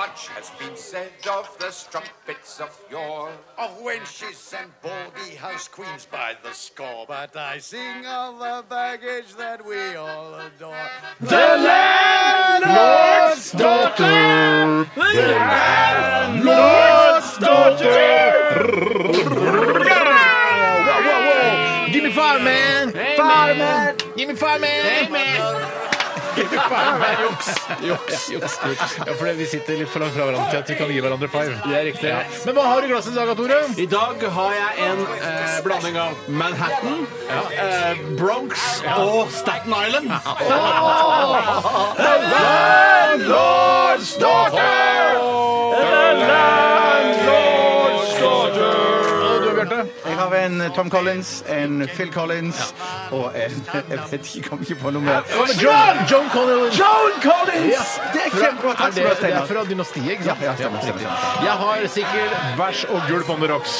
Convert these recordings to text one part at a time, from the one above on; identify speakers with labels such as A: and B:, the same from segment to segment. A: Much has been said of the strumpets of yore, of wenches and baldy house queens by the score. But I sing of the baggage that we all adore.
B: Ja, for det- vi sitter litt for langt fra hverandre til at vi kan gi hverandre five. Det er riktig. Men hva har du i glasset i dag, Tore?
C: I dag har jeg en eh, blanding av Manhattan, eh, Bronx og Staten Island.
B: Og du, Bjarte?
D: Jeg har en Tom Collins, en Phil Collins og en Jeg vet ikke, jeg kom ikke på noe mer.
B: John, John Connolly.
D: John Collins! Det er
B: Fra-
D: kjempebra.
B: er det,
D: Takk
B: det
D: skal du ha,
B: er
D: Steinar.
B: fra dynastiet, ikke sant?
D: Ja, ja, stemmer, stemmer, stemmer.
B: Jeg har sikkert bæsj og gulp on the rocks.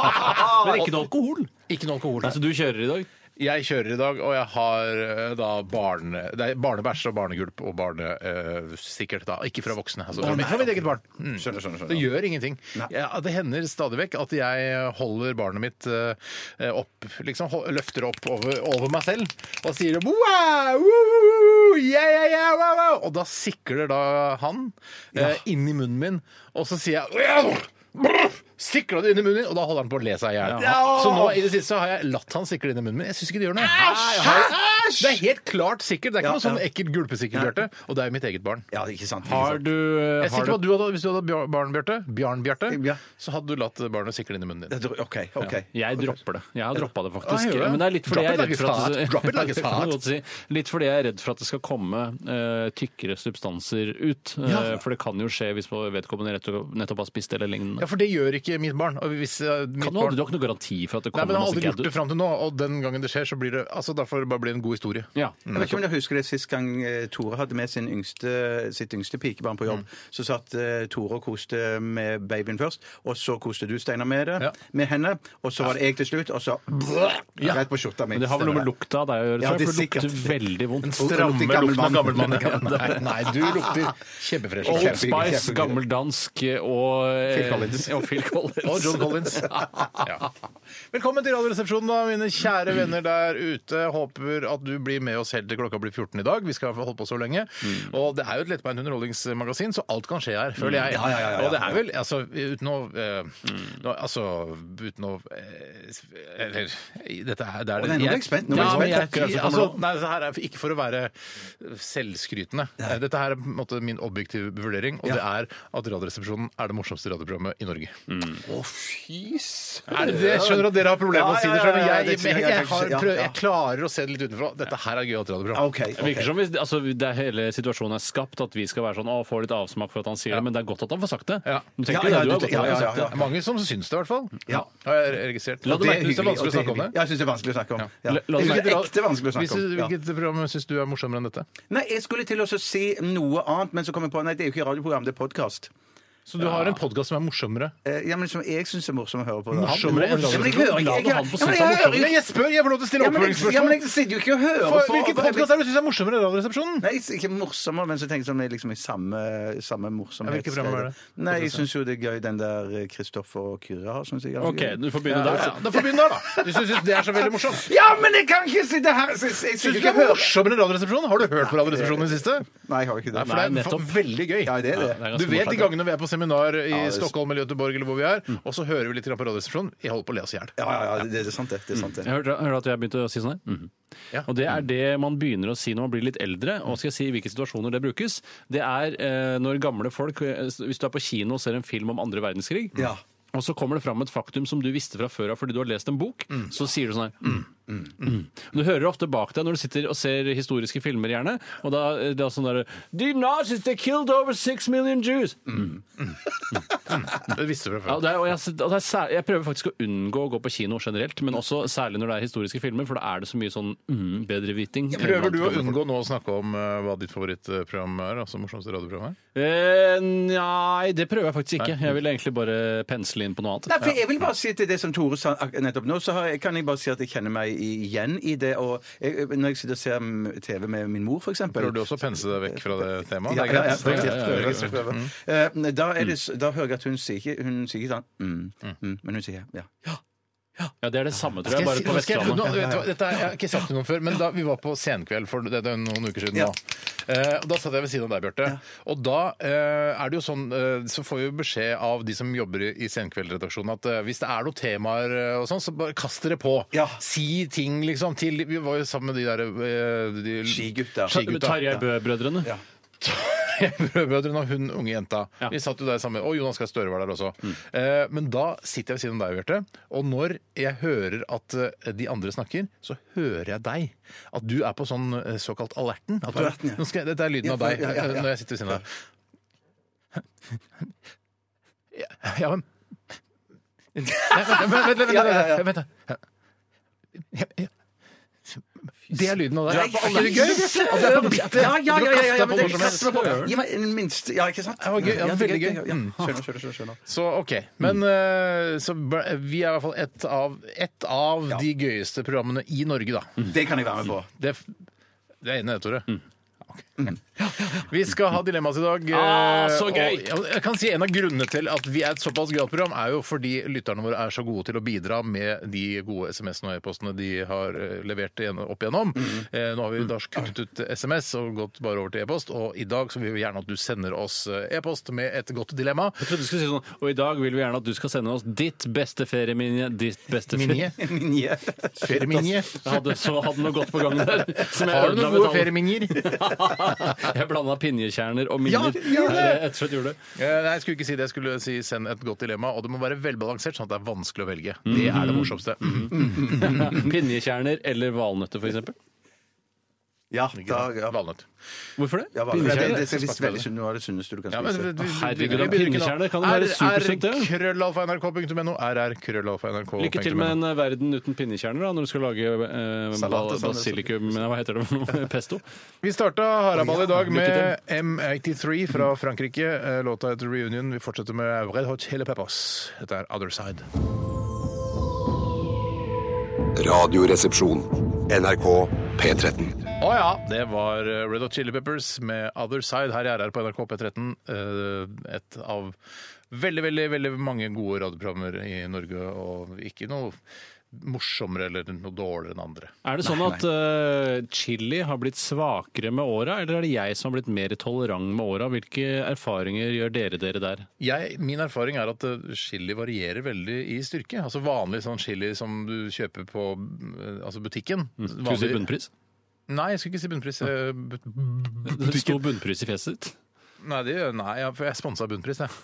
C: Men ikke noe alkohol.
B: Ikke noe alkohol.
C: Altså, du kjører i dag?
B: Jeg kjører i dag, og jeg har eh, da barne, det er barnebæsj og barnegulp og barne... eh, sikkert da, ikke fra voksne. Altså, fra, mitt, fra mitt eget barn. Mm.
D: Skjønner,
B: Det
D: skjønner, skjønner.
B: gjør ingenting. Ja, det hender stadig vekk at jeg holder barnet mitt eh, opp, liksom hol- løfter opp over, over meg selv og sier wow, woo, woo, woo, yeah, yeah, yeah, wow, wow. Og da sikler da han eh, inn i munnen min, og så sier jeg «Au!» Brr! Sikla det inn i munnen min, og da holder han på å le seg i hjel. Så nå i det siste har jeg latt han sikle inn i munnen min. Jeg syns ikke det gjør noe. Jeg har- Det er helt klart sikkert. Det er ikke noe sånn ekkelt gulpesikkert, Bjarte. Og det er jo mitt eget barn.
D: Ja, ikke sant. ikke
C: Har
D: sant.
C: du,
B: Jeg er
C: har
B: sikker
C: du
B: på at du hadde, Hvis du hadde bjar- barn, Bjarte, Bjarn Bjarte,
D: Ja.
B: så hadde du latt eh, barnet sikle inn i munnen din.
D: Det tror- OK. ok.
C: Jeg dropper det. Jeg har droppa det,
B: Ah,
C: faktisk.
B: gjør du det?
C: Men det er litt
B: Drop
C: fordi jeg
B: it
C: er redd
B: like
C: for
B: it's
C: at
B: hot. Drop it like it's
C: Det kan jeg
B: hot.
C: godt si. Litt fordi jeg er redd for at det skal komme eh, tykkere substanser ut. Eh, For det kan jo skje hvis vedkommende rett og- nettopp har spist eller lignende.
B: Ja, for det gjør ikke mitt barn. Og hvis eh, mitt
C: Kan du,
B: barn
C: du har ikke noen garanti for at det
B: Nei, men Jeg
C: kommer
B: har
C: masse
B: aldri gjort det
C: gadget?
B: fram til nå, og den gangen det skjer, så blir det altså, da får det bare bli en god historie.
C: Ja.
D: Jeg vet ikke om dere husker det sist gang eh, Tore hadde med sin yngste, sitt yngste pikebarn på jobb. Så satt eh, Tore og koste med babyen først, og så koste du, Steinar, med det.
B: Ja.
D: Med henne. Og så var det jeg til slutt, og så rett på skjorta mi.
C: Men det har vel noe med lukta av deg å gjøre?
D: Ja,
C: tror
D: det
C: jeg,
D: er
C: for det lukter veldig vondt.
B: Stramme
D: lukter gammel
B: lukten av gammel mann.
D: mann.
B: Nei, nei, du lukter kjempefresh.
C: Old
B: Kjempe-
C: Spice,
B: kjempe-
C: gammeldansk og
B: Phil Collins.
C: Og Phil Collins.
B: Og John Collins. Ja. Velkommen til Radioresepsjonen, da, mine kjære venner der ute. Håper at du blir med oss helt til klokka blir 14 i dag. Vi skal holde på så lenge.
D: Mm.
B: Og det er jo et lettbeint underholdningsmagasin, så alt kan skje her, føler jeg.
D: Ja, ja, ja, Mm. ja.
B: Og det er vel, altså uten å eh, nå, Altså uten å eh, Eller Dette er det er
D: Å, nei, nå ble jeg spent, nå ble
B: Ja,
D: jeg
B: men
D: spent.
B: jeg-
D: Akkurat så
B: altså,
D: kommer
B: Nei, dette her er ikke for å være selvskrytende. Eh, Dette her er på en måte min objektive vurdering, og det er at Radioresepsjonen er det morsomste radioprogrammet i Norge. Er det, det? Jeg skjønner at dere har problemer med å si det
D: Ja, ja,
B: sjøl, men
D: ja, ja,
B: jeg,
D: det
B: jeg,
D: skjønner jeg
B: jeg,
D: kanskje,
B: har
D: ja,
B: prøvd,
D: ja.
B: jeg klarer å se det litt utenfra. Dette her er gøyalt radioprogram.
D: OK.
C: Det virker
D: ok.
C: som hvis, altså, det er hele situasjonen er skapt, at vi skal være sånn, å, få litt avsmak for at han sier det, men det er godt at han får sagt det.
B: Ja.
C: Du tenker
D: Ja, ja,
C: det, du har
D: du-
C: godt at
D: ja,
C: han
D: ja, ja.
C: får sagt det.
B: Det er mange som syns det, i hvert fall.
D: Ja.
B: Har jeg registrert.
C: La
B: Og
C: du
B: det
C: merke
B: syns det er vanskelig å snakke om det.
D: Ja, jeg syns det er vanskelig å snakke om. Ja.
C: La- la
D: Jeg
C: oss
D: synes det er
C: snakke-
D: ekte vanskelig å
B: Hvis,
D: snakke om. Ja.
B: hvilket program syns du er morsommere enn dette?
D: Nei, jeg skulle til å så si noe annet, men så kom jeg på Nei, det er jo ikke radioprogram, det er podkast.
B: Så du har en podkast som er morsommere?
D: Ja, men som jeg syns er morsom å høre på. da.
B: Morsommere enn
D: Ja, men jeg hører ikke
C: La
D: jeg-
C: det han få
D: ja, men jeg
C: synes er
D: hører
C: morsom.
D: jo-
B: Jeg spør! Jeg får lov til å stille
D: Ja, men jeg- ja, men jeg sitter jo ikke og hører på.
B: Hvilken podkast er det du syns er morsommere enn Radioresepsjonen?
D: Nei, ikke morsommere, men så tenker jeg sånn er liksom i samme, samme morsomhet.
B: Ja, hvilke programmer er det?
D: Nei, jeg syns jo det er gøy den der Kristoffer og Kyrre har, syns jeg. er ganske
C: Ok,
D: gøy.
C: du får begynne der. altså.
B: Ja,
C: så.
B: da får vi begynne der, da. Hvis du syns det er så veldig morsomt.
D: Ja, men jeg kan ikke sitte her! Jeg, jeg, jeg, jeg,
B: Syns du
D: jeg,
B: det
D: jeg
B: er
D: hører.
B: morsommere enn Radioresepsjonen? Har du hørt på Radioresepsjonen i det siste?
D: Nei, jeg har ikke det.
B: For det er
C: nettopp.
B: veldig gøy.
D: Ja, det er det.
B: Du
C: det er ganske
B: vet de
C: morsomt.
B: gangene vi er på seminar i
D: det er-
B: Stockholm eller Göteborg, eller hvor vi er, og så hører vi litt grann på Radioresepsjonen. Jeg holder på å le oss i hjel.
D: Ja, ja, ja, det, det er sant, det. det, er sant, det.
B: Mm.
C: Jeg hørte, hørte at jeg begynte å si sånn her. Mhm.
B: Ja.
C: Og det er det man begynner å si når man blir litt eldre, og skal jeg si i hvilke situasjoner det brukes. Det er eh, når gamle folk, eh, hvis du er på kino og ser en film om andre verdenskrig,
D: Ja.
C: og så kommer det fram et faktum som du visste fra før av fordi du har lest en bok, så sier du sånn her. Mm. Du hører det ofte bak deg når du sitter og ser historiske filmer, gjerne. Og da eh, det er sånn derre The Nazis, they killed over six million Jews!
B: Mm. Det visste du fra
C: Ja,
B: før.
C: det er, og jeg, har sett- og det er sær, jeg prøver faktisk å unngå å gå på kino generelt, men også særlig når det er historiske filmer, for da er det så mye sånn mm, bedreviting.
B: Prøver du å unngå nå å snakke om eh, hva ditt favorittprogram er? altså morsomste radioprogram er?
C: Eh, nei, det prøver jeg faktisk ikke. Jeg vil egentlig bare pensle inn på noe annet.
D: Nei, for jeg vil bare si til det som Tore sa ak- nettopp nå, så har jeg, kan jeg bare si at jeg kjenner meg igjen i det. Og jeg, eh, når jeg sitter og ser mm, TV med min mor, for eksempel
B: Prøver du også å pense deg vekk fra det temaet?
D: Ja,
B: Det
D: ja,
B: er
D: ja,
B: greit.
D: ja,
B: Det er
D: ja,
B: greit.
D: prøver, jeg prøver.
B: Mm.
D: Eh, Da, er det, s- da hører jeg at hun sier ikke Hun sier ikke sånn mm, mm, Men hun sier ja.
C: Ja, Det er det samme, tror
B: Skal
C: jeg,
B: jeg
C: bare
B: si-
C: på
B: nå skal jeg-
C: Vestlandet.
B: nå, vet du hva, dette er, jeg har ikke sagt det noen før, men da vi var på Senkveld for det, det er noen uker siden
D: Ja.
B: nå. Eh, og da satt jeg ved siden av deg, Bjarte. Og da eh, er det jo sånn eh, Så får vi jo beskjed av de som jobber i i Senkveld-redaksjonen at eh, hvis det er noen temaer eh, og sånn, så bare kast dere på.
D: Ja.
B: Si ting, liksom. Til Vi var jo sammen med de der eh, de,
D: Skigutta.
B: Skigutta.
C: Tarjei Bø-brødrene.
D: Ja.
B: brødrene og hun unge jenta.
C: Ja.
B: Vi satt jo der sammen. Og Jonas Gahr Støre var der også. Eh, men da sitter jeg ved siden av deg, Bjarte, og når jeg hører at eh, de andre snakker, så hører jeg deg. At du er på sånn eh, såkalt alerten. At du er,
D: Alerten, ja.
B: nå skal jeg, dette er lyden
D: Ja,
B: av
D: for-
B: deg
D: ja, ja,
B: eh,
D: ja.
B: når jeg sitter ved siden av deg. Ja, Ja, men Nei, Vent, vent, vent, vent, vent, vent, vent. Ja, ja. Det er lyden av deg.
D: Nei,
B: Er ikke det gøy? At du er på bittet.
D: Ja, ja, ja, ja, ja,
B: Du kan kaste deg
D: men
B: på
D: det
B: hvor som helst.
D: kaster meg på. Gi meg en minst Ja, ikke sant?
B: Det var gøy. Ja,
D: Ja,
B: veldig gøy. Mm.
D: ja, ja. Skjønner, skjønner, skjønner, skjønner.
B: Så OK. Men eh, så bra- vi er i hvert fall ett av, ett av de gøyeste programmene i Norge,
C: Mm.
B: da.
D: Det kan jeg være med på.
B: Det, det er enig i det, Tore. Ok. Vi skal ha dilemmas i dag.
C: Ah, så
B: eh,
C: gøy!
B: Og jeg kan si En av grunnene til at vi er et såpass gøyalt program, er jo fordi lytterne våre er så gode til å bidra med de gode SMS-ene og e-postene de har eh, levert igjen- opp igjennom.
C: Mm.
B: Eh, Nå har vi da kuttet ut SMS og gått bare over til e-post, og i dag så vil vi gjerne at du sender oss eh, e-post med et godt dilemma.
C: Jeg trodde du skulle si sånn, og i dag vil vi gjerne at du skal sende oss ditt beste ferieminje. Ditt beste
B: Minje.
D: Minje.
B: Ferieminje.
C: Jeg hadde, så hadde noe godt på gangen der. som jeg
B: Har du
C: ødela
B: noen
C: med
B: gode
C: tall.
B: ferieminjer?
C: jeg blanda pinjekjerner og minner.
B: Ja, du gjorde det!
C: Jeg rett og slett gjorde det.
B: Eh, Nei, jeg skulle ikke si det. Jeg skulle si send et godt dilemma. Og det må være velbalansert, sånn at det er vanskelig å velge. Det er det morsomste.
C: Pinjekjerner eller valnøtter, f.eks.
D: Ja, da ja.
B: Valnøtt.
C: Hvorfor det?
D: Ja, hva- det, det,
C: Pinnekjerner?
D: det er visst veldig sunt. Noe av det sunneste du kan
B: Ja, men
D: spise.
B: vi- vi-
C: herregud,
B: vi begynner ikke nå.
C: pinnekjerner kan jo være supersunt, det.
B: RR-krøllalfa.nrk.no. RR-krøllalfa.nrk.no.
C: Lykke til med en eh, verden uten pinnekjerner da, når du skal lage eh,
B: Salat og
C: bal-
B: sånn.
C: basilikum Nei, Hva heter det for noe? Pesto?
B: Vi starta Haraball i dag
C: Lykke
B: med M83 fra Frankrike. eh, Låta heter Reunion. Vi fortsetter med Red Hot Chili Peppers. Dette er Other Side.
E: Radioresepsjon. NRK P13.
B: Å ja, det var eh, Red Hot Chili Peppers med Other Side her i RR på NRK P13. eh, Et av veldig, veldig veldig mange gode radioprogrammer i Norge, og ikke noe morsommere eller noe dårligere enn andre.
C: Er det sånn at eh, chili har blitt svakere med åra, eller er det jeg som har blitt mer tolerant med åra? Hvilke erfaringer gjør dere dere der?
B: Jeg, min erfaring er at eh, chili varierer veldig i styrke. Altså vanlig sånn chili som du kjøper på eh, altså butikken.
C: Skal du si
B: Vanlig-
C: bunnpris?
B: Nei, jeg skulle ikke si bunnpris. eh, but-
C: Det sto bunnpris i fjeset ditt.
B: Nei, det, gjør- nei jeg, for jeg sponsa bunnpris, jeg.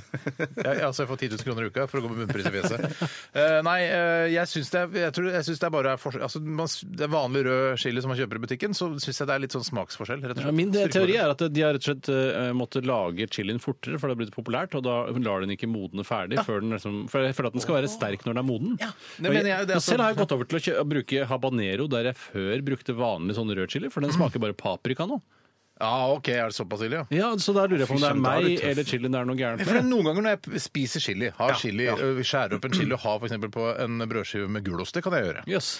B: Jeg, altså jeg får 10 000 kroner i uka for å gå med bunnpris i fjeset. Eh, nei, eh, jeg syns det, er- jeg tror, jeg syns det er bare er forskjell altså, man, s- Det er vanlig rød chili som man kjøper i butikken, så syns jeg det er litt sånn smaksforskjell. Rett og slett.
C: Ja, min
B: Styrkeforskjell.
C: teori er at de har rett og slett eh, måttet lage chilien fortere, for det har blitt populært, og da lar den ikke modne ferdig. Før den liksom, for jeg føler at den skal være sterk når den er moden.
B: det
C: Og
B: mener jeg, det er
C: og selv
B: sånn-
C: har jeg gått over til å, kjø å bruke habanero der jeg før brukte vanlig sånn rød chili, for den smaker bare paprika nå.
B: Ja, OK, er det såpass ille, ja?
C: Ja, Så da lurer jeg på om det er
D: søren, da er
C: meg
D: du tøff.
C: eller chilien det er noe gærent
B: For det er
C: med.
B: Noen ganger når jeg spiser chili, har chili øh, skjærer opp en chili og har for eksempel på en brødskive med gulost, det kan jeg gjøre.
C: Jøss.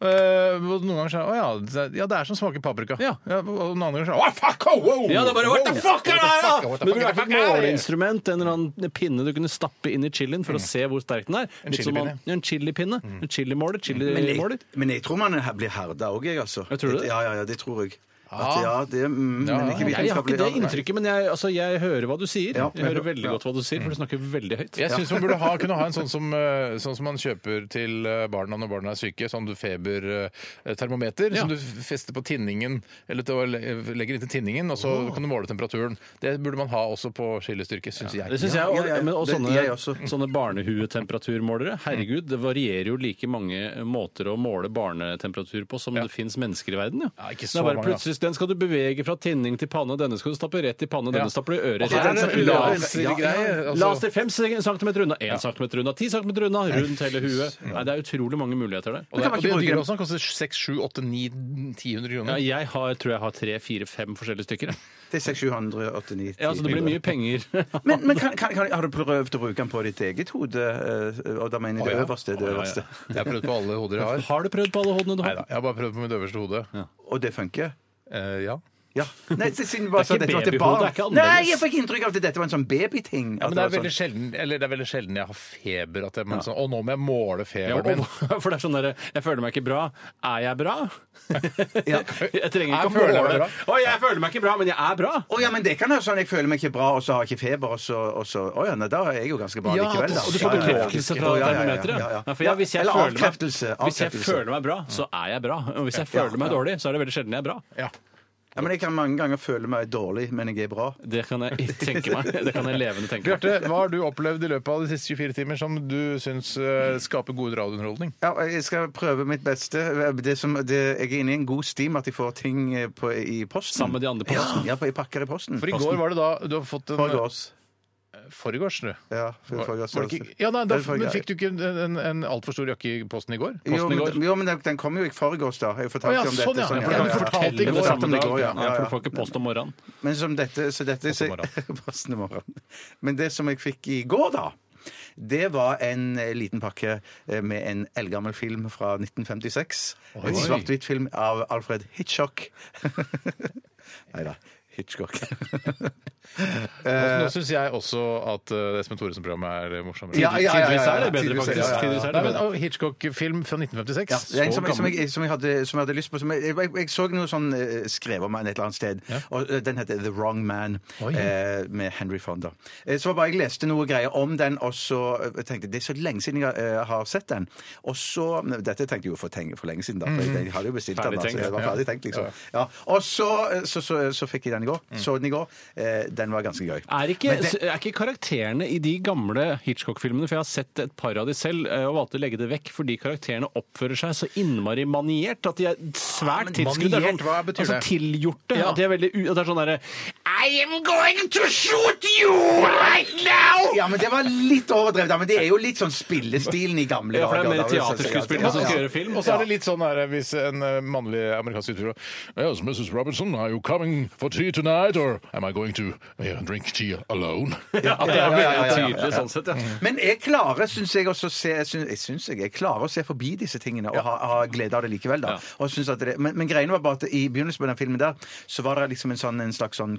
B: Eh, og noen ganger sier jeg å ja, det er- ja, det er som smaker paprika.
C: Ja.
B: og noen andre ganger sier jeg å fuck, oh, wow!
C: Ja, det er bare What the fuck er det her,
B: What
C: da?!
B: the
C: Men
B: fuck, what the
C: du har
B: fuck
C: ikke et
B: er det?
C: måleinstrument, en eller annen pinne du kunne stappe inn i chilien for å se hvor sterk den er.
B: Mm. En
C: Litt som
B: chilipinne. Mm.
C: man- ja, En chilipinne. En chilimåler.
D: Men
C: Chilimåler.
D: jeg, men jeg tror man blir herda òg, jeg, altså.
C: Ja, tror du det? Ah.
D: Ja, ja, ja, det tror jeg. At ja, det mm,
B: Ja,
D: Men
B: ja. Jeg
D: ikke
C: Jeg, har ikke
D: vitenskapelig
C: det
D: rart.
C: inntrykket, men jeg, altså, jeg hører hva du sier.
D: Ja,
C: jeg hører veldig
D: ja.
C: godt hva du sier, for du snakker veldig høyt.
B: Jeg syns man burde ha, kunne ha en sånn som, eh, sånn som man kjøper til eh, barna når barna er syke. Sånn du febertermometer
C: Ja.
B: som du f- fester på tinningen, eller til, å le- legger inntil tinningen, og så kan du måle temperaturen. Det burde man ha også på skilestyrke, syns
C: Det
B: jeg.
C: synes jeg, og,
D: Ja, ja, ja.
C: men, og
D: Det-
C: sånne,
D: jeg også.
C: sånne barnehuetemperaturmålere. Herregud, det varierer jo like mange måter å måle barnetemperatur på som det fins mennesker i verden. Ja.
B: Ja, ikke
C: Det
B: så
C: er bare
B: mange, da.
C: plutselig, Den skal du bevege fra tinning til panne, denne skal du stappe rett i panne, denne stapper du i øret.
B: Og her er det
C: Denne-
B: lasergreie, altså.
C: Laser fem centimeter unna, én centimeter unna, ti centimeter unna, rundt hele huet. Nei, det er utrolig mange muligheter der.
B: Og det,
D: man
B: og
D: ikke
B: det
D: bruke-
B: dyret også koster 6, 7, 8, 9, 1000
C: Ja,
B: kroner.
C: jeg har, tror jeg har tre, fire, fem forskjellige stykker. jeg.
D: Det er 6789.
C: Ja, så det blir mye penger.
D: Men, men kan, kan, kan, har du prøvd å bruke den på ditt eget hode? eh, Og da mener jeg det
B: ja.
D: øverste. Det
B: Å, ja, ja.
D: øverste.
B: Jeg har prøvd på alle hoder jeg har.
C: Har du prøvd på alle hodene du
B: Nei
C: har?
B: da, jeg har bare prøvd på mitt øverste hode.
D: Og det funker?
B: Eh, ja.
D: Ja. Nei, så siden du bare sa
C: Det er ikke
D: dette var til
C: babyhode,
D: barn.
C: det er ikke annerledes.
D: Nei, jeg fikk inntrykk av at dette var en sånn babyting.
B: Ja,
D: at
B: men det er,
D: var
B: veldig sjelden, eller det er veldig sjelden jeg har feber. At jeg, men sånn, å, nå må jeg måle
C: Ja,
B: feberen
C: og,
B: min.
C: for det er sånn der, Jeg føler meg ikke bra. Er jeg bra?
D: Ja.
C: Jeg trenger ikke
B: Jeg
C: å
B: føler meg
C: måle.
B: bra.
C: Å, jeg føler meg ikke bra, men jeg er bra!
D: Å ja, men det kan være sånn jeg føler meg ikke bra, og så har jeg ikke feber, og så, og så Å ja, nei, da er jeg jo ganske bra
B: Ja,
D: likevel. da.
C: Og du
D: Ja,
C: får
D: ja, ja.
C: bekreftelse fra
D: Å, ja, ja, ja,
C: termometeret?
D: ja, ja.
C: Ja, for jeg- hvis jeg
D: Eller
C: føler meg-
D: avkreftelse.
C: Hvis jeg
D: avkreftelse.
C: føler meg bra, så er jeg bra. Og hvis jeg føler meg dårlig, så er det veldig sjelden jeg er bra.
B: Ja.
D: Ja, men jeg kan mange ganger føle meg dårlig, men jeg er bra.
C: Det kan jeg tenke meg. Det kan jeg levende tenke meg.
B: Bjarte, hva har du opplevd i løpet av de siste 24 timer som du syns eh, skaper god radiounderholdning?
D: Ja, og jeg skal prøve mitt beste. Det som, det, jeg er inne i en god stim at jeg får ting eh, på, i posten.
C: Sammen med de andre på posten.
D: Ja, ja, jeg pakker i posten.
B: For i går var det da du har fått en
D: Forgårs.
B: Forgårs, du.
D: Ja, for,
B: Var-
D: for,
B: var det ikke- Ja, nei, da,
D: Eller forgårs.
B: men fikk du ikke en, en, en altfor stor jakke i posten i går?
D: jo,
C: posten i går?
D: men, jo, men den- den kom jo i forgårs, da. Jeg
B: Å
D: fortalte
B: ja,
D: om
B: sånn,
D: dette.
B: ja. Ja, for
D: sånn, ja,
B: du
D: ja, ja.
B: fortalte i
C: Det
B: går.
C: samme
D: Fortalte om det
C: dag.
D: i går, ja.
C: Nei, for du får ikke post om morgenen.
D: Men som dette, så dette
B: Posten i morgen.
D: Posten i morgen. Men det som jeg fikk i går, da det var en eh, liten pakke eh, med en eldgammel film fra 1956. En svart-hvitt film av Alfred Hitchcock. Nei da. Hitchcock. Eh.
B: Nå syns jeg også at eh, Espen Thoresen-programmet er morsommere.
D: Ja, ja, ja, ja, ja.
C: Tidvis er det bedre,
D: Tidvis er det,
C: faktisk.
D: ja, ja, ja.
C: Tidvis er
B: Nei,
C: det
B: men
C: bedre.
B: og Hitchcock-film fra 1956.
D: Ja, det er en
B: Så
D: som, jeg- som,
B: gammel.
D: jeg, som, jeg hadde, som jeg hadde lyst på som jeg, jeg, jeg så noe sånn eh, skrevet om han et eller annet sted. Og eh, Den heter The Wrong Man
B: Oi.
D: eh, med Henry Fonda. Eh, så var bare jeg leste noe greier om den, og så eh, tenkte jeg det er så lenge siden jeg eh, har sett den. Og så mm, Dette tenkte jeg jo for, tenk- for lenge siden, da, for jeg, jeg hadde jo bestilt den.
C: Ferdig
D: da,
C: tenkt,
D: så jeg var
B: Mhm. ja. Mm.
D: ferdig tenkt, liksom. Ja. Og så, eh, så, så, så fikk jeg den i går. Så den i går. Eh, den var ganske gøy.
C: Er ikke,
D: Men det-
C: er ikke karakterene i de gamle Hitchcock-filmene For jeg har sett et par av de selv eh, og valgte å legge det vekk fordi karakterene oppfører seg så innmari maniert at de er svært
B: Ja, men
C: tilskudd. Det er
B: maniert, hva betyr
C: altså,
B: det?
C: Tilgjorte.
B: Ja.
C: At de er veldig u... At det er sånn derre I am going to shoot you right now!
D: Ja, men Det var litt overdrevet, da, men det er jo litt sånn spillestilen i gamle
C: Ja, for det er mer
D: da, vil jeg si.
C: teaterskuespill
D: Ja,
C: som
D: ja.
C: skal gjøre film.
B: Og så er det litt sånn her, hvis en eh, mannlig amerikansk utøver Yes, Mrs. Robinson, are you coming for tea tonight, or am I going to eh, drink tea alone?
C: At det er
D: ja, ja, ja,
C: veldig
D: ja, ja.
C: tydelig sånn sett, ja.
D: Men jeg klarer, syns jeg også å se jeg syns, jeg syns jeg er klarer å se forbi disse tingene og ha, ha glede av det likevel, da.
C: Ja.
D: Og syns at det, men, men greiene var bare at i begynnelsen på den filmen der, så var det liksom en, sånn, en slags sånn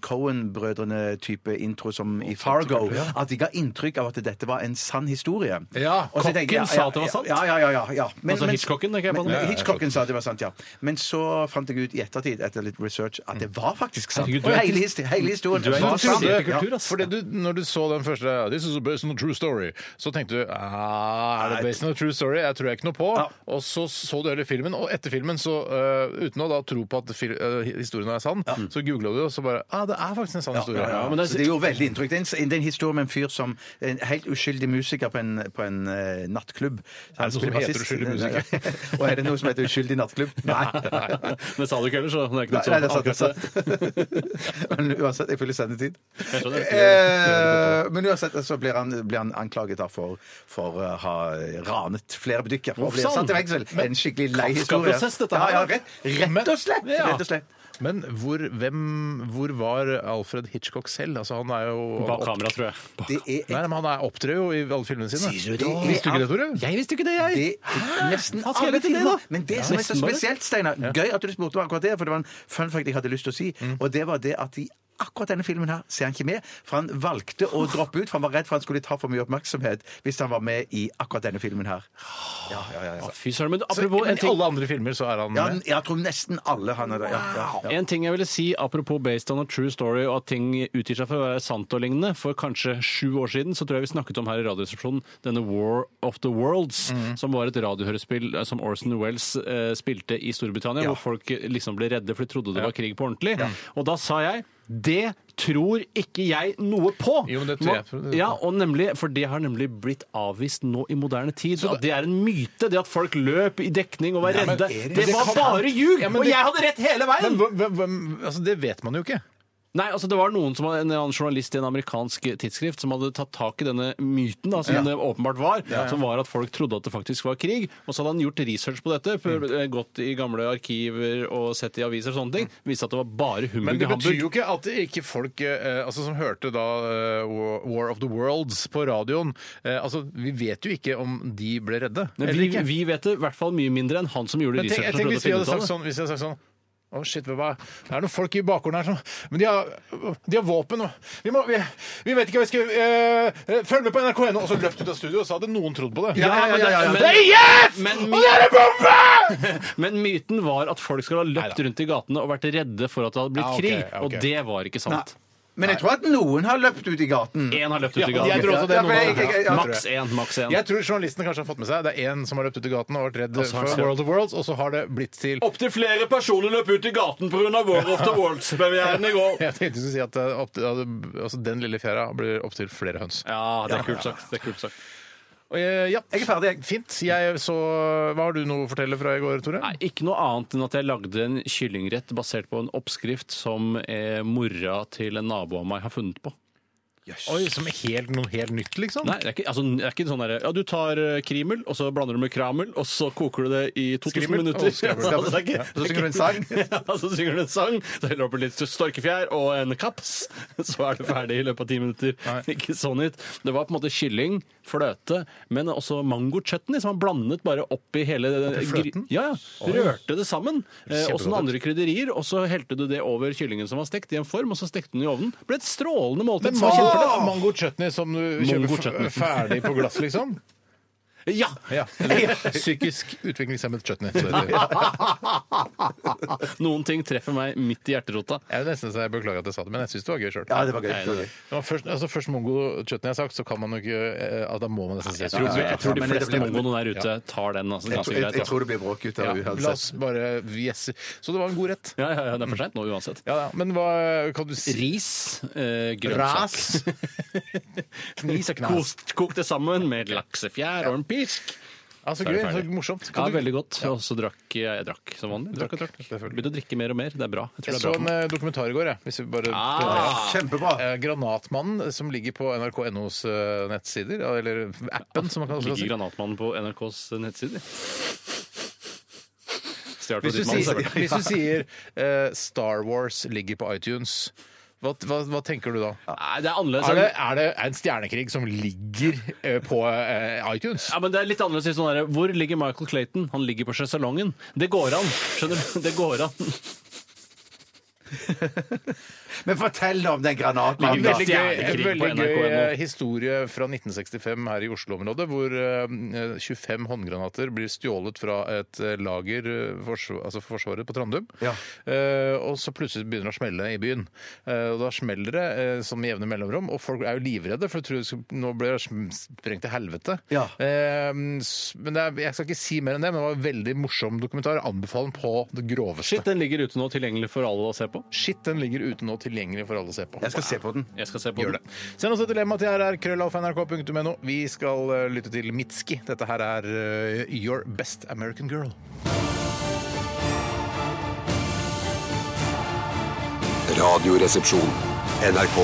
D: Cohen-brødrene-type intro som i Fargo. At de ga inntrykk av at dette var en sann historie.
B: Ja,
D: Og så tenker jeg,
C: kokken sa at det var sant.
D: Ja, ja, ja. ja, ja. Men-
C: Altså
D: men-
C: Hitchcocken, tenker jeg på.
D: men-
C: Ja, ja,
D: Hitchcocken sa at det var sant, ja. Men så fant jeg ut i ettertid, etter litt research, at det var faktisk sant.
C: Mm. Herregud, du er-
D: Hele, histo- hele historien
C: er
D: var
C: interessert
D: sann.
C: i
D: Ja.
C: kultur, ass.
B: For det du, når du så den første This is based on a true story Så tenkte du ah, Er det based on a true story? Jeg tror jeg ikke noe på Og så så du hele filmen Og etter filmen så eh, Uten å da tro på at fil, eh, historien er sann Så googlet du og så bare Ah, det er faktisk en sann historie
D: Ja,
C: men det
D: så
C: er-
D: det gjorde veldig inntrykk. Det er en, det er en historie om en fyr som en helt uskyldig musiker på en, på en eh, nattklubb.
B: Er det noe som heter uskyldig musiker?
D: Og er det noe som heter uskyldig nattklubb? Nei. Nei,
C: Men sa du ikke ellers, så det er ikke
D: nei,
C: noe
D: det er sant. Det er
C: sånn.
D: sant. Men uansett, jeg følger sendetid.
C: Jeg skjønner.
D: Eh, men uansett så blir han, blir han anklaget da for, for å ha ranet flere butikker. Og blir
C: sann?
D: satt i fengsel. En skikkelig lei historie.
C: Kafka-prosess, dette
D: Ja,
C: her.
D: ja, rett, rett og slett.
C: Men- ja.
D: Rett og slett.
B: Men hvor, hvem, hvor var Alfred Hitchcock selv? Altså han er jo
C: Bak kamera, tror jeg.
D: Det er
B: Nei, men han er opptrer jo i alle filmene sine
D: du det?
B: Visste du ikke det, Tore?
C: Jeg visste ikke det, jeg!
D: Det er nesten
C: Han skrev
D: alle
C: ikke det,
D: filmer.
C: da.
D: Men det
C: Ja.
D: som er så
C: Nesten bare.
D: spesielt, Steinar Gøy at du spurte om akkurat det, for det var en fun fact jeg hadde lyst til å si. Og det var det at i akkurat denne filmen her ser han ikke med, for han valgte å droppe ut, for han var redd for han skulle ta for mye oppmerksomhet hvis han var med i akkurat denne filmen her. Ja, ja, ja. ja.
C: Fy søren. Men
B: Så,
C: apropos
B: men
C: en
B: I
C: ting,
B: alle andre filmer så er han
D: Ja,
B: med.
D: jeg tror nesten alle han er der. Ja, ja, ja.
C: en ting jeg ville si apropos based on a true story, og at ting utgir seg for å være sant og lignende. For kanskje sju år siden så tror jeg vi snakket om her i Radioresepsjonen denne War of the Worlds,
B: Mhm.
C: som var et radiohørespill eh, som Orson Wells eh, spilte i Storbritannia,
D: Ja.
C: hvor folk eh, liksom ble redde for de trodde det var krig på ordentlig. Og da sa jeg det tror ikke jeg noe på!
B: Jo, men det tror jeg på.
C: Ja, og nemlig, for det har nemlig blitt avvist nå i moderne tid. at det er en myte, det at folk løp i dekning og var
B: men
C: redde.
B: er det-
C: det
B: det
C: var
B: kan-
C: bare ljug!
B: Ja, men
C: og
B: det-
C: jeg hadde rett hele veien!
B: Men hvem, hvem, hvem- altså, det vet man jo ikke.
C: Nei, altså det var noen som var en annen journalist i en amerikansk tidsskrift som hadde tatt tak i denne myten da, som det åpenbart var, som var at folk trodde at det faktisk var krig. Og så hadde han gjort research på dette, før-
B: Mm.
C: eh, gått i gamle arkiver og sett i aviser og sånne ting. Viste at det var bare
B: Mm. Men
C: humbug
B: det
C: i
B: betyr
C: Hamburg.
B: jo ikke at ikke folk eh, altså, som hørte da eh, War- War of the Worlds på radioen eh, altså, Vi vet jo ikke om de ble redde.
C: Men
B: eller
C: Vi,
B: ikke.
C: vi vet det i hvert fall mye mindre enn han som gjorde
B: Men tenk, jeg
C: researchen. og
B: tenker
C: prøvde å
B: hvis vi
C: finne
B: hadde
C: ut av
B: sagt
C: det.
B: sånn, hvis jeg hadde sagt sånn Å, shit, hva hva- Det er noen folk i bakgården her som Men de har, de har våpen og vi, må, vi, vi vet ikke hva vi skal eh, eh, Følg med på NRK.no! Og så løpt ut av studio, og så hadde noen trodd på det.
C: Ja, ja, ja, ja, ja.
B: Det er IF!
C: Men-
B: og det er en bombe!
C: Men myten var at folk skulle ha løpt
B: sånn- Neida.
C: rundt i gatene og vært redde for at det hadde blitt
B: Ja, ok,
C: krig,
B: ja, ok.
C: og det var ikke sant.
D: Men jeg tror at noen har løpt ut i gaten.
C: Én har løpt
B: Ja,
C: ut i
B: jeg
C: gaten.
B: tror også det
D: Ja,
B: er
D: for jeg-
B: noen
D: jeg- jeg- jeg-
C: Maks én, maks én.
B: Jeg tror journalisten kanskje har fått med seg det er én som har løpt ut i gaten og vært redd
C: så har
B: for
C: det-
B: World of Worlds, og så har det blitt til
C: Opptil flere personer løp ut i gaten pga. War of the Worlds-premieren i går.
B: Jeg tenkte du skulle si at eh, opp til, altså, den lille fjæra blir opptil flere høns.
C: Ja, det er kult sagt. Det er kult sagt.
B: Og, eh, ja,
D: Jeg er ferdig, jeg.
B: Fint. Jeg så Hva har du noe å fortelle fra i går, Tore?
C: Nei, ikke noe annet enn at jeg lagde en kyllingrett basert på en oppskrift som eh, mora til en nabo av meg har funnet på.
B: Oi, som helt, noe helt nytt, liksom?
C: Nei, det er ikke, altså, det er ikke sånn derre Ja, du tar eh, krimel, og så blander du med kramel, og så koker du det i 2000
B: Skrimmel
C: minutter.
B: og skrammel.
C: Ja, altså, det er ikke-
D: Så synger du en sang.
C: Ja, så synger du en sang, så heller du oppi litt storkefjær og en kaps, så er du ferdig i løpet av ti minutter. Ikke sånn hit. Det var på en måte kylling, fløte, men også mango-chutney, som han blandet bare oppi hele
B: fløten?
C: gry- Ja, ja. Rørte det sammen. eh, Og
B: Kjempegodt
C: så noen andre krydderier, og så helte du det over kyllingen som var stekt i en form, og så stekte den i ovnen. Det ble et strålende måltid.
B: Men
C: som var kjempegodt.
B: mango, mango chutney som du
C: Mango
B: kjøper
C: chutney.
B: f- ferdig på glass, liksom?
C: Ja!
B: Ja. Eller psykisk utviklingshemmet chutney. som det heter.
C: Noen ting treffer meg midt i hjerterota.
B: Jeg er nesten så jeg beklager at jeg sa det, men jeg syns det var gøy sjøl.
D: Ja, det var gøy. Det var gøy.
B: Først, altså, først mango chutney jeg har sagt, så kan man jo ikke eh, altså, Da må man nesten si
C: Jeg tror,
B: Ja, ja, ja.
C: jeg tror de
D: Men det
C: fleste
D: blir-
C: mongoene der ute tar den altså,
D: Jeg, tror- jeg,
C: ganske
D: jeg
C: greit.
D: tror det blir bråk ut av
B: Ja,
D: det
B: La
D: uansett.
B: oss bare gjesse. Så det var en god rett.
C: Ja, ja, ja, det er for seint nå uansett.
B: Ja, ja. Men hva kan du si?
C: Ris, eh,
B: Ras.
C: grønnsak.
B: Knis og knas.
C: Kost, kok det sammen med et laksefjær og en pisk.
B: Altså,
C: Så er
B: gøy.
C: det
B: Så
C: ferdig.
B: morsomt.
C: Ja,
B: Kan du-
C: veldig godt. Og så drakk jeg, jeg drakk som vanlig. Drakk og drakk.
B: selvfølgelig.
C: Begynte å drikke mer og mer. Det er bra. Jeg tror
B: Jeg
C: det
B: så
C: er
B: en
C: bra.
B: eh, dokumentar i går, jeg. Hvis vi bare
C: Ah.
D: Kjempebra.
B: Eh, Granatmannen, eh, som ligger på NRK.nos eh, nettsider, ja, eller appen, som man kan også
C: Ligger
B: si.
C: Granatmannen på NRKs nettsider? Stjal fra
B: Hvis du
C: ditt mann,
B: sier,
C: selvfølgelig.
B: hvis du sier eh, Star Wars ligger på iTunes, hva, hva, hva tenker du da?
C: Nei, det er annerledes.
B: Er det, er det en stjernekrig som ligger eh, på eh, iTunes?
C: Ja, men det er litt annerledes i sånn her, Hvor ligger Michael Clayton? Han ligger på sjesalongen. Det går an. Skjønner du? Det går an.
D: Men fortell om den granatmannen, da.
B: Veldig gøy, en
C: Stjernekrig på
B: veldig gøy
C: NRK.no.
B: eh, historie fra 1965 her i Oslo-området, hvor eh, 25 håndgranater blir stjålet fra et eh, lager, eh, forsv- altså Forsvaret på Trandum.
D: Ja.
B: Eh, og så plutselig begynner det å smelle i byen. Eh, og da smeller det eh, som i jevne mellomrom, og folk er jo livredde, for de tror det skal- nå blir det sm- sprengt til helvete.
D: Ja.
B: Eh, s- men det er, jeg skal ikke si mer enn det, men det var en veldig morsom dokumentar. Jeg anbefaler den på det groveste.
C: Shit, den ligger ute nå, tilgjengelig for alle å se på.
B: Shit, den ligger ute nå tilgjengelig for alle å se på.
D: Jeg skal se på den.
C: Jeg skal se på
B: Gjør
C: den.
B: det. Send oss et dilemma til rr.krøllalfa.nrk.no. Vi skal eh, lytte til Mitski. Dette her er eh, Your Best American Girl.
E: Radioresepsjon. NRK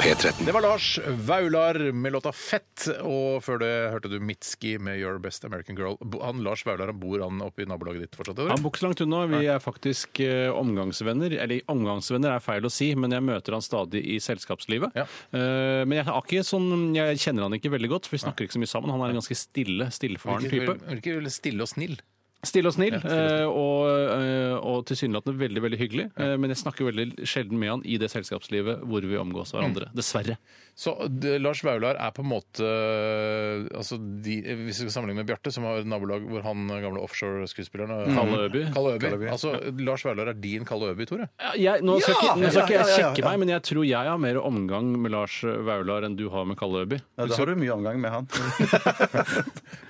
E: P13.
B: Det var Lars Vaular med låta 'Fett', og før det hørte du Mitski med 'Your Best American Girl'. Bo- Han Lars Vaular han bor han oppe i nabolaget ditt fortsatt? Eller?
C: Han bor ikke så langt unna. Vi er faktisk eh, omgangsvenner. Eller omgangsvenner er feil å si, men jeg møter han stadig i selskapslivet.
B: Ja.
C: Eh, men jeg, har ikke sånn, jeg kjenner han ikke veldig godt, for vi snakker ikke så mye sammen. Han er en ganske stille, stillfaren
B: Virker-
C: type.
B: virker veldig stille og snill.
C: Stille og snill, eh, og, eh, og tilsynelatende veldig veldig hyggelig. eh, Men jeg snakker veldig sjelden med han i det selskapslivet hvor vi omgås hverandre.
D: Mm.
C: Dessverre.
B: Så det, Lars Vaular er på en måte eh, altså de, Hvis vi skal sammenligne med Bjarte, som har et nabolag hvor han eh, gamle offshore-skuespilleren eh,
C: Kalle Øby.
B: Kalle Øby. Altså, Lars Vaular er din Kalle Øby, Tore?
C: Ja, Jeg, nå skal ikke, nå skal ikke
D: Ja,
C: jeg
D: ja, ja,
C: sjekke
D: ja.
C: meg, men jeg tror jeg har mer omgang med Lars Vaular enn du har med Kalle Øby.
D: Ja, da har du mye omgang med han.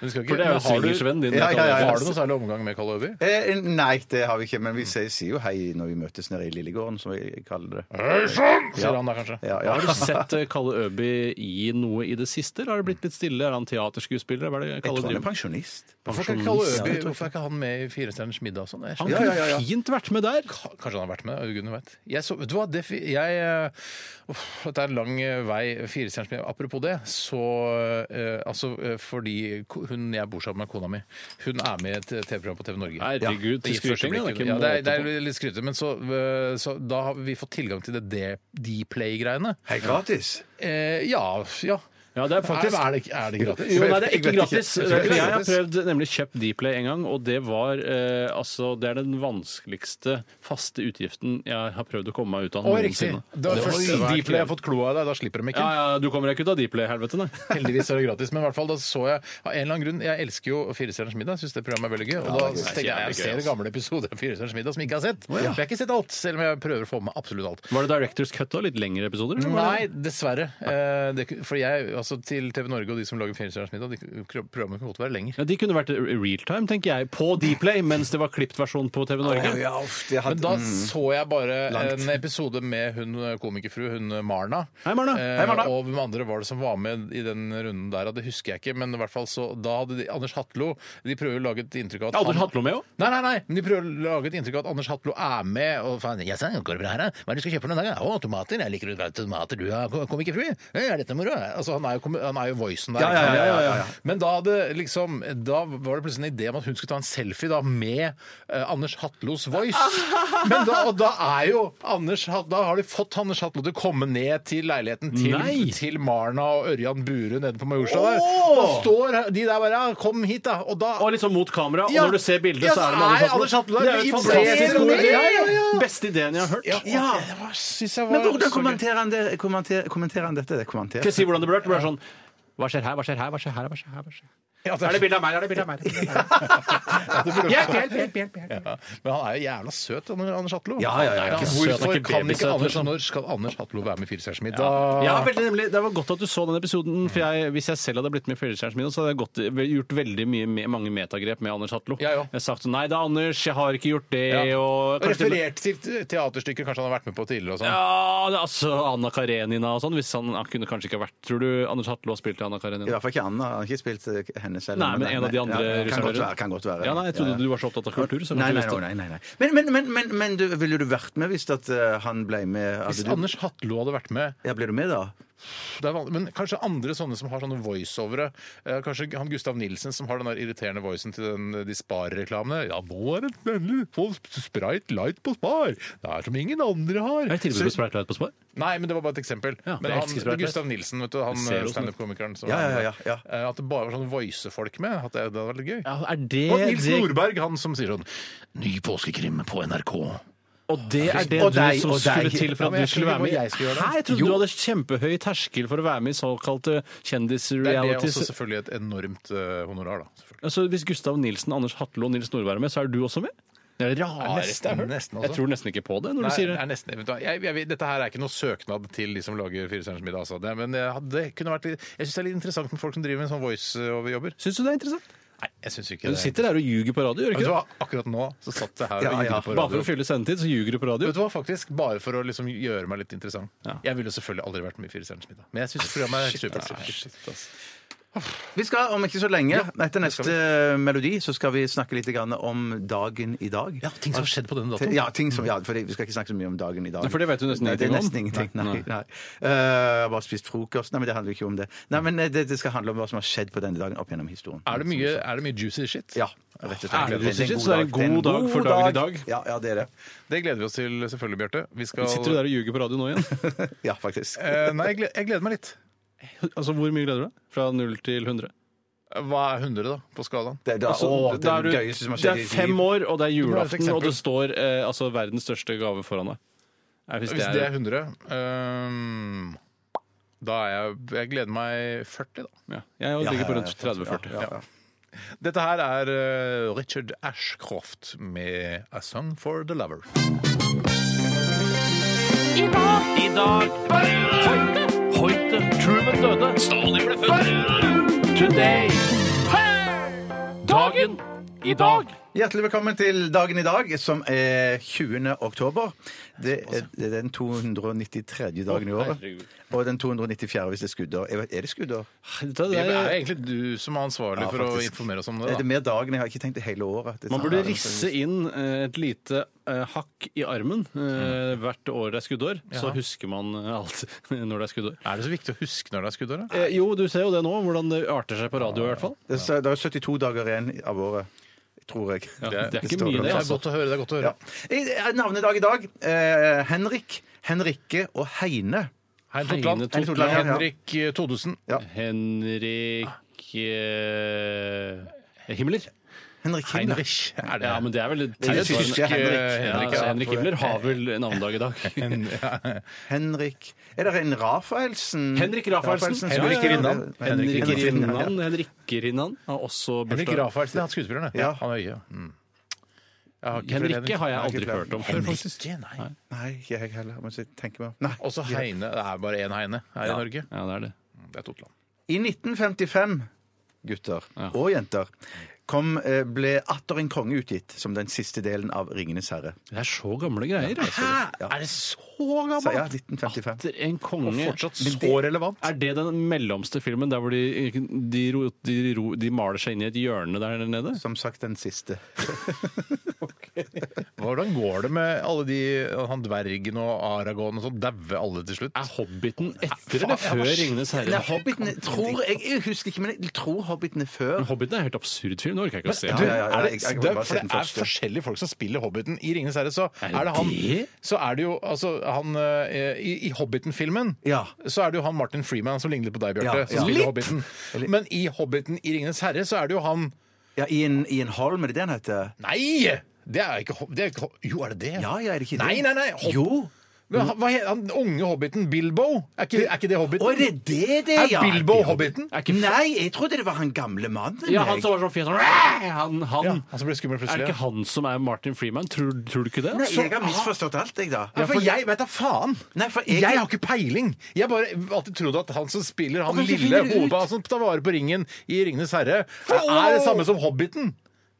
B: Du skal ikke-
C: For det er
B: men har
C: jo
B: du-
C: swingersvennen din.
D: Ja,
C: Kalle
D: ja, ja,
C: Øby.
D: ja.
B: Har du noe særlig omgang med Kalle Øby?
D: Eh, nei, det har vi ikke, men vi sier, sier jo hei når vi møtes nede i Lillegården, som vi kaller det.
B: Sier han da kanskje.
D: Ja, ja.
C: Har du sett eh, Kalle Øby i noe i det siste? Eller har det blitt litt stille? Er han teaterskuespiller? Hva er det
D: Jeg
C: Kalle
D: tror han er
C: driver med?
D: pensjonist.
B: Hvorfor er, Kalle Øby, hvorfor er ikke han med i Firestjerners middag og sånn? Jeg
C: Han
B: skjønner-
D: Ja, ja, ja,
C: kunne
D: ja.
C: fint vært med der.
B: Ka- Kanskje han har vært med, ja, gudene vet. Jeg så, vet du hva, det, fi- jeg, eh, uff, dette er en lang eh, vei, firestjerners middag. Apropos det, så eh, altså, eh, fordi ko- hun jeg bor sammen med, kona mi, hun er med i et eh, TV-program på TV Norge.
C: Herregud, til
B: I første
C: skryting, det er
B: blikk.
C: ikke
B: ja, det, er, det
C: måte på.
B: er litt skrytete, men så, eh, så da har vi fått tilgang til det D- D-play-greiene.
D: Hei, gratis!
B: Eh, ja, ja.
C: Ja, det er faktisk
B: er, er, det, ikke- er det gratis?
C: Jo, nei, det er
D: Jeg
C: ikke
D: vet ikke.
C: gratis.
B: tror
D: Jeg
B: ikke det er
C: For jeg har
B: gratis.
C: prøvd nemlig kjøpt Dplay en gang, og det var eh, altså Det er den vanskeligste faste utgiften jeg har prøvd å komme meg ut av
B: Å, riktig. Det var første D-play jeg har fått kloa av deg, da slipper de ikke.
C: Ja, ja, du kommer deg ikke ut av Dplay, helvete, nei.
B: Heldigvis er det gratis, men i hvert fall da så jeg av en eller annen grunn, Jeg elsker jo Firestjerners middag, syns det programmet er veldig gøy. Og da
C: det er
B: tenker jeg
C: jævlig
B: jeg
C: gøy,
B: ser
C: altså.
B: gamle episoder av Firestjerners middag som jeg ikke har sett. For jeg har ikke sett alt, selv om jeg prøver å få med absolutt alt.
C: Var det Directors Cut og litt lengre episoder? eller var
B: Nei,
C: det-
B: dessverre. Eh, det, for jeg, altså Til TV Norge og de som lager Firestjerners middag, de programmene kunne godt være lenger.
C: Ja, de kunne vært realtime, tenker jeg, på Dplay, mens det var klipt versjon på TV Norge.
D: Å, ja, uff, det
B: Men
D: hadde,
B: da
D: mm.
B: så jeg bare
D: Langt.
B: en episode med hun komikerfrue, hun Marna.
C: Hei, Marna.
B: Eh,
C: Hei, Marna.
B: Og hvem andre var det som var med i den runden der? Det husker jeg ikke, men i hvert fall så da hadde de, Anders Hatlo De prøver å lage et inntrykk av at
C: Ja, Anders
B: han-
C: Hatlo med òg?
B: Nei, nei, nei, men de prøver å lage et inntrykk av at Anders Hatlo er med. og faen, jeg sa, går det bra her, da? Hva er det du skal kjøpe for noen dager? Å, tomater. Jeg liker å være tomater. Du er ko- komikkerfru. Ja, er dette moro? Altså, han er jo, kom- han er jo voicen der.
D: Ja, ja,
B: ikke sant?
D: ja, ja, ja, ja.
B: Men da, hadde, liksom, da var det plutselig en idé om at hun skulle ta en selfie da, med eh, Anders Hatlos voice. Men da, og da er jo Anders Hat- Da har de fått Anders Hatlo til å komme ned til leiligheten
C: Nei.
B: til, til Marna og Ørjan Bure nede på Majorstua der. Da står de der bare ja, 'Kom hit', da. Og da
C: Og litt sånn mot kamera,
B: Ja.
C: og når du ser bildet,
B: Ja,
C: så er det
B: så er
C: med
B: Anders Hatlo der.
C: Det er jo et
B: Vi ser
C: fantastisk
B: jo
C: god
B: det,
C: idé.
B: ja, ja, ja.
C: Beste ideen jeg har hørt.
D: Ja.
B: Det var, synes jeg var
D: Men hvordan
B: så gøy.
D: kommenterer han, det? Kommenter, kommenterer han dette? Det kommenter.
C: Skal jeg si hvordan det ble? Det ble sånn Hva skjer her? Hva skjer her? Hva skjer her? Hva skjer her? Hva skjer? her?
B: Ja, det
C: Er det bilde av meg? Er det bilde av meg? Er det bilde av meg? Hjelp, hjelp, hjelp, hjelp, hjelp.
B: Ja. Men han er jo jævla søt, han Anders Hatlo.
D: Ja, ja, ja, ja.
B: Hvorfor
C: Søt, han er ikke
B: kan ikke
C: babysøt,
B: Anders,
C: liksom.
B: når skal Anders Hatlo være med i Firestjerners middag?
C: Ja, veldig nemlig. Det var godt at du så den episoden. For jeg, hvis jeg selv hadde blitt med i Fellesstjernen min, så hadde jeg gått, gjort veldig mye, me- mange metagrep med Anders Hatlo.
B: Ja, ja.
C: Jeg hadde sagt sånn Nei da, Anders, jeg har ikke gjort det,
B: Ja.
C: og kanskje til og med-
B: Referert til te- teaterstykker kanskje han har vært med på tidligere og sånn.
C: ja, det er altså Anna Karenina og sånn. Hvis han, han kunne kanskje ikke ha vært Tror du Anders Hatlo har spilt i Anna
D: I
C: Karenina?
D: hvert fall ikke Anna. Han har ikke spilt eh, henne selv.
C: Nei, men en av de andre
D: ja, kan, godt
C: russerne.
D: være, kan godt være.
C: Ja, nei, jeg trodde
D: Ja, ja.
C: du var så opptatt av kultur. Så
D: Nei, nei,
C: kanskje du visste.
D: nei, nei, nei. Men, men, men, men, men du, ville du vært med hvis at eh, han ble med? Hadde
B: Hvis
D: du-
B: Anders Hatlo hadde vært med
D: Ja, Ble du med, da?
B: det er vanlig, Men kanskje andre sånne som har sånne voiceovere. eh, Kanskje han Gustav Nilsen som har den der irriterende voicen til den, eh, de Spar-reklamene. Ja, nå er det vennlig! Få Sprite Light på Spar! Det er som ingen andre
C: Er
B: har!
C: det tilbud på Sprite Light på Spar?
B: Nei, men det var bare et eksempel.
C: Ja,
B: men
C: jeg
B: han,
C: elsker Sprite Light.
B: Gustav Nilsen, vet du, han
C: Jeg ser hvordan-
B: standup-komikeren som
D: Ja,
B: var
D: ja,
B: med.
D: ja, ja.
B: Eh, At det bare var sånne voice-folk med. At det, det hadde vært litt gøy.
C: Ja, er det,
B: Og Nils
C: det,
B: Nordberg, han som sier sånn Ny påskekrim på NRK.
C: og det er det
D: Og
C: du
D: deg,
C: som
D: og deg.
C: skulle til for
B: Ja,
C: at
B: men jeg
C: du skulle
B: skjønner
C: være med?
B: ikke hva jeg skal gjøre da.
C: Hæ, jeg trodde du hadde kjempehøy terskel for å være med i såkalte
B: Det er det også
C: kjendisrealities.
B: selvfølgelig et enormt eh, honorar, da. selvfølgelig.
C: Altså, hvis Gustav Nilsen, Anders Hatlo og Nils Nordberg er med, så er du også med? Det er det rareste jeg har hørt.
B: nesten, altså.
C: Jeg tror nesten ikke på det når
B: Nei,
C: du sier
B: det
C: det.
B: er nesten, vet du hva, jeg, jeg, vet- dette her er ikke noe søknad til de som lager Firestjerners middag. Altså. Det, men jeg, det kunne vært litt, jeg syns det er litt interessant med folk som driver med sånn voiceover-jobber.
C: Syns du det er interessant?
B: Nei, jeg syns ikke
C: Du
B: det.
C: sitter der og ljuger på radio, gjør du
B: Vet du
C: ikke det?
B: hva, akkurat nå så satt jeg her
D: Ja,
B: og
D: ja.
B: gjorde på
C: Bare for
B: radio.
C: å fylle sendetid, så ljuger du på radio.
B: Vet du hva, faktisk, Bare for å liksom gjøre meg litt interessant.
C: Ja.
B: Jeg ville selvfølgelig aldri vært med i Firestjerners middag. Men jeg syns programmet er supert.
D: Vi skal om ikke så lenge, etter neste melodi, så skal vi snakke litt grann om dagen i dag.
B: Ja, ting som har skjedd på denne
D: Te-
B: datoen.
D: Ja, ting som, ja, fordi vi skal ikke snakke så mye om dagen i dag.
C: Nei, for det vet du nesten
D: Nei, det er
C: ingenting om.
D: nesten ingenting. Nei,
C: Nei.
D: nei. Eh, bare spist frokost. Nei, men det handler jo ikke om det. Nei, men eh, det, det skal handle om hva som har skjedd på denne dagen opp gjennom historien.
B: Er det mye, er det mye juicy shit?
D: Ja, rett og slett.
C: Er det
D: en
C: positivt,
D: god
C: så er det en
D: dag.
C: god dag for dagen i dag.
D: Ja, ja, det er det.
B: Det gleder vi oss til, selvfølgelig, Bjarte. Vi skal
C: Sitter du der og ljuger på radio nå igjen?
D: Ja, faktisk.
C: Eh,
B: Eh, nei, jeg gleder, jeg gleder meg litt.
C: Altså, Hvor mye gleder du deg? Fra null til 100?
B: Hva er 100, da, på skalaen?
D: Det, det,
C: Altså,
D: å, det
C: da
D: er
C: du-
D: det gøyeste som har
C: det
D: skjedd
C: er
D: i ditt
C: fem
D: liv.
C: år, og det
B: må ha
C: er
B: et
C: julaften, og det
B: eksempel.
C: står eh, altså verdens største gave foran deg. Nei, Hvis
B: Hvis det er 100 øhm, Da er jeg Jeg gleder meg 40, da.
C: ja. Jeg
D: Ja,
C: ligger
D: ja,
C: på rundt
D: ja,
C: 30-40.
D: ja, ja.
B: Dette her er øh, Richard Ashcroft med 'A Song for the Lover'.
F: I dag Hoite Hoite Truman døde Stalin ble født Today Dagen I dag
D: Hjertelig velkommen til dagen i dag, som er 20. oktober. Det er, det er den 293. dagen i året.
C: herregud.
D: Og den 294. hvis det er skuddår. Jeg vet- Er det skuddår?
C: Dette
B: Det er
C: er-
B: egentlig du som er ansvarlig
D: Ja,
B: for å
D: faktisk.
B: informere oss om
D: Er
B: det.
D: det
B: da.
D: mer dagen? Jeg har ikke tenkt det hele året. Det er
C: Man
D: sånn-
C: burde risse inn eh, et lite eh, hakk i armen
D: Mm.
C: eh, hvert år det er skuddår. Så husker man eh, alt når det er skuddår.
B: Er det så viktig å huske når det er skuddår? da?
C: Eh, jo, du ser jo det nå, hvordan det arter seg på radio i hvert fall.
D: Det er, det er 72 dager igjen av året, tror jeg.
C: Ja, det er ikke
D: står
C: mye,
D: der.
B: Det er
C: altså.
B: godt å høre. det er godt å
D: Ja.
B: høre.
D: I- Navnedag i dag. Eh, Henrik, Henrikke og Heine.
B: Hein Totland.
C: Heine Totland,
D: ja, ja.
B: Henrik eh, Todesen.
C: Henrik eh, Himmler.
D: Henrik Himmler.
B: Heinrich er det.
C: Ja, men det er vel
D: Det er
B: det
D: jo
B: tysk
D: tyske
B: eh,
D: Henrik.
C: Ja,
B: Henrik,
C: altså,
B: ja.
C: Henrik Himmler har vel navnedag i dag.
D: Henrik Er det en Rafaelsen?
C: Henrik Rafaelsen.
D: Henrik
B: Henrik Rinnan.
D: Rinnan.
C: Henrik
D: Henrik
C: Rinnan, Henrik Rinnan har også
B: Henrik
C: bursdag.
B: Rafaelsen, det er han skuespilleren. det.
D: Ja.
B: Han er øye. Mm. Jeg har ikke flere
C: Henrikke har jeg
D: Henrik
C: aldri
D: Rinnan.
C: hørt om før,
B: Henrik.
C: faktisk.
B: Henrikke, nei.
D: Nei, ikke jeg heller. Jeg må si- tenke meg om. Nei.
B: Også Heine. Det er bare én Heine her i Norge.
C: Ja, det er det.
B: Det er Totland.
D: I 1955, gutter og jenter, kom, eh, ble atter en konge utgitt som den siste delen av Ringenes herre.
C: Det er så gamle greier. altså.
D: Ja.
B: Er det så
D: Så, ja,
B: gammelt?
D: 1955.
C: Atter en konge.
B: Fortsatt
D: Men
B: så relevant.
C: Er det den mellomste filmen der hvor de, de, ro, de, ro, de maler seg inn i et hjørne der nede?
D: Som sagt, den siste.
B: Hvordan går det med alle de han dvergen og Aragon og sånn? Dauer alle til slutt?
C: Er Hobbiten etter eller før Ringenes
D: Nei,
C: herre?
D: Hobbiten tror jeg, jeg husker ikke, men jeg tror Hobbiten er før.
C: Hobbiten er en helt absurd film. Det orker jeg ikke å se.
D: Ja,
B: Du,
D: ja, ja,
B: er det,
D: jeg- jeg må
B: det,
D: bare
B: for
D: se
B: det
D: den
B: er
D: første.
B: forskjellige folk som spiller Hobbiten. I 'Ringenes herre' så er det han
C: det?
B: Så er det jo altså han eh, I, i Hobbiten-filmen
D: Ja.
B: så er det jo han Martin Freeman som ligner på deg,
D: Ja,
B: Bjarte, som
D: ja.
B: spiller
D: Litt.
B: Hobbiten. Men i 'Hobbiten' i 'Ringenes herre' så er det jo han
D: Ja, i en, i en holm, er det det han heter?
B: Nei! Det er ikke, Hob- det er ikke Hob- Jo, er det det?
D: Ja, ja, er det ikke det?
B: Nei, nei, nei. Hob
D: Jo.
B: Men han- hva heter han unge hobbiten? Bilbo? Er ikke, er ikke det
D: Å, er
B: hobbiten?
D: det det det,
B: Er
D: ja?
B: Bilbo hobbiten?
C: Er ikke
D: Nei, jeg trodde det var han gamle mannen.
C: Ja, han
D: jeg.
C: som var sånn fjes sånn, "Ræ!" Han, han.
B: Ja, han som ble skummel
C: Er det
B: plutselig.
C: ikke han som er Martin Freeman? Tror, tror du ikke det?
D: Nei, jeg har misforstått alt, jeg, da.
B: Ja, for jeg vet da faen!
D: Nei, for
B: jeg...
D: jeg-
B: har ikke peiling! Jeg bare alltid trodd at han som spiller han
D: Hvordan
B: lille
D: finner du ut?
B: hodet som tar vare på ringen i 'Ringenes herre', er det samme som Hobbiten.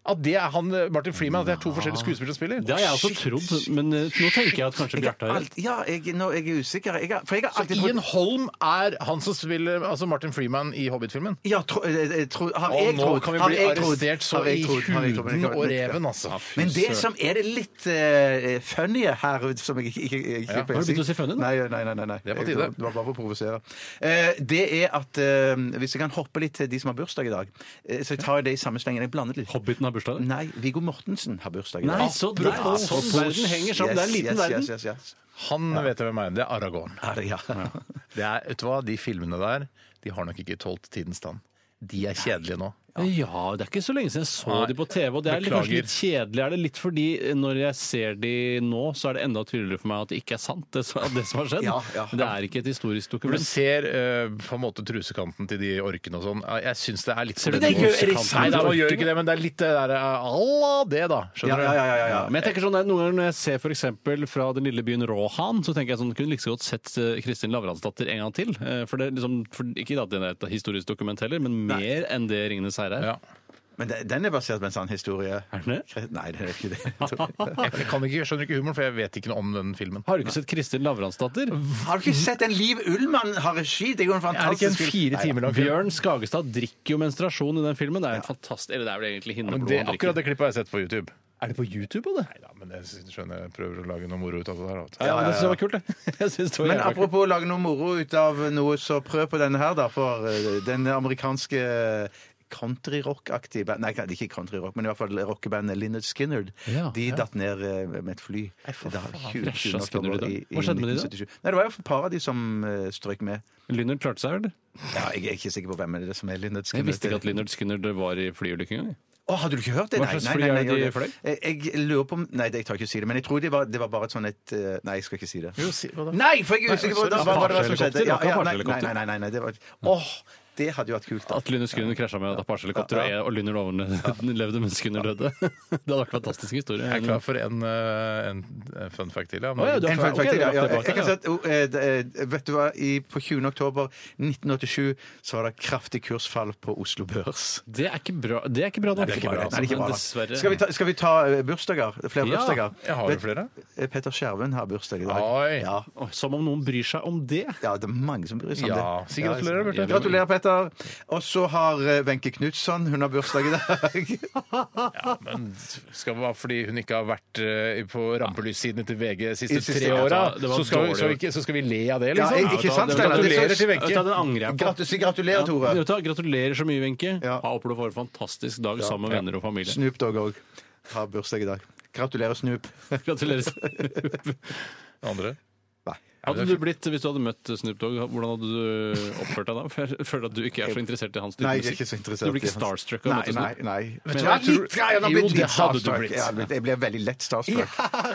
B: At det er han eh, Martin Freeman, at det er to
D: Ah.
B: forskjellige skuespillere som spiller.
C: Det har jeg også trodd, men eh, nå tenker jeg at kanskje
D: Jeg
C: Bjarte
D: har
C: har rett.
D: alt, ja, jeg, nå, jeg er usikker. Jeg har, for jeg har
B: Så
D: alltid trodd
B: Ian Holm er han som spiller altså Martin Freeman i Hobbit-filmen?
D: ja, tro, eh, eh, tro, har
B: Og
D: jeg
B: nå
D: trodd,
B: kan vi
D: har
B: bli
D: jeg trodd,
B: arrestert så
D: har jeg
B: i
D: trodd, har jeg trodd, men
B: huden
D: jeg kan
B: og
D: ikke-
B: reven, altså.
D: Men det som er det litt eh, funny her ut, som jeg ikke, ikke, ikke, ikke
C: Har du begynt å si funny nå?
D: Nei, nei, nei. nei, nei.
B: Det er på
D: Jeg-
B: tide.
D: Det var bare for å provosere. Eh, det er at eh, Hvis jeg kan hoppe litt til de som har bursdag i dag, eh, så jeg tar det i samme slengen. Jeg blandet litt.
C: Hobbiten har bursdag.
D: Nei, Viggo Mortensen har bursdag i dag.
C: Nei, så der,
D: Ja,
C: sånn
D: apropos.
C: verden henger sammen. Det er en
D: Yes,
C: liten
D: yes,
C: verden.
D: Yes, yes, yes.
B: Han vet hvem er. Det er Aragorn.
D: Er det, ja.
B: Det er, vet du hva, De filmene der de har nok ikke tålt tidens tann. De er kjedelige nå.
C: Ja, det er ikke så lenge siden jeg så
B: Nei.
C: de på TV. Og det er litt-
B: Beklager.
C: kanskje litt kjedelig. Er det litt fordi eh, når jeg ser de nå, så er det enda tydeligere for meg at det ikke er sant, det som, det som har skjedd.
D: Ja, ja.
C: Men Det er ikke et historisk
B: Når
C: dokument.
B: du ser eh, på en måte trusekanten til de orkene og sånn, jeg syns det er litt
C: Ser du
B: Men det
C: den
B: gjør-
C: trusekanten
B: Nei,
C: til
B: da, man gjør
C: orkene?
B: ikke det, men det er litt det der eh, Allah det, da.
D: Ja,
B: Skjønner
D: ja, ja, ja, ja, ja.
C: Men jeg tenker sånn, der, Noen ganger når jeg ser for eksempel fra den lille byen Råhan, så tenker jeg sånn, kunne like så godt sett eh, Kristin Lavransdatter en gang til. Eh, For det er liksom, for, Ikke at det er et historisk dokument heller, men mer enn det 'Ringenes herre'
B: du?
C: er.
B: Ja.
D: Men den- den er basert på en sann historie.
C: Er den det?
D: Nei, det er ikke det.
B: Jeg, jeg kan ikke, jeg skjønner ikke humoren, for jeg vet ikke noe om den filmen.
C: Har du ikke sett Kristin Lavransdatter?
D: Har du ikke sett den Liv Ullmann har regi? Det er jo en
B: Er det
D: fantastisk
B: ikke en fire timer lang film?
C: Bjørn Skagestad drikker jo menstruasjon i den filmen. Det er en fantastisk, eller det er vel egentlig
B: Men
C: hinneblod
B: det,
C: han
B: akkurat
C: drikker.
B: det klippet har jeg sett på YouTube.
C: Er det på YouTube? Det?
B: Nei da, men jeg syns- skjønner jeg prøver å lage noe moro ut av det der. vet du.
C: Ja, men det syns jeg var kult, det. Jeg synes det var
D: Men
C: jævla kult.
D: apropos å lage noe moro ut av noe, så prøv på denne her, da. For eh, den amerikanske countryrock-aktig band Nei, det er ikke countryrock, men i hvert fall rockebandet Lynyrd Skynyrd.
C: Ja,
D: de
C: ja.
D: datt ned eh, med et fly. Da, 20,
C: krasja
D: 20. oktober
C: Skynyrd da?
D: i, i
C: Hva skjedde med de da?
D: 1977. Nei, det var jo et par av de som eh, strøk med.
C: Lynyrd klarte seg, eller?
D: Ja, jeg er ikke sikker på hvem er det som er Lynyrd
C: Jeg
D: Skynyrd.
C: visste ikke at Lynyrd Skynyrd var i flyulykke engang.
D: Å, hadde du ikke hørt det?
C: Hva slags fly er det de
D: jeg gjorde
C: fløy?
D: det. Eh, Jeg, jeg lurer på om Nei, det- jeg tar ikke å si det. Men jeg tror det var, det var bare et sånn et eh, Nei, jeg skal ikke si det.
B: Jo, si- hva da?
D: Nei, for jeg er usikker på
B: Nei,
D: hva
B: sorry,
D: hva var det som skjedde.
C: Apache-helikopter,
D: Ja, ja,
C: ikke
D: nei, nei,
C: Apache-helikopter.
D: nei, nei, nei, nei, det var Åh, det hadde jo vært kult. da.
C: At Lynyrd Skynyrd krasja med et Apache-helikopter, og jeg- og Lynyrd overlevde mens Skynyrd døde. Det hadde vært en fantastisk historie.
B: Jeg er klar for en, eh, en fun fact til. Ja.
C: Å, ja, du har
D: En
C: Ok,
D: fun fact
C: du
D: til, ja,
C: rakk
D: ja,
C: det bak,
D: jeg kan
C: ja.
D: si at, oh, eh, det- eh, vet du hva, I, på 20. oktober 1987 så var det kraftig kursfall på Oslo Børs.
C: Det er ikke bra. Det er ikke bra nok.
D: Nei, det er ikke bra,
C: altså,
D: nei, det er ikke
C: men
D: bra nok.
C: Dessverre.
D: Skal vi ta, skal vi ta eh, bursdager? Flere
C: Ja,
D: bursdager?
B: jeg har jo
D: Vet-
B: flere.
D: eh, Petter Skjerven har bursdag i dag.
B: Oi.
D: Ja.
C: Å, Som om noen bryr seg om det.
D: Ja, det er mange som bryr seg om
B: Ja,
D: det.
B: si gratulerer, Bjarte.
D: Gratulerer, Petter. Og så har eh, Wenche Knutson, hun har bursdag i dag.
B: Men skal det være fordi hun ikke har vært eh, på rampelyssidene til VG de siste,
D: I siste-
B: tre åra,
C: Ja, det var
B: så, skal vi-
C: dårlig.
B: så, vi ikke- så skal vi le av det,
D: Ja,
B: liksom?
D: ikke
B: da-
D: sant,
B: da-
D: Steinar? Det
B: Gratulerer
D: synes-
B: til
C: Vet du hva,
B: Wenche.
C: Den angrer jeg på.
D: Gratu- si gratulerer, Tore.
C: Vet du hva, Gratulerer så mye, Wenche.
D: Ja.
C: Håper du får en fantastisk dag sammen med venner og familie.
D: Snoop Dogg òg har bursdag i dag. Gratulerer, Snoop.
C: Gratulerer.
B: Andre?
C: Hadde du blitt, Hvis du hadde møtt Snoop Dogg, hvordan hadde du oppført deg da? For jeg føler at du ikke er så interessert i hans type
D: Nei, jeg er
C: musikk.
D: ikke så interessert.
C: Du blir
D: i
C: ikke
D: hans-
C: starstruck av å møte
D: Nei,
C: Snoop?
D: nei, nei.
B: Vet du
D: Men
B: hva,
D: jeg er litt-
B: Tor-
D: ja,
B: Jo,
D: jeg har blitt
B: det
D: litt
B: hadde du
D: starstruck.
B: blitt.
D: Jeg, har blitt- jeg ble veldig lett starstruck.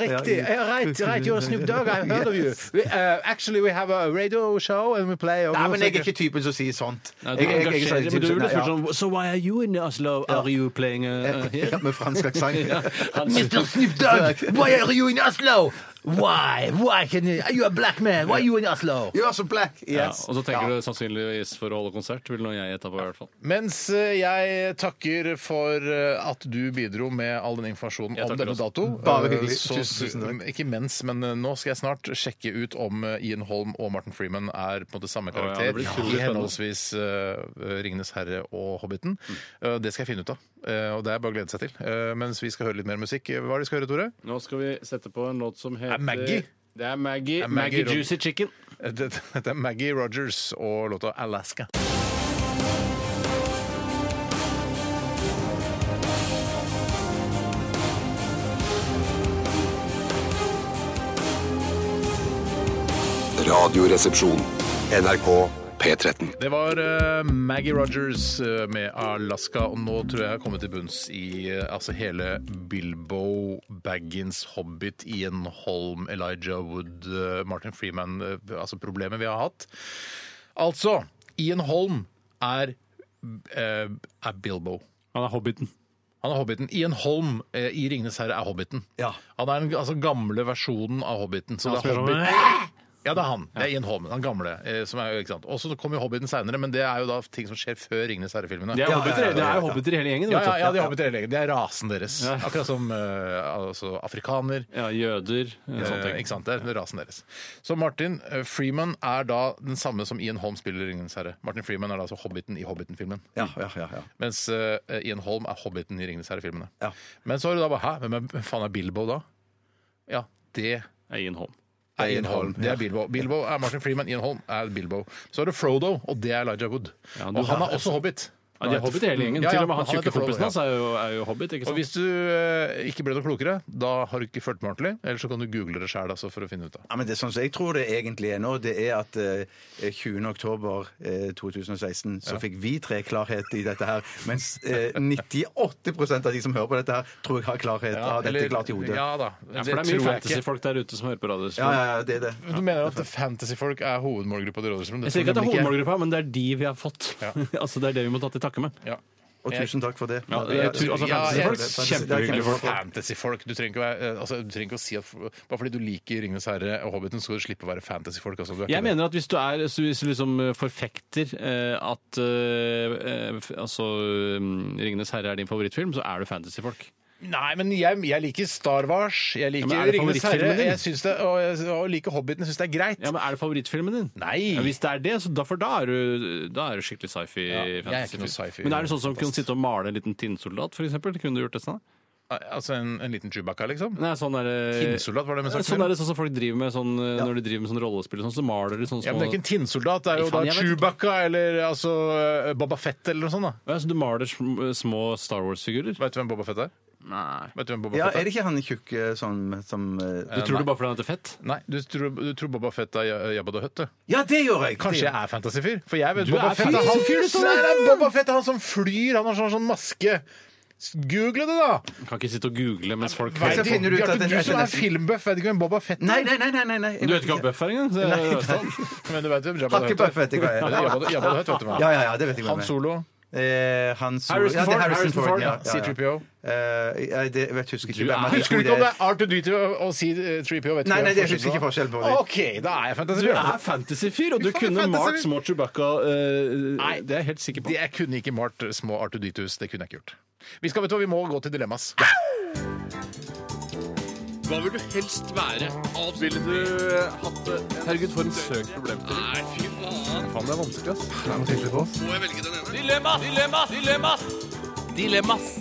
B: Riktig.
D: Ja,
B: Yeah, right, right, you're Snoop Dogg. I heard of you. We, uh, actually, we have a radio show and we play
D: Nei, men jeg er ikke typen som sier sånt.
C: Nei, du engasjerer, men du
D: Nei,
C: ville spurt
D: ja. Eh,
C: sånn So why are you in Oslo? Are you playing
D: Ja,
C: uh, here?
D: Med fransk aksent.
C: Mr.
D: Snoop Dogg, why are you in Oslo?
G: Why? Why can you, you a black man? Why you in Oslo?
D: You are so black.
C: Ja,
D: Yes.
C: og så tenker du sannsynligvis for å holde konsert, vil nå jeg gjette på i hvert fall.
B: Mens eh, jeg takker for eh, at du bidro med all den informasjonen
C: Jeg
B: om
C: takker
B: denne
C: også.
B: dato.
D: Bare
B: Eh,
D: hyggelig.
B: Så,
D: Tusen, tusen takk.
B: Ikke mens, men eh, nå skal jeg snart sjekke ut om eh, Ian Holm og Martin Freeman er på en måte samme
C: ja, det
B: karakter
C: blir utrolig
B: i
C: spennende.
B: henholdsvis eh, Ringenes herre og Hobbiten. Eh, det skal jeg finne ut av, Eh, og det er bare å glede seg til. Eh, mens vi skal høre litt mer musikk. Hva er det vi skal høre, Tore?
C: Nå skal vi sette på en låt som heter
B: Er Maggie?
C: Det er Maggie.
B: Er Maggie
C: Maggie,
B: Rob-
C: Juicy Chicken.
B: Eh, Dette dette er Maggie Rogers og låta 'Alaska'.
E: Radioresepsjon. NRK P13.
B: Det var eh, Maggie Rogers eh, med Alaska, og nå tror jeg jeg har kommet til bunns i eh, altså hele Bilbo Baggins, Hobbit, Ian Holm, Elijah Wood, eh, Martin Freeman eh, Altså problemet vi har hatt. Altså, Ian Holm er, eh, er Bilbo.
C: Han er Hobbiten.
B: Han er Hobbiten. Ian Holm eh, i 'Ringenes herre' er Hobbiten.
D: Ja.
B: Han er den altså, gamle versjonen av Hobbiten. Så
C: Han
B: det er
C: spiller
B: Hobbit.
C: sånn,
B: Ja, det er han. Det er Ian Holm, den gamle. Eh, som er, ikke sant? Og så kom jo Hobbiten seinere, men det er jo da ting som skjer før 'Ringenes herre'-filmene.
C: Det er
B: Ja,
C: hobbiter, det er jo hobbiter i hele gjengen.
B: ja,
C: vet du.
B: ja, ja, de har hobbiter hele gjengen. Det er rasen deres. Akkurat som eh, altså, afrikaner.
C: Ja, jøder. Sånne
B: Eh,
C: ting.
B: ikke sant? Det er rasen deres. Så Martin eh, Freeman er da den samme som Ian Holm spiller i 'Ringenes herre'. Martin Freeman er da altså Hobbiten i Hobbiten-filmen.
D: Ja, ja, ja, ja.
B: Mens eh, Ian Holm er Hobbiten i 'Ringenes herre'-filmene.
D: Ja.
B: Men så har du da bare Hæ, hvem er- hvem faen er Bilbo da? Ja, det
C: Er Ian Holm.
B: er Ian Holm. Det er Bilbo. Bilbo er Martin Freeman, Ian Holm er Bilbo. Så er det Frodo, og det er Elijah Wood.
C: Ja, du
B: og han
C: har-
B: er også hobbit.
C: Ja, de er hobbiter i hele gjengen.
B: Ja, ja,
C: Til og med han
B: heter
C: tjukke
B: Frodo,
C: kompisen
B: ja.
C: hans er, jo- er jo hobbit. ikke
B: Og
C: sant?
B: hvis du eh, ikke ble noe klokere, da har du ikke fulgt med ordentlig. Eller så kan du google det sjæl altså, for å finne ut av.
D: Ja, men det er sånn som jeg tror det egentlig er nå, det er at eh, 20. oktober eh, 2016 så fikk vi tre klarhet i dette her, mens eh, 98 av de som hører på dette her, tror jeg har klarhet, har dette
B: eller-
D: klart i hodet.
B: Ja
D: Ja,
B: da.
C: ja, for det er mye
B: tror jeg ikke.
C: fantasyfolk der ute som hører på radio.
D: ja, ja, det er det.
B: Du mener at fantasyfolk er hovedmålgruppa til Rådhuset? men
C: Jeg sier ikke at det er
B: tror nemlig
C: hovedmålgruppa, men det er de vi har fått. altså, det er det vi må ta til takke med.
B: Ja.
D: Og tusen takk for det.
C: Ja, det er tu- altså,
B: Ja,
C: fantasyfolk,
D: jeg-
C: kjempehyggelige folk.
B: Fantasyfolk. Du trenger ikke, å være, eh, altså, du trenger ikke å si at Bare fordi du liker 'Ringenes herre' og 'Hobbiten', så skal du slippe å være fantasyfolk. Altså. Du er ikke det.
C: Jeg mener at hvis du er så Hvis du liksom eh, forfekter eh, at eh, eh, f- altså mm, 'Ringenes herre' er din favorittfilm, så er du fantasyfolk.
B: Nei, men jeg, jeg liker Star Wars. Jeg liker
C: men er det
B: Ringenes herre.
C: favorittfilmen din?
B: Jeg syns det, og jeg og liker Hobbiten. Jeg syns det er greit.
C: Ja, men Er det favorittfilmen din?
B: Nei.
C: Ja, hvis det er det, så da, for da er du, da er du skikkelig sci-fi.
B: jeg er ikke
C: fantasyfilm.
B: noe sci-fi
C: Men er det sånn som kunne sitte og male en liten tinnsoldat, f.eks.? Kunne du gjort det sånn?
B: Altså en, en liten Chewbacca, liksom?
C: Nei, sånn er det
B: Tinnsoldat var det med saken.
C: Sånn er det sånn som folk driver med sånn, eh, når de driver med sånn rollespill. og Sånn, så maler de sånn små
B: Ja, men det er ikke en tinnsoldat. Det er jo
C: Nei, faen,
B: da
C: jeg vet-
B: Chewbacca eller altså eh, Boba Fett eller noe sånt. da.
C: Ja, så du maler sm- eh, små Star Wars-figurer?
B: Vet du hvem Boba Fett er?
C: Nei.
B: Vet du hvem Boba
D: Ja,
B: Fett
D: er
B: er?
D: det ikke han tjukke sånn som eh,
C: Du tror det bare fordi han heter Fett?
B: Nei, du tror, du tror Boba Fett er Ja- Jabba the Hutt, du.
D: Ja, det gjør jeg!
B: Kanskje jeg er fantasyfyr? For jeg vet
C: Du
B: Boba
C: er
B: Fett er han
C: fantasyfyr, du, Tore!
B: Nei, det er Boba Fett er han som flyr. Han har sånn, sånn maske. Google det, da!
C: Kan ikke sitte og google mens folk
D: Vet-
B: Vet
D: Så finner du ut at
B: Bjarte,
D: den
B: du
D: er
B: som er
D: nesten-
B: filmbuff, vet ikke hvem Boba Fett er?
D: Nei, nei, nei, nei, nei, nei. jeg
C: Du
D: vet
C: vet ikke hva
D: ikke.
C: Bøff er sånn. engang? så-
B: Men du vet hvem Jabba the
D: Hakke
B: Hutt er?
D: Buff vet jeg hva jeg
B: Sånn. Ja,
D: er.
B: det er Jabba, Jabba the Hutt, vet du hva.
D: Ja, ja, ja, det vet jeg hva
B: Han
D: jeg er.
B: Solo,
D: Eh, Han Solo.
C: Harrison
D: Ja, det er
C: Ford,
D: Harrison
C: Harrison
D: Ford.
C: Ford,
D: Ja, ja, ja.
B: C3PO.
D: Eh, jeg- det- vet- husker ikke
C: Du
D: hvem
C: er-
D: han er.
B: Husker du ikke om det er R2D2 og C3PO? Vet
D: Nei,
B: ikke hvem
D: nei, jeg
B: forskjellen
D: husker ikke
B: var.
D: forskjell på det.
B: OK, da er jeg
C: Du
B: fantasyfyr.
C: er fantasyfyr, og
B: Fy
C: du
B: faen,
C: kunne
B: fantasy.
C: malt små Chewbacca. eh,
B: Nei.
C: det er jeg helt sikker på.
B: Det- Jeg kunne ikke malt små Artuditus. Det kunne jeg ikke gjort. Vi skal, vet du hva, vi må gå til dilemmas.
F: Hva vil du helst være? Ville du hatt det? Herregud, for en søk problemstilling. Nei, fy faen. Faen, det er vanskelig, ass. Må jeg velge den ene? Dilemmas! Dilemmas! Dilemmas! Dilemmas!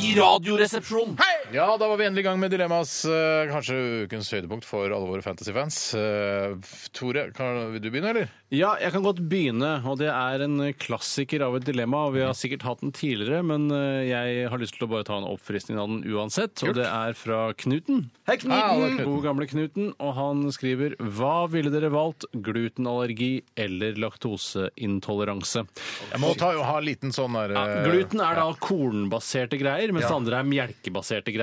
F: I radioresepsjonen.
B: Ja, da var vi endelig i gang med dilemmas. eh, Kanskje ukens høydepunkt for alle våre fantasyfans. Eh, Tore, kan, vil du begynne, eller?
C: Ja, jeg kan godt begynne, og det er en klassiker av et dilemma. og Vi har sikkert hatt den tidligere, men eh, jeg har lyst til å bare ta en oppfriskning av den uansett. Og det er fra Knuten.
D: Hei, Knuten!
C: God gamle Knuten. Og han skriver Hva ville dere valgt? Glutenallergi eller laktoseintoleranse?
B: Jeg må ta, ha en liten sånn der
C: Ja,
B: eh,
C: gluten er da kornbaserte greier, mens det andre er melkebaserte greier.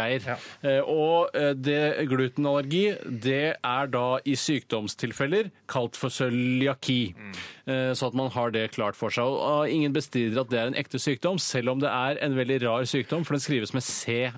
C: Eh, og eh, det glutenallergi, det er da i sykdomstilfeller kalt for cøliaki. Eh, så at man har det klart for seg. Og, ah, ingen bestrider at det er en ekte sykdom, selv om det er en veldig rar sykdom, for den skrives med CØ.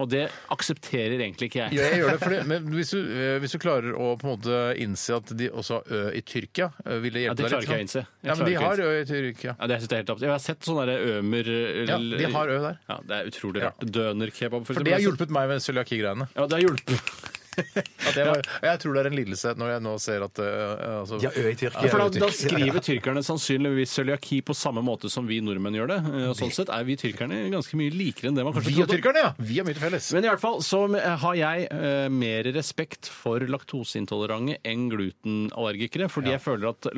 C: Og det aksepterer egentlig ikke jeg.
B: Ja, jeg gjør det, fordi, men hvis du, eh, hvis du klarer å på en måte innse at de også har Ø i Tyrkia, eh, ville
C: Ja,
B: hjelpe
C: det
B: deg litt,
C: klarer ikke jeg
B: sånn.
C: å innse. Jeg
B: Ja, men de har
C: klarer
B: Ø i Tyrkia.
C: Ja, det synes jeg er helt absurd. Jeg har sett sånne der ømer eh,
B: Ja, de har ø der.
C: Ja, det er utrolig
B: Ja.
C: rart. Dønerkebab,
B: For det har hjulpet meg med cøliaki-greiene.
C: Ja, det har hjulpet.
B: At jeg, var- jeg tror det er en lidelse når jeg nå ser at eh, altså,
D: Ja, Ø i
C: Ja,
D: Tyrkia.
C: for da, da skriver tyrkerne sannsynligvis cøliaki på samme måte som vi nordmenn gjør det. Eh, Og sånn sett er vi tyrkerne ganske mye likere enn det man kanskje
B: Vi og
C: trodde.
B: tyrkerne, ja! Vi har mye til felles.
C: Men i hvert fall så har jeg eh, mer respekt for laktoseintolerante enn glutenallergikere, fordi jeg føler at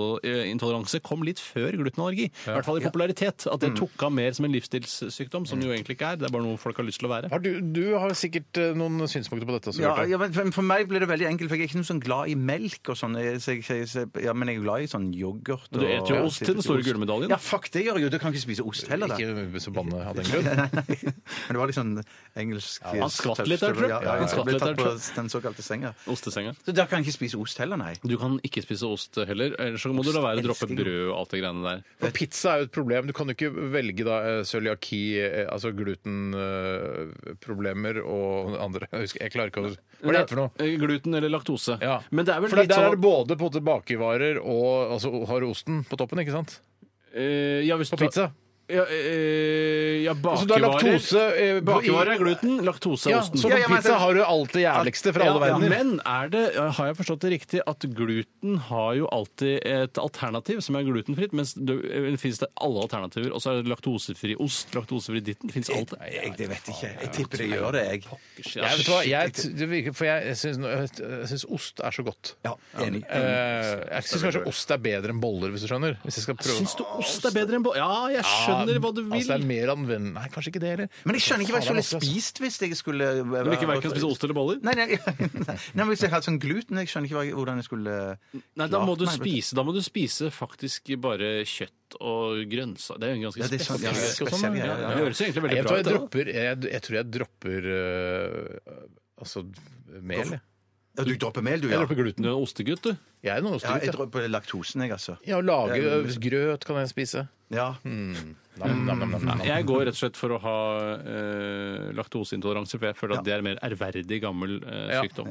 C: laktoseintoleranse kom litt før glutenallergi. I hvert fall i popularitet. At
B: Mm.
C: det tok av mer som en livsstilssykdom, som det jo egentlig ikke er. Det er bare noe folk har lyst til å være.
B: Har du, du har sikkert eh, noen synspunkter på dette også,
D: Ja,
B: Bjarte.
D: ja, men for- for meg ble det veldig enkelt, for jeg er ikke noe sånn glad i melk og sånn. Jeg- så jeg- så jeg- Ja, men jeg er glad i sånn yoghurt.
C: Du
D: og-
C: eter jo ost til den store gullmedaljen.
D: Ja, fuck, det gjør jeg jo. Du kan ikke spise ost heller, da.
B: Ikke så banne av den grunn.
D: Nei, nei. Men det var litt sånn engelsk
C: han skvatt litt der, tror jeg.
D: Ja, ja, ja.
C: Han skvatt
D: Ble
C: litt
D: tatt
C: der, tror
D: på den såkalte senga.
C: Ostesenga.
D: Så da kan jeg ikke spise ost heller, nei.
C: Du kan ikke spise ost heller, ellers så må du la være å droppe
D: elsker jeg.
C: brød og alt det greiene der.
B: For pizza er jo et problem. Du kan jo ikke velge da eh, cøliaki, eh, altså glutenproblemer eh, og andre Jeg husker, jeg klarer ikke å Hva er det heter for noe?
C: Eh, Gluten eller laktose.
B: Ja.
C: Men det er vel
B: For
C: litt
B: der er
C: sånn
B: det både på en måte bakervarer og altså, har du osten på toppen, ikke sant?
C: Eh, ja, hvis du
B: På
C: tar-
B: pizza.
C: Ja, eh, ja
B: Altså, du har laktose
C: bakevarer.
B: eh, på- i-
C: Bakevarer er gluten, laktose er
B: Ja,
C: osten.
B: så på
D: Ja, ja, men
B: pizza
D: det-
B: har du alt det jævligste fra alle
C: Ja,
B: verdener.
C: Men er det, har jeg forstått det riktig at gluten har jo alltid et alternativ som er glutenfritt, mens det eh, finnes det alle alternativer, og så er det laktosefri ost, laktosefri ditten, finnes alt det.
D: Jeg, det vet ikke. Jeg tipper det gjør det, jeg.
B: Jeg, vet du hva, jeg, det virker, for jeg syns- jeg syns ost er så godt.
D: Ja, enig.
B: Eh,
D: Mm.
B: jeg syns kanskje ost er bedre enn boller, hvis du skjønner. Hvis jeg skal prøve.
C: Syns du ost er bedre enn bolle? Ja, jeg skjønner hva du vil.
B: Altså, det er mer anvendelig Nei, kanskje ikke det heller.
D: Men jeg skjønner ikke hva jeg
B: Faen, det er
D: skulle
C: altså.
B: vanskelig,
D: spist hvis jeg skulle Du
C: vil ikke hverken spise ost eller boller?
D: Nei, nei, nei, nei, men hvis jeg hadde sånn gluten Jeg skjønner ikke hva jeg- hvordan jeg skulle eh,
C: Nei, da
D: klart
C: må, du
D: meg, vet
C: spise, da må du spise faktisk bare kjøtt og grønnsaker. Det er jo en ganske
D: Ja, det er sånn- ja,
C: spesiell-
D: spesiell
C: sånn,
D: greie,
C: ja,
D: ja,
C: Det
D: ja.
C: høres jo
B: Nei,
C: egentlig veldig
B: jeg, tror jeg,
C: bra ut. da.
B: dropper, jeg, jeg tror jeg dropper øh, Altså mel. jeg.
D: Ja, du dropper mel, du,
B: Jeg
D: ja.
B: dropper gluten.
C: Du er en ostegutt, du.
B: Jeg er noen
D: ja jeg
B: ostegutt. jeg.
D: dropper laktosen, jeg, altså.
B: Ja, lage øh, grøt kan jeg spise.
D: Ja.
B: Nam, nam, nam, nam,
D: Mm.
B: nam.
C: Jeg går rett og slett for å ha eh, laktoseintoleranse, for jeg føler at
D: Ja.
C: det er mer ærverdig gammel eh,
B: Ja.
C: sykdom.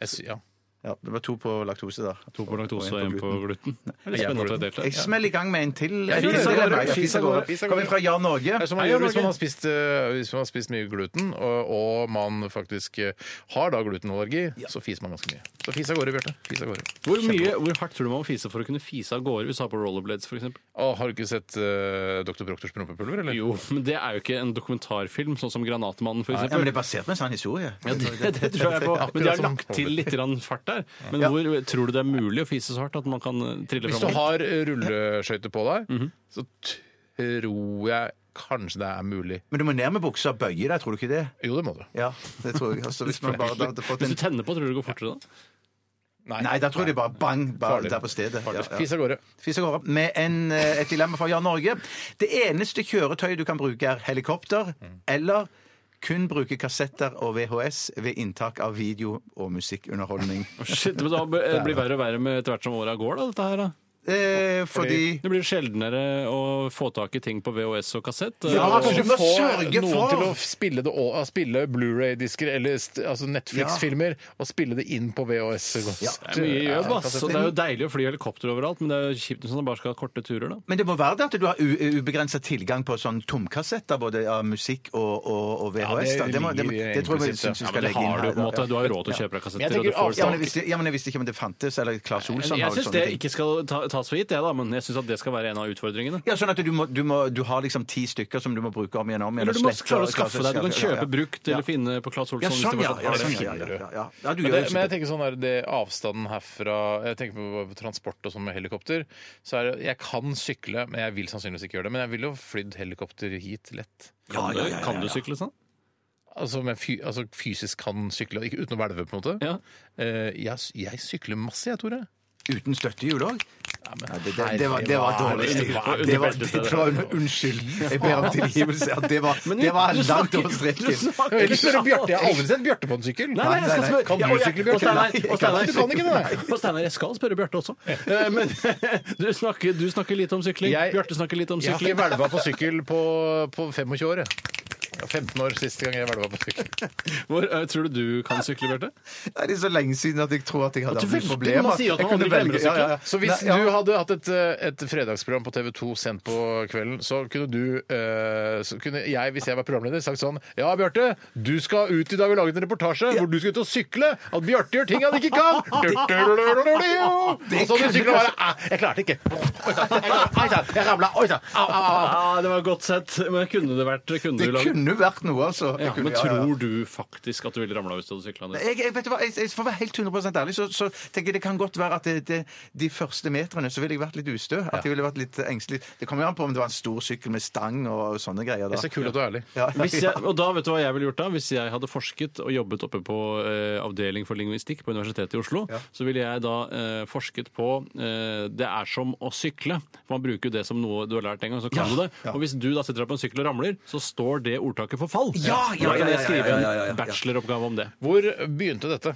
B: Jeg, sy- ja.
D: Ja, det var to på laktose, da.
C: To på laktose og
D: en
C: én på gluten. Veldig spennende at du har delt
D: Jeg
C: det.
D: smeller i gang med en til.
B: Ja, fis av gårde, fis av gårde.
D: Kommer fra Jan Norge.
B: Det er som man
D: Hei,
B: gjør
D: Jan
B: hvis man,
D: Norge.
B: har spist, eh, hvis man har spist mye gluten, og, og man faktisk eh, har da glutenallergi, så fiser man ganske mye. Så fis av gårde, Bjarte. Fis av gårde.
C: Hvor, mye, hvor hardt tror du man må fise for å kunne fise av gårde hvis du har på rollerblades f.eks.?
B: Å, har du ikke sett eh, Dr. Proktors prompepulver, eller?
C: Jo, men det er jo ikke en dokumentarfilm, sånn som 'Granatmannen'
D: Ja, men
C: f.eks.
D: det er basert på en sann historie. altså,
C: Ja, det, det tror jeg på. Men de har lagt til litt grann fart der. Men hvor tror du det er mulig å fise så hardt at man kan eh, trille
B: Hvis du
C: fram?
B: har eh, rulleskøyter på deg,
D: Mhm.
B: så tror jeg kanskje det er mulig.
D: Men du må ned med buksa og bøye deg, tror du ikke det?
B: Jo, det må du.
D: Ja, det tror jeg. Altså, hvis man bare da hadde fått
C: Hvis
D: en
C: du tenner på, tror du det går fortere da?
D: Nei, da tror jeg det bare bang bare
B: Farlig.
D: der på stedet. Ja, ja.
B: Fis av gårde.
D: Fis av gårde. Med en, eh, et dilemma fra Jan Norge. Det eneste kjøretøyet du kan bruke, er helikopter. Eller kun bruke kassetter og VHS ved inntak av video- og musikkunderholdning.
C: Shit, men da blir det verre og verre med etter hvert som åra går, da, dette her, da.
D: Eh, fordi
C: Det blir sjeldnere å få tak i ting på VHS og kassett.
D: Ja,
C: og,
D: kanskje- må sørge
B: noen
D: for-
B: til å spille, det, å- spille Blu-ray-disker eller st- altså Netflix-filmer og spille det inn på VHS.
C: det er mye jobb, ass. Så det er jo deilig å fly helikopter overalt, men det er jo kjipt hvis man bare skal ha korte turer, da.
D: men det må være det at du har ubegrensa tilgang på sånn tomkassetter både av musikk og, og, og
B: Ja,
D: VHS.
B: det
D: da. må- må-
B: ligger
D: det tror jeg vi
B: implisitt, ja.
D: syns vi
B: Ja,
D: skal
C: Det
D: legge inn
C: har du
D: her.
C: på en måte.
D: da.
C: Du har jo råd til å kjøpe deg
B: Men jeg
C: kassetter. og du
B: tenker
C: får
D: Ja, men jeg
C: stadig-
D: visste, ja, men jeg visste ikke om det fantes. Eller Claes Olsson
C: Jeg
D: har jo
C: syns
D: sånne
C: det
D: ting.
C: ikke skal ta- tas for gitt, jeg, da, men jeg syns at det skal være en av utfordringene.
D: Ja, sånn at du, må, du, må, du har liksom ti stykker som du må bruke om igjen og om igjen.
C: Eller du
D: og
C: må
D: slette
C: klare å
D: og-
C: skaffe deg. Du
D: Ja,
C: kan
D: ja.
C: kjøpe brukt eller finne på Claes Olsson.
D: Ja,
C: hvis
D: sånn,
C: du
D: ja.
C: fortsatt
D: ja,
C: har det.
D: sånn, ja, ja, ja, ja. ja du
B: Men, det,
D: gjør jo
B: men jeg
D: sikkert
B: tenker sånn der, det avstanden herfra Jeg tenker på, på transport og sånn med helikopter. Så er det, jeg kan sykle, men jeg vil sannsynligvis ikke gjøre det. Men jeg ville jo flydd helikopter hit lett.
C: Kan du- Kan du sykle sånn?
B: Altså, men fy, altså fysisk kan sykle, ikke uten å hvelve, på en måte.
C: Ja.
B: Eh, jeg, s- jeg sykler masse, jeg, Tore.
D: uten støttehjul òg.
B: men
D: Ja, det, det, det, var- det var dårlig stil. Det var,
C: under
D: det var,
C: beltet, det
D: unnskyld. Jeg ber om tilgivelse. Ja, det var,
C: Men
D: det var
C: du
D: langt
C: snakker-
D: over
C: du
D: streken.
C: snakker-
B: Jeg vil ikke spørre Bjarte. Jeg har aldri sett Bjarte på en sykkel.
C: Nei, nei, jeg skal
D: nei,
C: spørre.
B: Kan du
C: Ja, og jeg-
B: sykle, Bjørte?
C: og Steinar,
B: Nei, jeg kan
C: og Steinar-
B: ikke. Du kan ikke det,
C: Og Steinar, jeg skal spørre Bjarte også. Eh, Men du snakker, du snakker litt om sykling.
B: Jeg-
C: Bjarte snakker litt om
B: Jeg har
C: sykling.
B: ikke hvelva på sykkel på, på 25 år. jeg. Jeg var 15 år siste gang jeg hvelva på sykkel.
C: Hvor, eh, tror du du kan sykle, Bjarte?
D: Nei, Det er så lenge siden at jeg tror at jeg hadde
C: At du
D: andre
C: velger-
D: problemer.
C: man sier at
D: Jeg
C: man
D: kunne
C: aldri glemmer
D: velge-
C: å
D: ja,
C: sykle.
D: ja, ja.
B: Så hvis
D: Nei, ja.
B: du hadde hatt et, eh, et fredagsprogram på TV 2 sendt på kvelden, så kunne du eh, så kunne jeg, hvis jeg var programleder, sagt sånn Ja, Bjarte, du skal ut i dag. Vi laget en reportasje hvor du skal ut og sykle. At Bjarte gjør ting han ikke kan. Og så hadde du sykla og bare «Ah, Jeg klarte ikke. Oi sann. Oi sann. Jeg ramla. Oi sann. Au, au, au.
C: Ah, det var godt sett. Men kunne det vært kunne
D: Det
C: du laget-
D: kunne vært noe, altså. Jeg
C: ja,
D: kunne-
C: Men
D: ja, ja.
C: tror du faktisk at du ville ramla hvis du hadde sykla?
D: Jeg, jeg, vet du hva, jeg, jeg, for å være helt 100 ærlig, så, så tenker jeg det kan godt være at det, det, de første metrene så ville jeg vært litt ustø. At jeg ville vært litt engstelig. Det kommer jo an på om det var en stor sykkel med stang og sånne greier.
B: Det
D: da.
B: er så kult at du er ærlig.
D: Ja,
C: Hvis jeg, og da vet du hva jeg ville gjort da? Hvis jeg hadde forsket og jobbet oppe på eh, avdeling for lingvistikk på Universitetet i Oslo, så ville jeg da eh, forsket på eh, Det er som å sykle. For man bruker jo det som noe du har lært en gang, så kan
D: Ja,
C: du det.
D: ja.
C: Og hvis du da sitter deg på en sykkel og ramler, så står det ordtaket for fall.
D: Ja, ja,
C: Og da
D: ja,
C: kan jeg
D: ja,
C: skrive
D: ja, ja, ja, ja.
C: en bacheloroppgave om det.
B: Hvor begynte dette?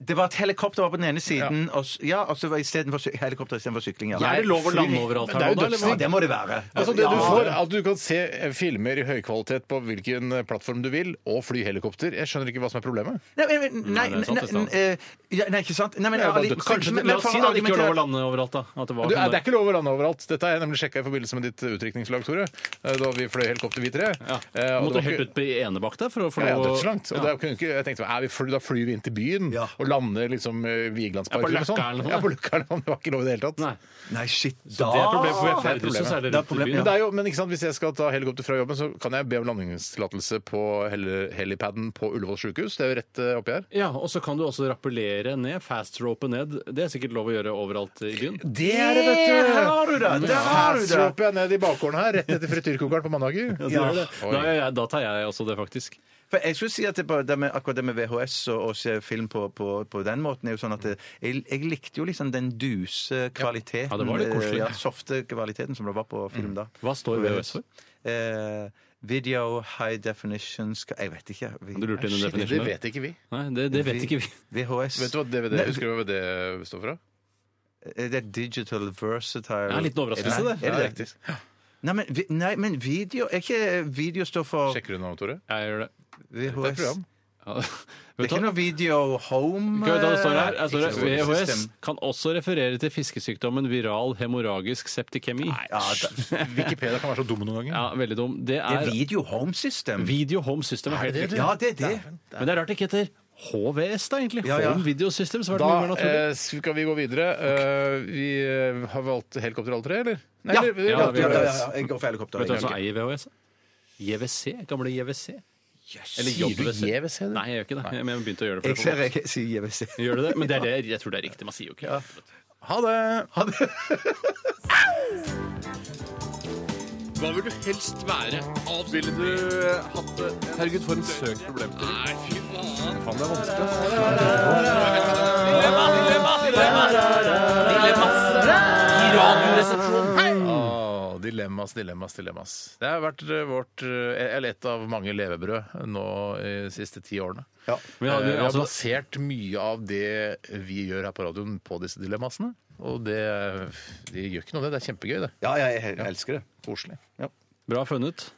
D: Det var et helikopter var på den ene siden, og, s- ja, og så var i stedet for sy- helikopter istedenfor sykling. Ja.
C: Er det lov å lande overalt her
B: Det er jo
C: nå,
B: dødsdigg.
C: da? eller hva?
D: Ja, det må det være.
B: Altså det du
D: Ja.
B: får, At du kan se eh, filmer i høykvalitet på hvilken eh, plattform du vil, og fly helikopter. Jeg skjønner ikke hva som er problemet.
D: Nei, men- men- nei,
C: Nei, det er sant, det er
D: nei,
C: sant.
D: eh, ja, nei, ikke sant? Nei, men,
B: Det er bare
D: ærlig-
B: dødssykt.
D: kanskje, men,
C: La
D: men
C: oss
D: for
C: si
D: å
C: da at det ikke var lov å
D: argumentere-
C: lande overalt, da. At det
B: Du, eh,
C: var sånn
B: det er
C: der.
B: ikke lov å lande overalt. Dette har jeg nemlig sjekka i forbindelse med ditt eh, utrykningslag, Tore. eh, Da vi fløy helikopter, vi tre.
C: ja.
B: Eh, og det
C: Måtte
B: var
C: du helt
B: ikke-
C: ut på enebakk der for å få
B: Ja, ja,
C: lov å
B: dødslangt. Og da kunne ikke, jeg tenkte eh, vi fly, da flyr vi inn til byen og lander liksom eh,
C: Ja, på
B: Vigelandsparken og
C: Løkka eller
B: sånn.
C: noe.
B: Ja, på Løkka eller noe. Det var ikke lov i det hele tatt.
C: Nei.
D: Nei, shit,
C: Det er et
D: da
C: problem, for
B: Det er
C: jeg
B: et
C: ferdes jo
B: problem,
C: særlig
D: ja.
C: rundt i
D: Det er et problem,
C: byen.
B: Men det er jo, men ikke sant, hvis jeg skal ta helikopter fra jobben, så kan jeg be om landingstillatelse på heli- helipaden på Ullevål sykehus. Det er jo rett eh, oppi her.
C: Ja, og så kan du også rappellere ned, fastrope ned. Det er sikkert lov å gjøre overalt i byen.
B: Det er det, vet du!
D: Der har du det! Der har du det!
B: Fastropper jeg ned i bakgården her, rett etter frityrkokeren på mandager.
C: Ja. det er det.
B: Oi.
C: Da, ja, da tar jeg også det, faktisk.
D: For jeg skulle si at det bare, det med, akkurat det med VHS og å se film på, på, på den måten, er jo sånn at det, jeg, jeg likte jo liksom den duse kvaliteten.
C: Ja, det var litt koselig.
D: eh, Ja, Mm. softe kvaliteten som det var på film da.
C: Hva står VHS for?
D: Eh, video High Definition ska- Jeg vet ikke. Vi-
C: Du lurte inn en
D: Shit.
B: Det
C: definisjon. der.
B: vet ikke vi.
C: Nei, det, det vet ikke vi.
D: VHS.
B: Vet du hva DVD
D: Nei,
B: Husker du hva det står fra?
D: eh, Det er Digital Versatile
C: Det er en liten overraskelse,
D: Nei,
C: det.
D: Er
B: Ja,
D: det det?
B: riktig.
D: Nei, men, vi- nei, men video er ikke Video står for
B: Sjekker du navnet, Tore?
C: Jeg gjør det.
B: Det er et
D: VHS.
B: program.
D: Det er ikke noe video home
C: Skal vi ta det står her? Her står det,
D: eh,
C: VHS
D: system.
C: kan også referere til fiskesykdommen viral hemorragisk septikemi.
D: Ja, det,
B: Wikipedia kan være så dum noen ganger.
C: Ja, veldig dum. Det
D: det
C: er
D: er video home system.
C: Video Home System. Er helt riktig.
D: Ja, det er det.
C: Men det er rart det ikke heter HVS, da, egentlig.
D: Ja, ja.
C: Home Video System. Så var det mye mer
B: Da
C: naturlig.
B: eh, skal vi gå videre. Eh, vi eh, har valgt helikopter alle tre, eller? Nei,
D: Ja,
B: eller- vi-
D: ja,
C: vi-
D: ja, ja, ja. Jeg går for helikopter.
C: Vet du hvem som
D: Ok.
C: eier VHS? JWC? Gamle JWC? Eller
B: Sier du
C: JWC?
B: JWC, du?
C: Nei, jeg gjør ikke det. Men jeg begynte å gjøre det.
D: Jeg
C: for å få
D: ser
C: vokst.
D: jeg sier JVC.
C: Gjør du det? Men det er det, jeg tror det er riktig. Man sier jo ikke det.
B: Ha det!
F: Hva vil du helst være? Ville du hatt det? Herregud, for en søk problem. Nei, fy faen. Faen, det er vanskelig.
B: Åh, dilemmas, dilemmas, dilemmas. Det har vært eh, vårt, eh, eller et av mange levebrød nå i de siste ti årene.
D: Ja.
B: Eh, Vi
C: Men
B: har,
C: hadde- altså-
B: basert mye av det vi gjør her på radioen på disse dilemmasene. Og det, det gjør ikke noe, det. Det er kjempegøy, det.
D: Ja, ja, jeg hel- elsker det.
B: Koselig.
C: Bra funnet.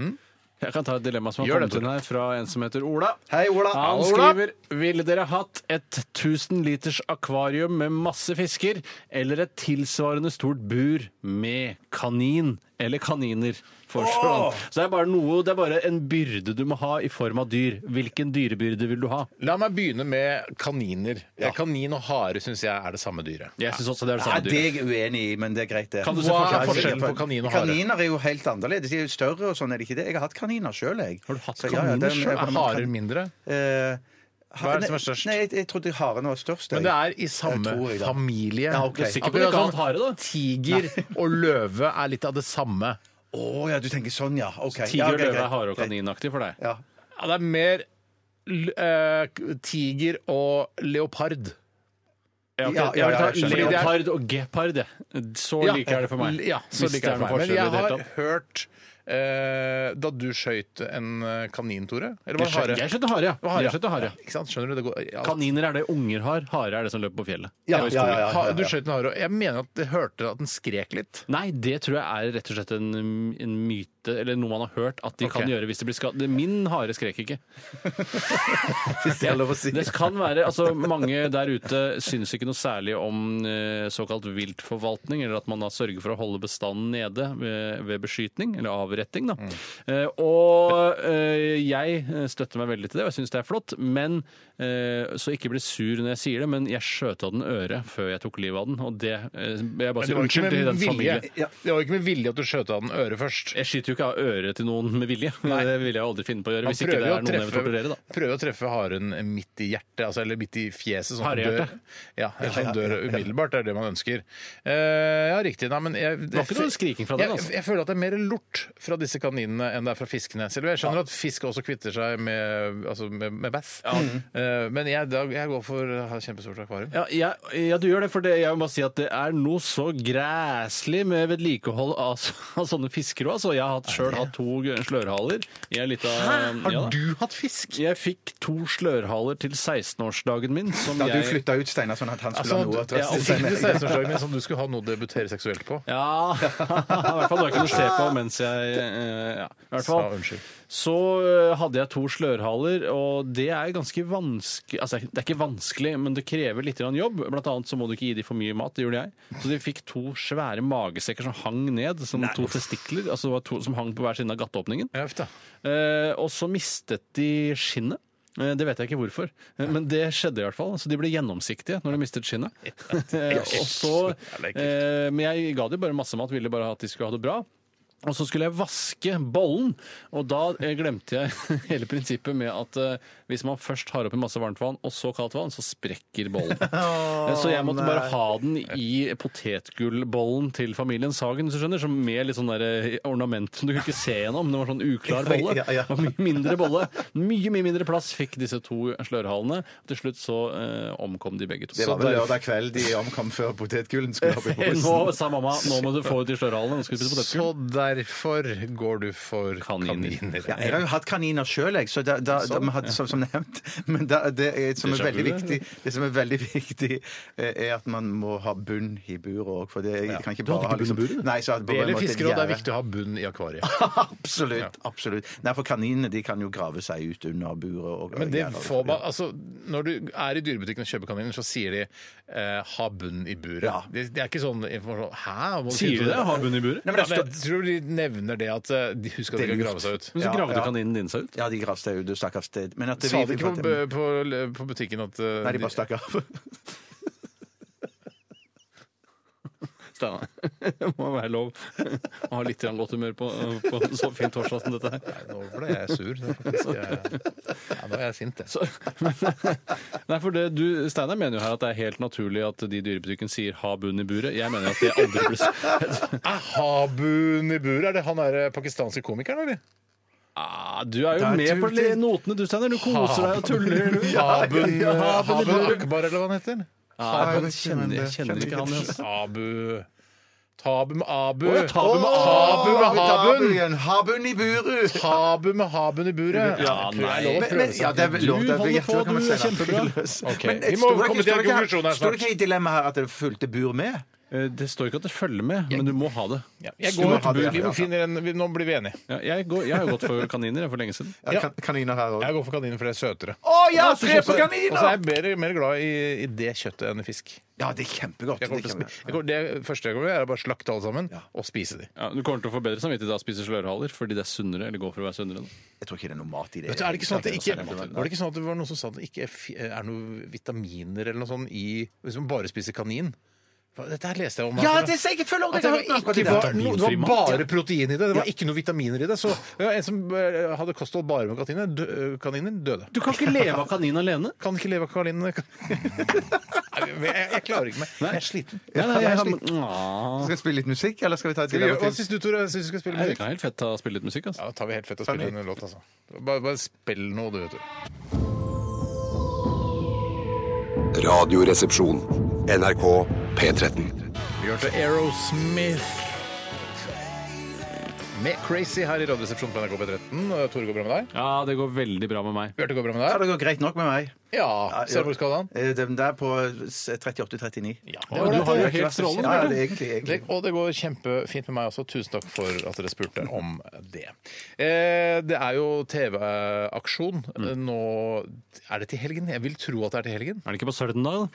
D: Mm.
C: Jeg kan ta et dilemma som har
B: Gjør det,
C: kommet inn her fra en som heter Ola.
D: Hei, Ola.
C: Han skriver Ville dere hatt et 1000 liters akvarium med masse fisker eller et tilsvarende stort bur med kanin eller kaniner? Foreslår han. Så det er bare noe, det er bare en byrde du må ha i form av dyr. Hvilken dyrebyrde vil du ha?
B: La meg begynne med kaniner. Kanin og hare syns jeg er det samme dyret.
C: Jeg syns også det er det
D: Ja,
C: samme
D: det er
C: dyret.
D: jeg uenig i, men det er greit, det.
C: Kan du se
B: Hva
C: forskjell-
B: er forskjellen på kanin og hare?
D: Kaniner er jo helt annerledes. De er jo større og sånn, er det ikke det? Jeg har hatt kaniner sjøl, jeg.
C: Har du hatt
D: Så
C: kaniner
D: den-
C: selv?
D: jeg-
B: Er harer mindre?
D: Eh, ha-
B: Hva er det
D: nei-
B: som er størst?
D: Nei, jeg, jeg trodde haren var størst.
B: Men
D: jeg.
B: det er i samme
D: tror jeg, da.
B: familie.
D: Ja, ok. Du er
C: sikker på at du
D: altså.
C: ikke har hatt hare, da?
B: Tiger og løve er litt av det samme.
D: Å ja, du tenker sånn, ja. Ok. Ja,
C: Tiger,
D: ok,
C: løve,
D: greit.
C: hare og kaninaktig for deg.
D: Ja.
B: Ja, det er mer l- eh, tiger og leopard.
C: Ja, ok,
D: Ja, ja,
C: jeg vil ta
D: ja, jeg skjønner.
C: Leopard og gepard. jeg. Så like er det for meg.
B: Ja, så
C: Hvis
B: liker jeg
C: det
B: det
C: er noen
B: for meg. Men
C: forskjell i
B: jeg
C: det hele
B: har
C: tatt.
B: hørt eh, da du skjøt en eh, kanin, Tore Eller var det hare?
C: Jeg skjønner hare, ja.
B: Ja.
C: Jeg skjønner hare.
B: Ikke sant? Skjønner du? Det går, ja.
C: Kaniner er det unger har, hare er det som løper på fjellet.
D: Ja,
C: Det
D: ja,
C: er jo
D: ja,
C: skogen.
D: ja.
B: Ha- Du skjøt en hare, og jeg mener at jeg hørte at den skrek litt.
C: Nei, det tror jeg er rett og slett en, en myte, eller noe man har hørt at de kan
B: Ok.
C: gjøre hvis de blir skadet. Min hare skrek ikke.
D: Hvis det er lov å si.
C: Det kan være, altså Mange der ute syns ikke noe særlig om eh, såkalt viltforvaltning, eller at man da sørger for å holde bestanden nede ved, ved beskytning, eller avretting. da. Eh, og eh, jeg støtter meg veldig til det, og jeg syns det er flott. men eh, Så ikke bli sur når jeg sier det, men jeg skjøt av den øret før jeg tok livet av den. Og det eh,
B: Men det
C: Jeg bare sier
B: var ikke
C: unnskyld til
B: med
C: den
B: vilje,
C: familien.
B: det var ikke med vilje at du skjøt av den øret først.
C: Jeg skyter jo ikke av øret til noen med vilje. Det ville jeg aldri finne på å gjøre.
B: Han
C: Hvis ikke
B: prøver
C: det
B: jo
C: er noen jeg vil torturere, da.
B: prøver å treffe haren midt i hjertet, altså, eller midt i fjeset. Sånn at han
C: Harehjerte?
B: dør, ja, eller sånn dør umiddelbart. Det er det man ønsker. Eh, ja, riktig. Nei, men jeg, det
C: var ikke noe skriking fra den, altså.
B: Jeg, jeg føler at det er mer lort fra disse kaninene enn det er fra fiskene. Selv om jeg skjønner at fisk også kvitter seg med, altså, med, med bass. Eh, men jeg, da, jeg går for å ha et kjempestort akvarium.
C: Ja, jeg, ja, du gjør det, for det, jeg må bare si at det er noe så græslig med vedlikehold av, så- av sånne fisker også. Altså, Jeg har sjøl hatt to g- slørhaler. Jeg er litt av,
B: Har
C: ja da.
B: du hatt fisk?
C: Jeg fikk to slørhaler til 16-årsdagen min. Som
D: Da du
C: jeg,
D: flytta ut Steinar sånn at han skulle
B: Altså,
D: ha noe å
B: du- ja,
D: trøste seg
B: siden
D: med.
B: du 16-årsdagen min som du skulle ha noe å debutere seksuelt på.
C: Ja, i hvert fall det var ikke noe å se på mens jeg eh, ja, i hvert
B: Sa
C: fall.
B: unnskyld.
C: Så eh, hadde jeg to slørhaler, og det er ganske vanskelig Altså, det er ikke vanskelig, men det krever litt grann jobb. Blant annet så må du ikke gi dem for mye mat, det gjorde jeg. Så de fikk to svære magesekker som hang ned, som to testikler, altså det var to som hang på hver side av gateåpningen.
B: Ja, uff da.
C: Eh, og så mistet de skinnet. Eh, Det vet jeg ikke hvorfor, eh, men det skjedde i hvert fall. Så de ble gjennomsiktige når de mistet skinnet. Eh, og så, eh, men jeg ga dem bare masse mat, ville bare at de skulle ha det bra. Og så skulle jeg vaske bollen, og da eh, glemte jeg hele prinsippet med at eh, hvis man først har oppi masse varmt vann og så kaldt vann, så sprekker bollen. Eh, så jeg måtte bare ha den i potetgullbollen til familien Sagen, hvis du skjønner, som med litt sånn der eh, ornament som du kunne ikke se gjennom. Det var sånn uklar bolle.
D: Ja, ja.
C: Det var Mye mindre bolle. Mye, mye mindre plass fikk disse to slørhalene. Til slutt så eh, omkom de begge to.
D: Det var vel
B: sånn
D: lørdag kveld de omkom før potetgullen skulle hoppe i
C: Eh,
D: posen.
C: Nå sa mamma nå må du få ut de slørhalene. Nå skal vi spise
B: Så
C: potetgull.
B: derfor går du for kaniner.
C: Kaniner.
D: Ja, jeg har jo hatt kaniner sjøl, jeg, så da, da, da, vi hadde, som, som nevnt. Men da, det, er, som er
C: Déjà vu,
D: veldig
C: det.
D: viktig, det som er veldig viktig, eh, er at man må ha bunn i buret òg. For det jeg kan ikke
C: Du hadde
D: bare ha
C: ikke bunn i
D: liksom,
C: buret?
D: Nei, så hadde
B: Det
D: bare
B: gjelder
D: måttet
B: fisker, og det er
D: gjerde.
B: viktig å ha bunn i akvariet.
D: absolutt. absolutt. Nei, for kaninene de kan jo grave seg ut under buret. Og,
B: Men det
D: gjerne, og-
B: får man, altså, Når du er i dyrebutikken og kjøper kaniner, så sier de eh, 'ha bunn i buret'.
D: Ja.
B: Det, det er ikke sånn informasjon Hæ? Må du
C: Sier
B: finne
C: de
B: på
C: det? Har bunn i buret?
B: Ja, men jeg tror de nevner det at eh, de husker at de
D: Det er
B: kan
D: lurt.
B: grave seg ut.
C: Men så
D: Ja,
C: gravde
D: ja.
C: kaninen din seg ut.
D: Ja, de gravde seg ut. Stakkars. det- Men at
B: Sa
D: vi-
B: de ikke på, bu- på, på butikken at eh,
D: Nei, de bare stakk av.
C: Steinar. Det må være lov å ha litt grann godt humør på, på en så fin torsdag som dette her.
B: Nå ble jeg sur. Det er faktisk, eh, ja, nå er jeg sint, jeg.
C: Så, nei, for det, du, Steinar mener jo her at det er helt naturlig at de i dyrebutikken sier 'ha bunn i buret'. Jeg mener at det aldri blir sagt.
B: Ha bunn i buret? Er det han der eh, pakistanske komikeren, eller?
C: Ah, du er jo
D: Der
C: med på
D: tuller.
C: notene, du, Steinar. Du koser deg og tuller. du.
B: Habun
C: ja.
B: Habun eh, Akbar, eller hva han heter?
C: Ah, jeg kjenner, jeg kjenner ikke han. Altså.
B: Abu Tabu med Abu.
C: Å, ja, tabu med
B: Tabu med Habun.
D: Habun i buret!
B: Tabu med Habun i buret.
C: Ja,
B: det tror jeg er lov å prøve
D: Men,
C: nei.
D: men,
B: seg.
D: ja, det er vel lov,
C: Du
D: det er-
C: holder
D: jeg tror
C: på,
D: det kan man
C: du
D: si
C: er
D: det.
C: kjempebra.
B: Ok,
D: Men
B: vi må
D: står det
B: komme
D: ikke-
B: til
D: står det ikke-
B: konklusjonen her
D: Står
B: snart.
D: det ikke i dilemmaet her at det fulgte bur med?
C: Eh, Det står ikke at det følger med, men du må ha det.
B: Ja, jeg
D: Du må
B: går
D: ha det, ja.
B: vi må finne en, vi, Nå blir vi enige.
C: Ja, jeg, går, jeg har jo gått for kaniner jeg, for lenge siden.
D: Ja,
B: Ja.
D: kan- Kaniner her òg.
B: Jeg går for kaniner, for det er søtere.
D: Å ja, tre på
B: Og så er
D: kaniner!
B: jeg mer, mer glad i, i det kjøttet enn i fisk.
D: Ja, det er kjempegodt.
B: Jeg kommer til å
D: det er
B: spi- jeg går, det første jeg kommer til å gjøre, er å bare slakte alle sammen
D: Ja.
B: og spise de.
C: Ja, du kommer til å få bedre samvittighet av å spise slørhaler fordi det er sunnere. eller går for å være sunnere. Da.
D: Jeg tror ikke det er noe mat i det.
B: Vet du, er det ikke sånn at det ikke,
D: Nei.
B: var det ikke sånn at det var noen som sa at det ikke er fi- er noen vitaminer eller noe sånt i Hvis man bare spiser kanin? Hva- Dette her leste jeg om.
D: Ja,
B: her.
D: det er jeg føler
B: At det var, ikke var, no, det var bare protein i det. Det var ikke noe vitaminer i det. Så det var en som eh, hadde kosthold bare med kaniner, dø, eh, kaniner døde.
C: Du kan ikke leve av kanin alene.
B: Kan ikke leve av kaninene. Nei, men jeg, jeg klarer ikke mer. Jeg er sliten.
C: Nei, nei, jeg har...
D: Skal vi spille litt musikk, eller skal vi ta et
B: Skal vi
D: dilemma
B: gjøre- Hva
D: til?
B: syns du, Tore? Syns du skal spille
C: Nei, det
B: musikk?
C: kan være helt fett å spille litt musikk. Altså.
B: Ja, da tar vi helt fett og spiller en låt, altså. Bare, bare spill noe, du, vet du.
E: Radioresepsjon. NRK P13.
B: Vi hørte Aerosmith. Med Crazy her i Radioresepsjonen på NRK P13. Tore, går det bra med deg?
C: Ja, det går veldig bra med meg.
B: Bjarte, går det bra med
D: Ja,
B: deg?
D: det går greit nok med meg.
B: Ja. Ser du hvor du skal da?
D: Eh, Den der på 38-39.
B: Ja,
C: Ja, du har jo helt
D: Ja,
C: strålende.
D: ja,
C: Bjarte.
D: det er egentlig,
B: Det,
D: egentlig.
B: og det går kjempefint med meg også. Tusen takk for at dere spurte om det. Eh, det er jo TV-aksjon.
D: Mm.
B: Eh, Nå er det til helgen. Jeg vil tro at det er til helgen.
C: Er det ikke på søndag? da?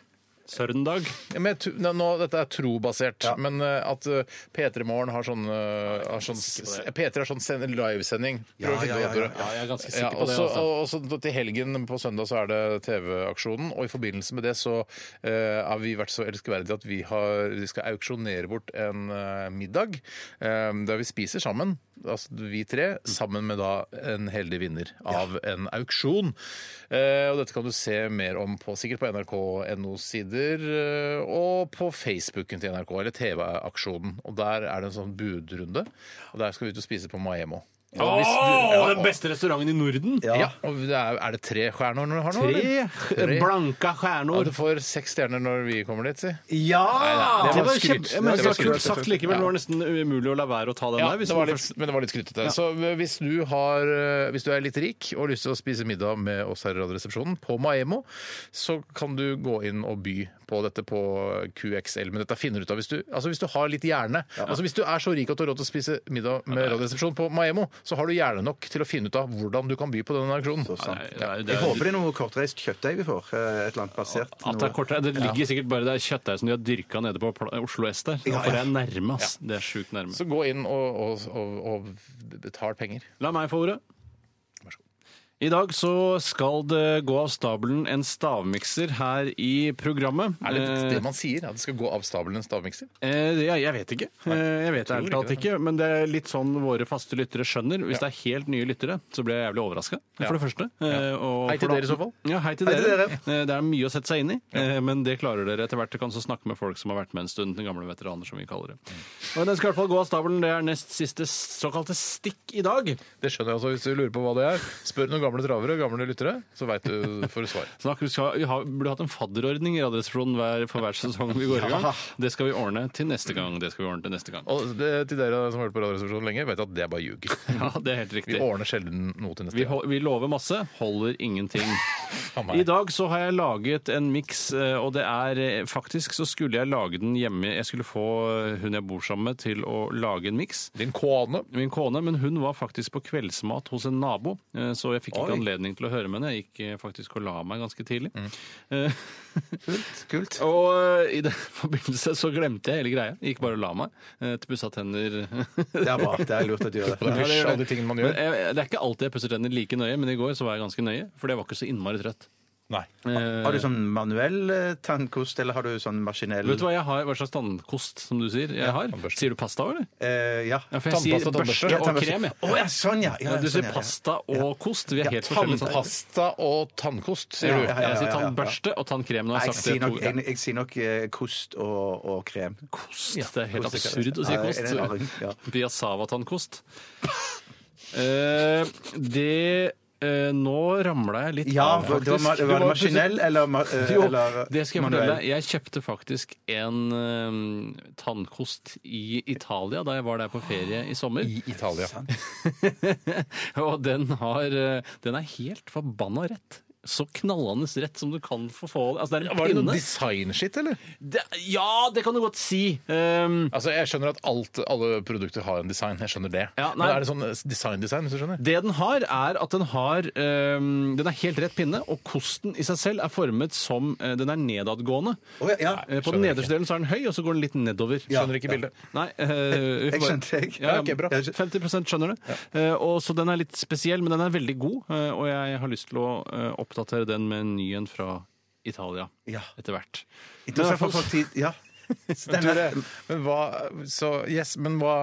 C: Søndag?
B: Ja, Men jeg, tu- nå, nå, dette er trobasert, men eh, at eh, P3 Morgen har sånn, eh, har sånn s- P3 har sånn send- livesending. Prøv å finne
D: ja,
B: ut av det.
C: Ja, jeg er ganske
B: Ja,
C: sikker på
B: og
C: det.
B: så-
C: Altså.
B: og- og så til helgen på søndag så er det TV-aksjonen, og i forbindelse med det så eh, har vi vært så elskverdige at vi, har, vi skal auksjonere bort en eh, middag eh, der vi spiser sammen, altså vi
C: Mm.
B: tre, sammen med da en heldig vinner av en auksjon. Eh, og dette kan du se mer om på, sikkert på nrk.no-sider eh, og på Facebooken til NRK, eller TV-aksjonen. Og der er det en sånn budrunde, og der skal vi ut og spise på Maemo. Og hvis du-
C: Åh, den beste restauranten i Norden!
B: ja. og det er, er det tre stjerner når du har nå? eller?
C: Tre blanka
B: Ja,
C: stjerner.
B: du får seks stjerner når vi kommer dit, si.
D: Ja!
B: Det var
C: Det var
B: skryt.
C: kjempe...
B: Det
C: Men
B: var
C: det var
B: skryt.
C: kult sagt likevel. Det var nesten umulig å la være å ta den
B: Ja,
C: der. hvis
B: det var
C: man
B: litt,
C: først-
B: men det var litt skrytete. Så hvis du, har, eh, hvis du er litt rik og har lyst til å spise middag med oss her i Radioresepsjonen på Maemo, så kan du gå inn og by på dette på QXL. Men dette finner du ut av hvis du, altså hvis du har litt hjerne. Altså Hvis du er så rik at du har råd til å spise middag med Radioresepsjonen på Maemo, så har du hjerne nok til å finne ut av hvordan du kan by på denne aksjonen.
D: Sant.
C: Nei, nei, det
D: Jeg
C: er-
D: håper det er noe kortreist kjøttdeig vi får. eh, Et eller annet basert.
C: At det er
D: noe-
C: kortere. Det ligger sikkert bare der kjøttdeig som de har dyrka nede på Pla- Oslo S der. Da får jeg nærme, ass. Det er sjukt nærme.
B: Så gå inn og, og, og, og betal penger.
C: La meg få ordet. I dag så skal det gå av stabelen en stavmikser her i programmet.
B: Er det
C: Eh,
B: det man sier? At det skal gå av stabelen en stavmikser?
C: Eh, det- ja, jeg vet ikke. Eh, jeg vet ærlig
B: tror ikke
C: talt
B: det.
C: ikke, men det er litt sånn våre faste lyttere skjønner. Hvis det er helt nye lyttere, så blir jeg jævlig overraska, for det første. Eh, og
B: Hei til dere
C: for det
B: i så
C: andre-
B: fall.
C: Ja, hei til dere. Eh, det er mye å sette seg inn i, eh, men det klarer dere etter hvert. Dere kan så snakke med folk som har vært med en stund, den gamle veteraner, som vi kaller det.
B: Mm.
C: Men den skal i hvert fall gå av stabelen. Det er nest siste såkalte stikk i dag.
B: Det skjønner jeg også hvis du lurer på hva det er. Spør noen gamle travere og gamle lyttere, så veit du for svar.
C: Snakker, vi skal, vi har, burde hatt en fadderordning i Radioresepsjonen hver, for hver sesong vi går i gang. Det skal vi ordne til neste gang. Det skal vi ordne til neste gang.
B: Og det, til dere som har hørt på Radioresepsjonen lenge, vet at det er bare ljug.
C: Ja, det er helt
B: Vi
C: riktig.
B: ordner sjelden noe til
C: Vi,
B: neste gang.
C: hol- vi lover masse, holder ingenting.
B: Faen meg.
C: I dag så har jeg laget en miks, eh, og det er eh, faktisk så skulle jeg lage den hjemme. Jeg skulle få eh, hun jeg bor sammen med til å lage en miks.
B: Din kone.
C: min kone, men hun var faktisk på kveldsmat hos en nabo, eh, så jeg fikk ikke anledning til å høre med henne. Jeg gikk eh, faktisk og la meg ganske tidlig. Eh,
D: Kult.
C: og eh, i den forbindelse så glemte jeg hele greia. Jeg gikk bare og la meg. eh, til Pussa tenner.
D: Det er bra. Det er lurt at du gjør det.
B: Det er hysj, alle de tingene man
C: Men
B: gjør.
C: jeg, det er ikke alltid jeg pusser tenner like nøye, men i går så var jeg ganske nøye, for jeg var ikke så innmari trøtt.
B: Nei.
C: Eh,
D: Har du sånn manuell eh, tannkost, eller har du sånn maskinell
C: Vet du hva jeg har? Hva slags tannkost, som du sier? Jeg har?
B: tannbørste.
C: Sier du pasta, eller?
D: Eh, ja.
C: Ja, for jeg
B: Tannpasta,
C: sier børste
B: tannbørste.
C: og krem, jeg.
D: Å ja, sånn, ja. ja,
C: Ja, du
D: sånn,
C: sier
D: ja, ja.
C: pasta og kost. Vi er helt forskjellige.
B: Tannpasta sånn og tannkost, sier
D: Ja, ja,
B: du.
D: ja.
C: Jeg sier tannbørste og tannkrem. Nå
D: Nei,
C: har
D: jeg
C: jeg
D: sier
C: sagt det
D: nok,
C: to
D: jeg, jeg sier nok eh, kost og, og krem.
C: Kost. Det er helt absurd å si
D: Ja, det er en
C: kost.
D: raring, ja.
C: Piassava-tannkost. Eh, det eh, Nå ramla jeg litt
D: Ja,
C: av,
D: for det var, ma-
C: faktisk.
D: det
C: Du
D: var
C: var-
D: maskinell eller, ma- eh,
C: Jo,
D: eller
C: det skal jeg
D: manuell?
C: fortelle deg. Jeg kjøpte faktisk en eh, tannkost i Italia da jeg var der på ferie i sommer.
B: I Italia.
C: og den, har, eh, den er helt forbanna rett. Så knallende rett som du kan få få altså, det. Er en
B: Var det noe
C: pinne.
B: designskitt, eller?
C: det, ja, det kan du godt si. Um,
B: Altså, Jeg skjønner at alt, alle produkter har en design. Jeg skjønner det.
C: Ja, nei.
B: Men er det sånn design-design, hvis du skjønner?
C: Det den har, er at den har øhm, Den er helt rett pinne, og kosten i seg selv er formet som øh, Den er nedadgående.
D: Å, ja, ja.
C: Eh, på den nederste delen så er den høy, og så går den litt nedover.
B: Skjønner ikke bildet.
C: Nei, øh, vi får
D: Jeg
C: bare-
D: skjønte, jeg.
C: Ja,
D: Ja, ok, bra.
C: 50 skjønner det. Eh, og så den er litt spesiell, men den er veldig god, eh, og jeg har lyst til å eh, oppdatere den med en ny en fra Italia
D: Ja.
C: etter hvert.
D: Interessant
C: Men
D: for
C: i hvert fall-
D: folk tid. Ja.
B: Tore, men hva Så yes, men hva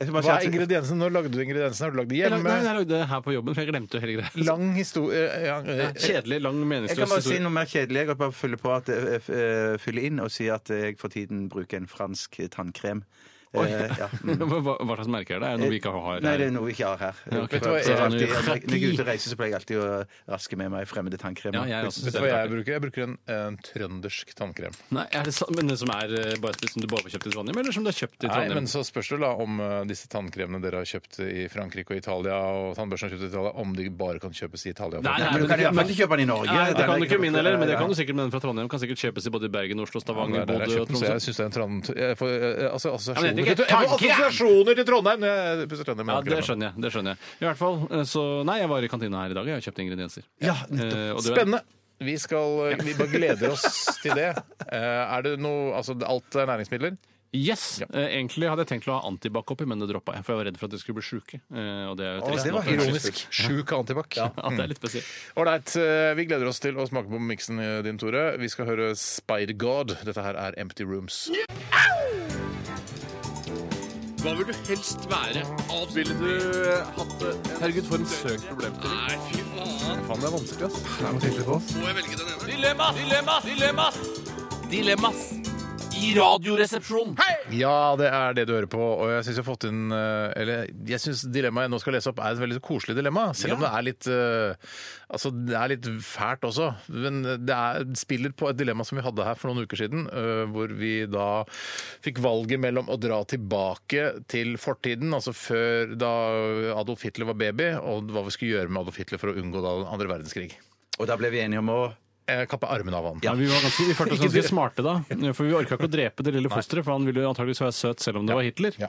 D: Jeg skal
B: Hva
D: bare si
B: er
D: at-
B: ingrediensene? Når lagde du ingrediensene? Har du lagd det
C: Jeg lag-
B: hjemme?
C: Nei, jeg lagde det her på jobben, for jeg glemte jo hele greia.
B: Lang historie ja, eh,
C: Kjedelig, lang,
D: Jeg
C: meningsløs
D: kan bare si
C: historie.
D: noe mer kjedelig. Jeg kan bare fylle på at eh, f- eh, fylle inn og si at jeg for tiden bruker en fransk tannkrem.
C: Oi.
D: Eh, ja, mm.
C: Hva, hva slags merke er det? Er det noe vi ikke har her?
D: Nei, det er noe vi ikke har her.
C: ok.
D: For-
C: Vet du hva,
D: for
C: jeg-
D: alltid, når
C: Raki.
D: jeg er ute og reiser, så pleier jeg alltid å raske med meg fremmede tannkremer.
C: Ja, jeg også.
B: Vet du hva jeg bruker? Jeg bruker en, en trøndersk tannkrem.
C: Nei, er det sant? Men den som er eh, bare som du bare har kjøpt i Trondheim, eller som du har kjøpt i
B: Nei,
C: Trondheim?
B: men så spørs det da om eh, disse tannkremene dere har kjøpt i Frankrike og Italia, og tannbørstene har kjøpt i Italia, om de bare kan kjøpes i Italia.
C: Nei, nei,
D: Men du kan i hvert fall ikke kjøpe den i Norge.
C: Nei, det
D: Den er
C: kan du ikke min heller, men det
D: Ja,
C: kan
D: ja.
C: du sikkert med den fra Trondheim. Kan sikkert kjøpes i både Bergen, Oslo,
B: Det
C: Stavanger,
B: er der jeg
C: Bodø
B: har
C: og
B: kjøpt den, så jeg
C: Tromsø.
B: synes det er en tran... Jeg får eh, altså,
C: Ja, men
B: assosiasjoner, til,
C: det er ikke
B: jeg får
C: tannkrem!
B: assosiasjoner til Trondheim når jeg pusser tenner
C: Ja,
B: med
C: det
B: tannkremen.
C: skjønner jeg. det skjønner jeg. I hvert fall, eh, så Nei, jeg var i kantina her i dag, jeg har kjøpt ingredienser.
D: Ja,
C: Eh, og du-
B: Spennende! Vi, skal, eh, vi bare gleder oss til det. Eh, Er det noe Altså, alt er næringsmidler?
C: Yes! Eh, Egentlig hadde jeg tenkt å ha antibac oppi, men det droppa jeg, for jeg var redd for at de skulle bli sjuke. Eh, Og det er jo trist
D: det
C: nok
D: var
C: for en
D: ironisk.
C: skyld.
B: Sjuk antibac.
C: Ja, det er litt spesielt.
B: Ålreit, eh, vi gleder oss til å smake på miksen eh, din, Tore. Vi skal høre Spider God. Dette her er Empty Rooms.
F: Hva vil du helst være? Ville du eh, hatt det? Herregud, for en søk problem til. Nei, fy faen. Faen, det er vanskelig, ass. Det er vanskelig på oss. Må jeg velge den ene? Dilemmas! Dilemmas! Dilemmas! Dilemmas! I radioresepsjonen. Hei!
B: Ja, det er det du hører på. Og jeg syns jeg har fått inn eh, Eller jeg syns dilemmaet jeg nå skal lese opp, er et veldig koselig dilemma. Selv om det er litt eh, Altså, det er litt fælt også. Men det er, spiller på et dilemma som vi hadde her for noen uker siden, eh, hvor vi da fikk valget mellom å dra tilbake til fortiden, altså før da Adolf Hitler var baby, og hva vi skulle gjøre med Adolf Hitler for å unngå da den andre verdenskrig.
D: Og da ble vi enige om å
B: Eh, Kappe armen av han.
C: Ja, vi, var ganske, vi følte oss ganske smarte da, for vi orka ikke å drepe det lille fosteret, for han ville jo antakeligvis være søt selv om det var Hitler.
B: Ja.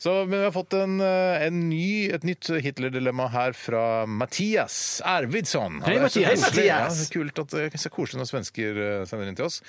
B: Så men vi har fått en, eh, en ny, et nytt Hitler-dilemma her fra Mathias Arvidsson.
C: Hei,
B: Ja, det er så
C: Mathias.
B: koselig.
C: Hei,
B: Ja, det er kult at det er så koselig når svensker eh, sender inn til oss.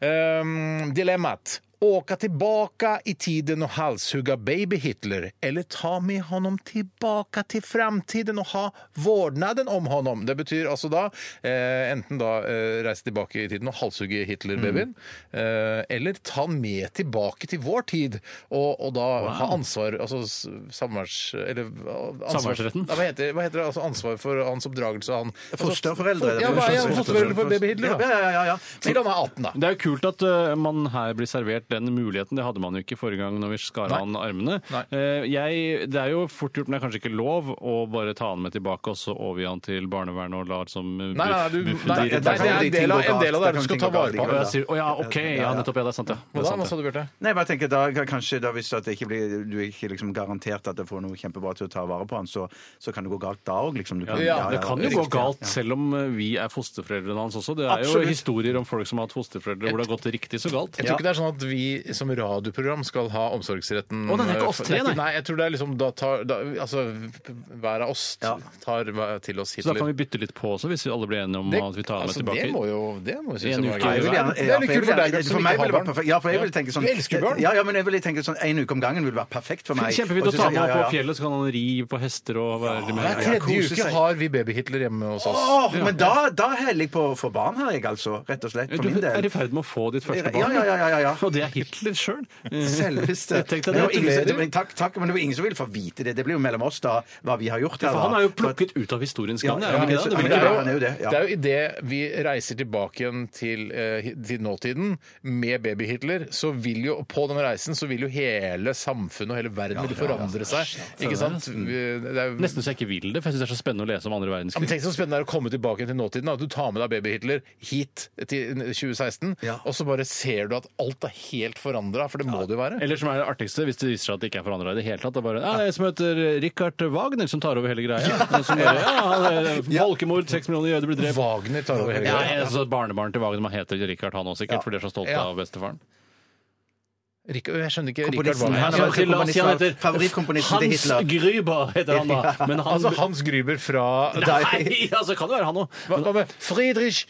B: Ehm, dilemmat. Åka tillbaka i tiden och halshugga baby Hitler eller ta med honom tillbaka till framtiden och ha vårdnaden om honom. Det betyr altså da eh, enten da eh, reise tilbake i tiden og halshugge Hitler-babyen, eh, eller ta han med tilbake til vår tid og, og da ha ansvar altså s- samværs... Eller eh, ansvar-
C: Samværsretten?
B: Ja, hva, heter, hva heter det? Altså ansvar for hans oppdragelse av han
D: Fosterforeldre.
B: Altså,
D: sånn
B: Ja, hva er han? Fosterforeldre for baby Hitler, da?
D: Ja, ja, ja, ja.
B: Til han er 18, da.
C: Det er jo kult at ø, eh, man her blir servert den muligheten. Det hadde man jo ikke forrige gang når vi skar
B: Nei.
C: av han armene.
B: Nei.
C: Eh, Jeg, det er jo fort gjort, men det er kanskje ikke lov å bare ta han med tilbake og så overgi han til barnevernet og la han som eh,
B: Nei, nei,
C: buff-
B: du, nei,
C: buff-
B: nei,
C: dyr-
B: det er en del av, en del av det er at du skal ta vare på.
C: Å, jeg sier- å ja, OK. Ja, nettopp. Ja, det er sant, ja. Det er
B: Hva da? Hva
C: sant,
B: sa du, Bjarte?
D: Nei, bare tenker da, kan- kanskje da hvis at det ikke blir, du er ikke liksom garantert at jeg får noe kjempebra til å ta vare på han, så, så kan det gå galt da òg. Liksom. Du kan-
C: ja. Det kan jo gå
D: riktig,
C: galt,
D: ja.
C: selv om eh, vi er fosterforeldrene hans også. Det er
D: Absolutt.
C: jo historier om folk som har hatt fosterforeldre hvor det har gått riktig så galt.
B: Jeg tror ikke det er sånn at vi som radioprogram skal ha omsorgsretten.
C: Å, den er ikke oss tre,
B: Det er ikke-
C: nei.
B: Nei, jeg tror det er liksom da tar da, Altså hver av oss
D: Ja.
B: tar hver- til oss
C: Så da kan
B: Hitler.
C: vi bytte litt på også, hvis vi alle blir enige om at vi tar han med
B: altså, det
C: tilbake.
B: må jo Det må jo
C: I
B: synes
C: en
B: jeg var
C: uke.
B: gøy.
D: Jeg vil gjerne-
B: Det er litt
D: ja,
B: kult for deg
D: for
B: som ikke
D: meg
B: har
D: ville vært
B: barn.
D: perfekt. Ja, for jeg ville tenke sånn
B: Du elsker barn.
D: Ja, ja, men jeg ville tenke sånn en uke om gangen ville vært perfekt for meg.
C: Kjempefint
D: Og
C: å
D: så
C: ta
D: sier
C: med
D: jeg, ja,
C: opp
D: ja.
C: på fjellet, så kan han ri på hester og være
B: Hver
C: med.
B: tredje
D: kose
B: uke
D: seg.
B: har vi baby-Hitler hjemme hos oss.
D: Åh, men da, da heller jeg på å få barn her, jeg, altså. Rett og slett. For
C: Du
D: min
C: er
D: del.
C: i ferd med å få ditt første
D: Ja,
C: barn.
D: ja, ja, ja, ja.
C: Og det er Hitler sjøl.
D: Selveste.
C: Tenk
D: Men det
C: deg det.
D: var ingen som- men Takk, takk, men det var ingen som ville få vite det. Det blir jo mellom oss, da, hva vi har gjort her.
C: For
D: da.
C: han er jo plukket ut av historiens
D: Ja,
C: gang. er
D: ja,
C: han ikke
D: så-
C: det? Det
D: men
C: blir
B: Det er,
C: ikke
B: jo,
D: han er jo
B: det,
D: det, ja.
B: er jo idet vi reiser tilbake igjen til, eh, hi- til nåtiden med baby-Hitler, så vil jo på den reisen så vil jo hele samfunnet og hele verden vil forandre seg. Ikke sant? Vi- Det er, jo-
C: Nesten så jeg ikke vil det, for jeg syns det er så spennende å lese om andre
B: Ja, men
C: verdenskrig.
B: tenk så spennende det er å komme tilbake igjen til nåtiden. da. At du tar med deg baby-Hitler hit til 2016,
D: Ja.
B: og så bare ser du at alt er helt forandra, for det må det jo være.
C: Eller som er det artigste, hvis det viser seg at det ikke er forandra i det hele tatt. Det er bare ja, det er en som heter Richard Wagner, som tar over hele greia. Som bare, ja, det er eh, Folkemord, seks millioner jøder blir drept.
B: Wagner tar over hele
C: Ja,
B: greia.
C: jeg, så barnebarn til Wagner, man heter Richard han også sikkert, for de er så stolte
B: Ja.
C: av bestefaren.
B: Rikard- Jeg skjønner ikke Richard
D: Komponisten.
B: Wagner.
D: Han var
C: La oss si han heter
D: favorittkomponisten til
C: Hans
D: Hitler.
C: Gruber heter han da. Men han,
B: Altså Hans Gruber fra
C: Nei, altså kan det være han òg.
B: Hva hva med Friedrich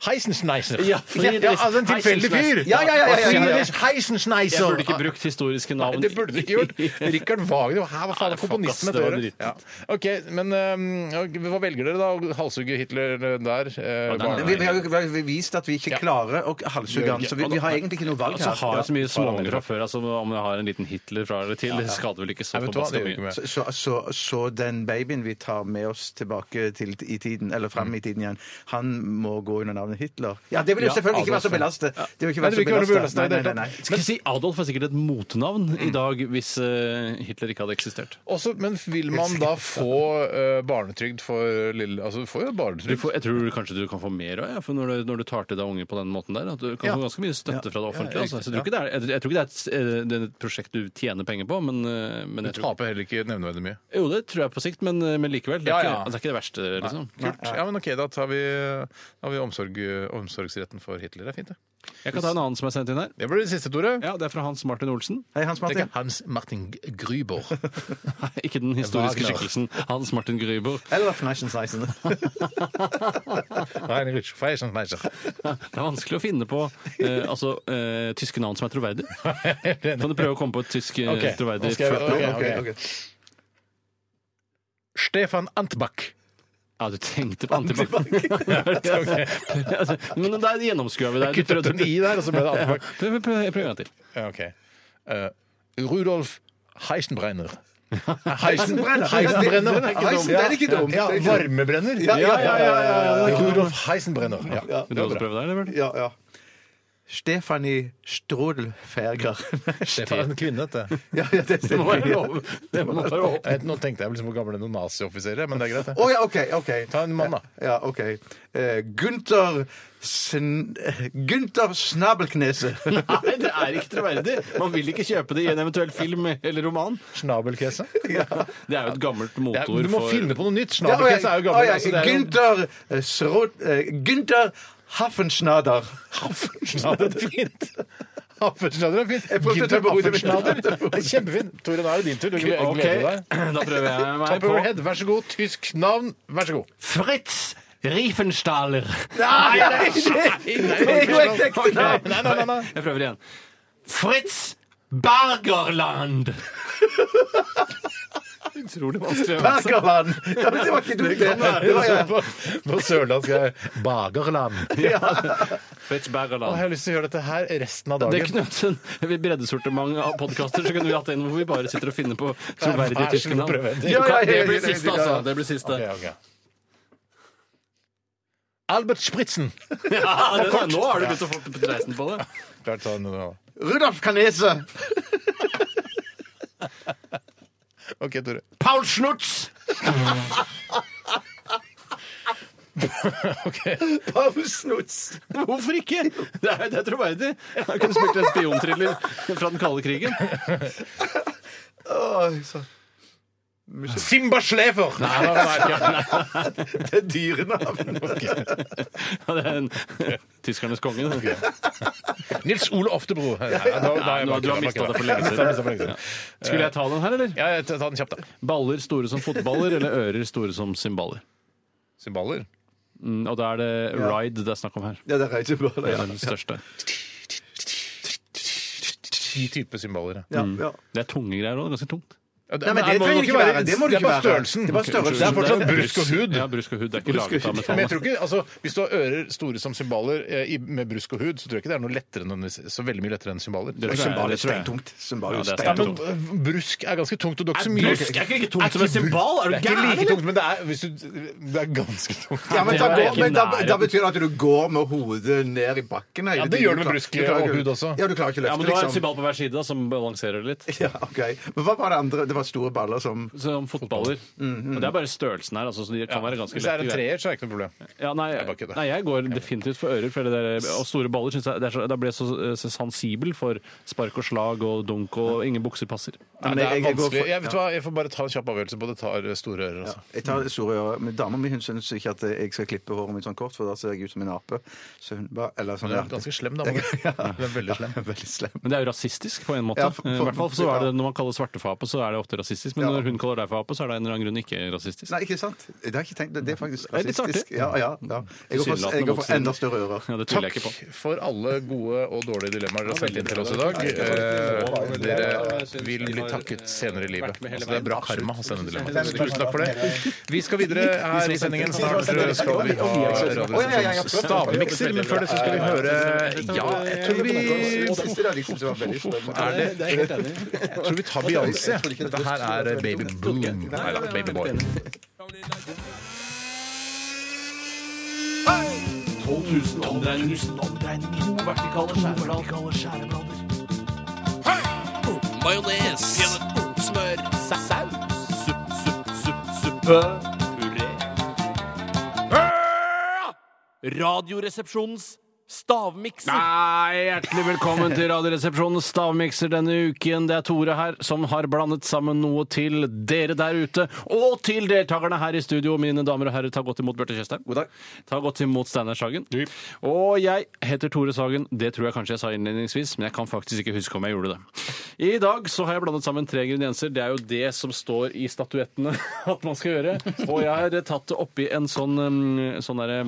B: Heisenschneiser?
C: Ja, Friedrich
B: ja, altså en tilfeldig fyr!
C: Heisenschneiser.
D: Ja, ja, ja, ja, ja, ja.
B: Friedrich Heisenschneiser.
C: Jeg burde ikke brukt historiske
B: Nei,
C: navn.
B: det burde du ikke gjort. Richard Wagner Her, hva faen er
C: Nei, fuck, ass,
B: komponisten
C: det var
B: dette året?
C: dritt.
B: Ja. OK, men øhm, ok, hva velger dere, da? Å halshugge Hitler der? eh,
C: nei,
B: bare-
D: Vi, vi har jo vi har jo vist at vi ikke klarer å halshugge han, så vi, vi har egentlig ikke noe valg her.
C: Altså, har jeg så mye
B: Parameter.
C: småunger fra før, altså, om jeg har en liten Hitler fra eller til, det skader vel ikke så
B: Nei, vet du hva, det
C: forbaska
B: gjør vi ikke
C: mye.
B: med.
D: Så, så, så, så den babyen vi tar med oss tilbake til i tiden, eller frem i tiden igjen, han må gå under navnet Hitler? Ja, det vil jo
C: Ja,
D: selvfølgelig ikke være så
C: Adolf,
D: belastet. Det
B: Nei, det vil
D: vil ikke være så
B: ikke være noe
D: belastet.
B: belastet i det hele tatt.
C: Skal jeg si Adolf er sikkert et motenavn i dag hvis eh, Hitler ikke hadde eksistert.
B: Også, men vil man da få eh, barnetrygd for lille Altså, du får jo
C: Du
B: barnetrygd.
C: får, jeg tror kanskje du kan få mer òg, ja, for når du, når du tar til deg unger på den måten der. At du kan
B: Ja.
C: få ganske mye støtte fra det offentlige.
B: Ja,
C: Altså. Så Jeg,
B: ja.
C: tror ikke det er, jeg, jeg tror ikke det er, et, eh, det er et prosjekt du tjener penger på, men, eh, men
B: Du
C: jeg tror
B: taper heller ikke nevneverdig mye.
C: Jo, det tror jeg på sikt, men, eh, men likevel. Det
B: Ja,
C: er,
B: ja.
C: Ikke, det er ikke det verste, liksom.
B: Kult. Ja, men OK, da tar vi, da har vi omsorg, omsorgsretten for Hitler. Det er fint, det.
C: Jeg kan ta en annen som er sendt inn her.
B: Det blir det siste, Tore.
C: Ja, Det er fra Hans Martin Olsen.
D: Hei, Hans
B: Det er
D: Martin.
B: ikke Hans Martin G- Gruber.
C: Ikke den historiske
B: Wagner.
C: skikkelsen Hans Martin Gruber.
D: Eller Fneisensneisen.
B: Heinrich
D: sånn
B: Feisenschneiser.
C: Det er vanskelig å finne på eh, altså, eh, tyske navn som er troverdige. Kan du prøve å komme på et tysk eh,
B: Ok,
C: troverdig
B: nå skal jeg- ok, ok. Stefan Antbach.
C: Ja, du tenkte på antibac. Altså, Men der gjennomskua vi deg. Du
B: Kuttet
C: prøvde-
B: en i der, og så ble det
C: Ja,
B: Antbach.
C: prøv prøv- prøv en gang til.
B: Ja, ok. Eh, Rudolf Heisenbrenner. Heisenbrenner. Heisenbrenner.
D: Den er ikke dum. Den er ikke dum.
B: Ja,
D: Den er ikke dum.
B: varmebrenner. Ja,
D: ja, ja,
B: Rudolf Heisenbrenner. Ja.
C: Vil du også prøve der, eller?
D: Ja, ja. Stefanie Strodelferger.
B: Det var en kvinne, dette.
D: ja, ja, det
C: Det må
D: stemmer.
C: være lov. Det må være lov.
B: Jeg vet, Nå tenkte jeg liksom hvor gamle noen nazioffiserer er, men det er greit. det.
D: Å Oh ja, OK. ok.
B: Ta en mann, da.
D: Ja, OK. Eh, Gunther Sn eh, Gunther Snabelknese.
C: Nei, det er ikke troverdig. Man vil ikke kjøpe det i en eventuell film eller roman.
B: Snabelkese.
C: Det er jo et gammelt
B: Ja,
C: motord
B: du må
C: for
B: finne på noe nytt.
D: Ja, å ja,
B: Snabelkese er jo gammel.
D: å ja,
B: altså, det er jo-
D: Günther eh, Srod... eh, Günther Haffensnader.
B: Haffensnader er fint. Haffensnader er fint.
D: Jeg prøvde å ta
B: Günther
D: på ordet mitt.
B: Haffensnader. Det er kjempefint. Tore, nå er det din tur. Du gleder
C: Ok,
B: gleder deg.
C: da prøver jeg meg
B: Top
C: på
B: over head, vær så god. Tysk navn, vær så god.
C: Fritz Riefenstahler.
D: Nei, nei, det, det er jo et ekte navn!
B: Nei, nei, nei, nei.
C: Jeg prøver igjen. Fritz Bergerland. Utrolig vanskelig å øve seg.
D: Bergerland! Ja, men det var ikke dumt, det. det var, ja.
B: På, på sørlandsk er det Bagerland.
C: Fritz
B: Å,
C: Bergerland.
B: Jeg har lyst til å gjøre dette her resten av
C: Det
B: dagen.
C: knøt en breddesortiment av podkaster, så kunne vi hatt en hvor vi bare sitter og finner på troverdige
B: Vær så
C: tyske
B: god,
C: navn.
B: prøv en til.
C: Du kan-
D: ja, ja,
C: Det
D: ja,
C: blir
D: ja,
C: siste,
D: ja, ja.
C: altså. Det blir siste.
B: Ok, ok. Albert Spritzen.
C: Ja, det- Nå har du begynt å få dreisen på det.
B: Klart, ta den nå.
A: Rudolf Kanese.
B: OK, Tore.
A: Paul Schnutz. Paul Schnutz.
C: Hvorfor ikke? Det er, det er troverdig. Jeg kunne spilt en spionthriller fra den kalde krigen.
A: Oi, så.
B: Simba Schlefer! Nei, det var ikke- nei,
A: Det er dyrenavn.
C: Ja, det er en, eh, tyskernes konge. det.
B: Nils Ole Oftebro. Nei, nå- nå er jeg
C: Nei, nå-
B: bak-
C: du har
B: bak-
C: mista
B: bak-
C: det for lenge
B: Jeg mistet det for lenge
C: siden. Skulle jeg ta den her, eller?
B: Ja, jeg tar den kjapt, da.
C: Baller store som fotballer eller ører store som cymbaler?
B: Cymbaler.
C: Mm, Og da er det ride det er snakk om her.
A: Ja, det er ikke bra.
C: Det
A: Det,
C: er den største.
B: Ti typer cymbaler.
A: ja. Ja,
C: Det er tunge greier òg. Ganske tungt.
B: Nei,
D: men det trenger ikke være- det må det
B: Det er bare
D: ikke være.
B: størrelsen.
D: Det er bare størrelsen.
B: Det er fortsatt brusk og hud.
C: Ja, brusk og hud. Det er ikke
B: Brusk og
C: laget
B: hud.
C: av
B: Men jeg
C: metall.
B: tror ikke, altså, Hvis du har ører store som cymbaler eh, i- med brusk og hud, så tror jeg ikke det er noe lettere nødvendigvis- så veldig mye lettere enn cymbaler.
C: Det tror jeg-
D: Symbal er
C: det tror jeg.
D: steintungt. Symbal
C: Ja,
D: er
C: det
B: Ja,
C: er
D: steintungt.
B: men øh, brusk er ganske tungt, og det er ikke så mye
C: Brusk er ikke like tungt som en cymbal! Er du
B: Det er ikke
C: gæren?
B: like
C: eller?
B: tungt, men det er, hvis du, det er ganske tungt.
A: Ja, men,
C: Det
A: da,
C: er
A: går,
C: ikke
A: men da,
C: nærheten.
A: da betyr det at du går med hodet ned i bakken. hele
B: Ja, det
A: tiden.
B: gjør du med
A: klar-
B: brusk
A: klarer
B: og
A: ikke-
B: hud også.
A: Ja, du klarer ikke å
C: Ja,
A: løfte,
C: men du har en
A: liksom.
C: cymbal på hver side da, som balanserer litt.
A: Ja, ok. Men hva var det andre? Det var store baller som
C: Som fotballer. Og det er bare størrelsen her. Altså, så de kan være
B: sånn. Mm-hmm.
C: ganske
B: Hvis det er en
C: lette greier.
B: treer, så er det ikke noe problem.
C: Ja, nei,
B: bare kødder.
C: nei, jeg går definitivt for ører, for det der, eh, og store baller synes jeg det er så, Da blir jeg så, eh, så sensibel for spark og slag og dunk, og ingen bukser passer.
B: Nei,
D: men
B: det
D: jeg-
B: er
D: jeg går for-
B: vanskelig. Jeg, vet du hva, jeg får bare ta en kjapp avgjørelse på det. Tar eh, store ører, altså.
D: Jeg tar store ører, men dama mi hun syns ikke at jeg skal klippe håret mitt sånn kort, for da ser jeg ut som en ape. Så hun bare, eller sånn
B: Du er
D: ja.
B: ganske slem, da. Magnus. Du er veldig slem.
D: Ja, veldig slem.
C: Men det er jo rasistisk på en måte.
D: Ja, for-
C: Eh, I
D: for-
C: hvert fall så
D: ja.
C: er det Når man kaller svarte for ape, så er det ofte rasistisk. Men
D: Ja.
C: når hun kaller deg for ape, så er det en eller annen grunn ikke rasistisk.
D: Nei, ikke sant? Det har jeg ikke tenkt, det er faktisk
C: Det er litt
D: rasistisk.
C: artig.
D: Ja, ja, ja. Jeg går for, jeg går for enda større ører.
C: Ja, det tviler jeg
B: Takk
C: ikke på.
B: for alle gode og dårlige dilemmaer dere har sendt inn til oss i dag. Eh, Dere vil bli takket senere i livet. Altså, det er bra karma å sende dilemmaer. Tusen takk for det. Vi skal videre her i sendingen. Snart skal vi ha Radioresepsjonens stavmikser, men før det så skal vi høre Ja, jeg tror vi
D: Siste der, de syntes det var veldig spennende.
B: er det, jeg tror vi tar Beyoncé. Dette her er Baby Boom. Nei da, Baby Boy.
C: 12 000 omdreininger. To vertikale skjæreblader.
H: Majones. Smør. Saus. Supp, supp, supp, suppe. Puré. Radioresepsjonens stavmikser.
C: Nei, hjertelig velkommen til Radioresepsjonens stavmikser denne uken. Det er Tore her som har blandet sammen noe til dere der ute, og til deltakerne her i studio. Mine damer og herrer, ta godt imot Bjarte Tjøstheim. God dag. Ta godt imot Steinar Sagen. Og jeg heter Tore Sagen. Det tror jeg kanskje jeg sa innledningsvis, men jeg kan faktisk ikke huske om jeg gjorde det. I dag så har jeg blandet sammen tre ingredienser. Det er jo det som står i statuettene at man skal gjøre. Og jeg har tatt det oppi en sånn, um, sånn derre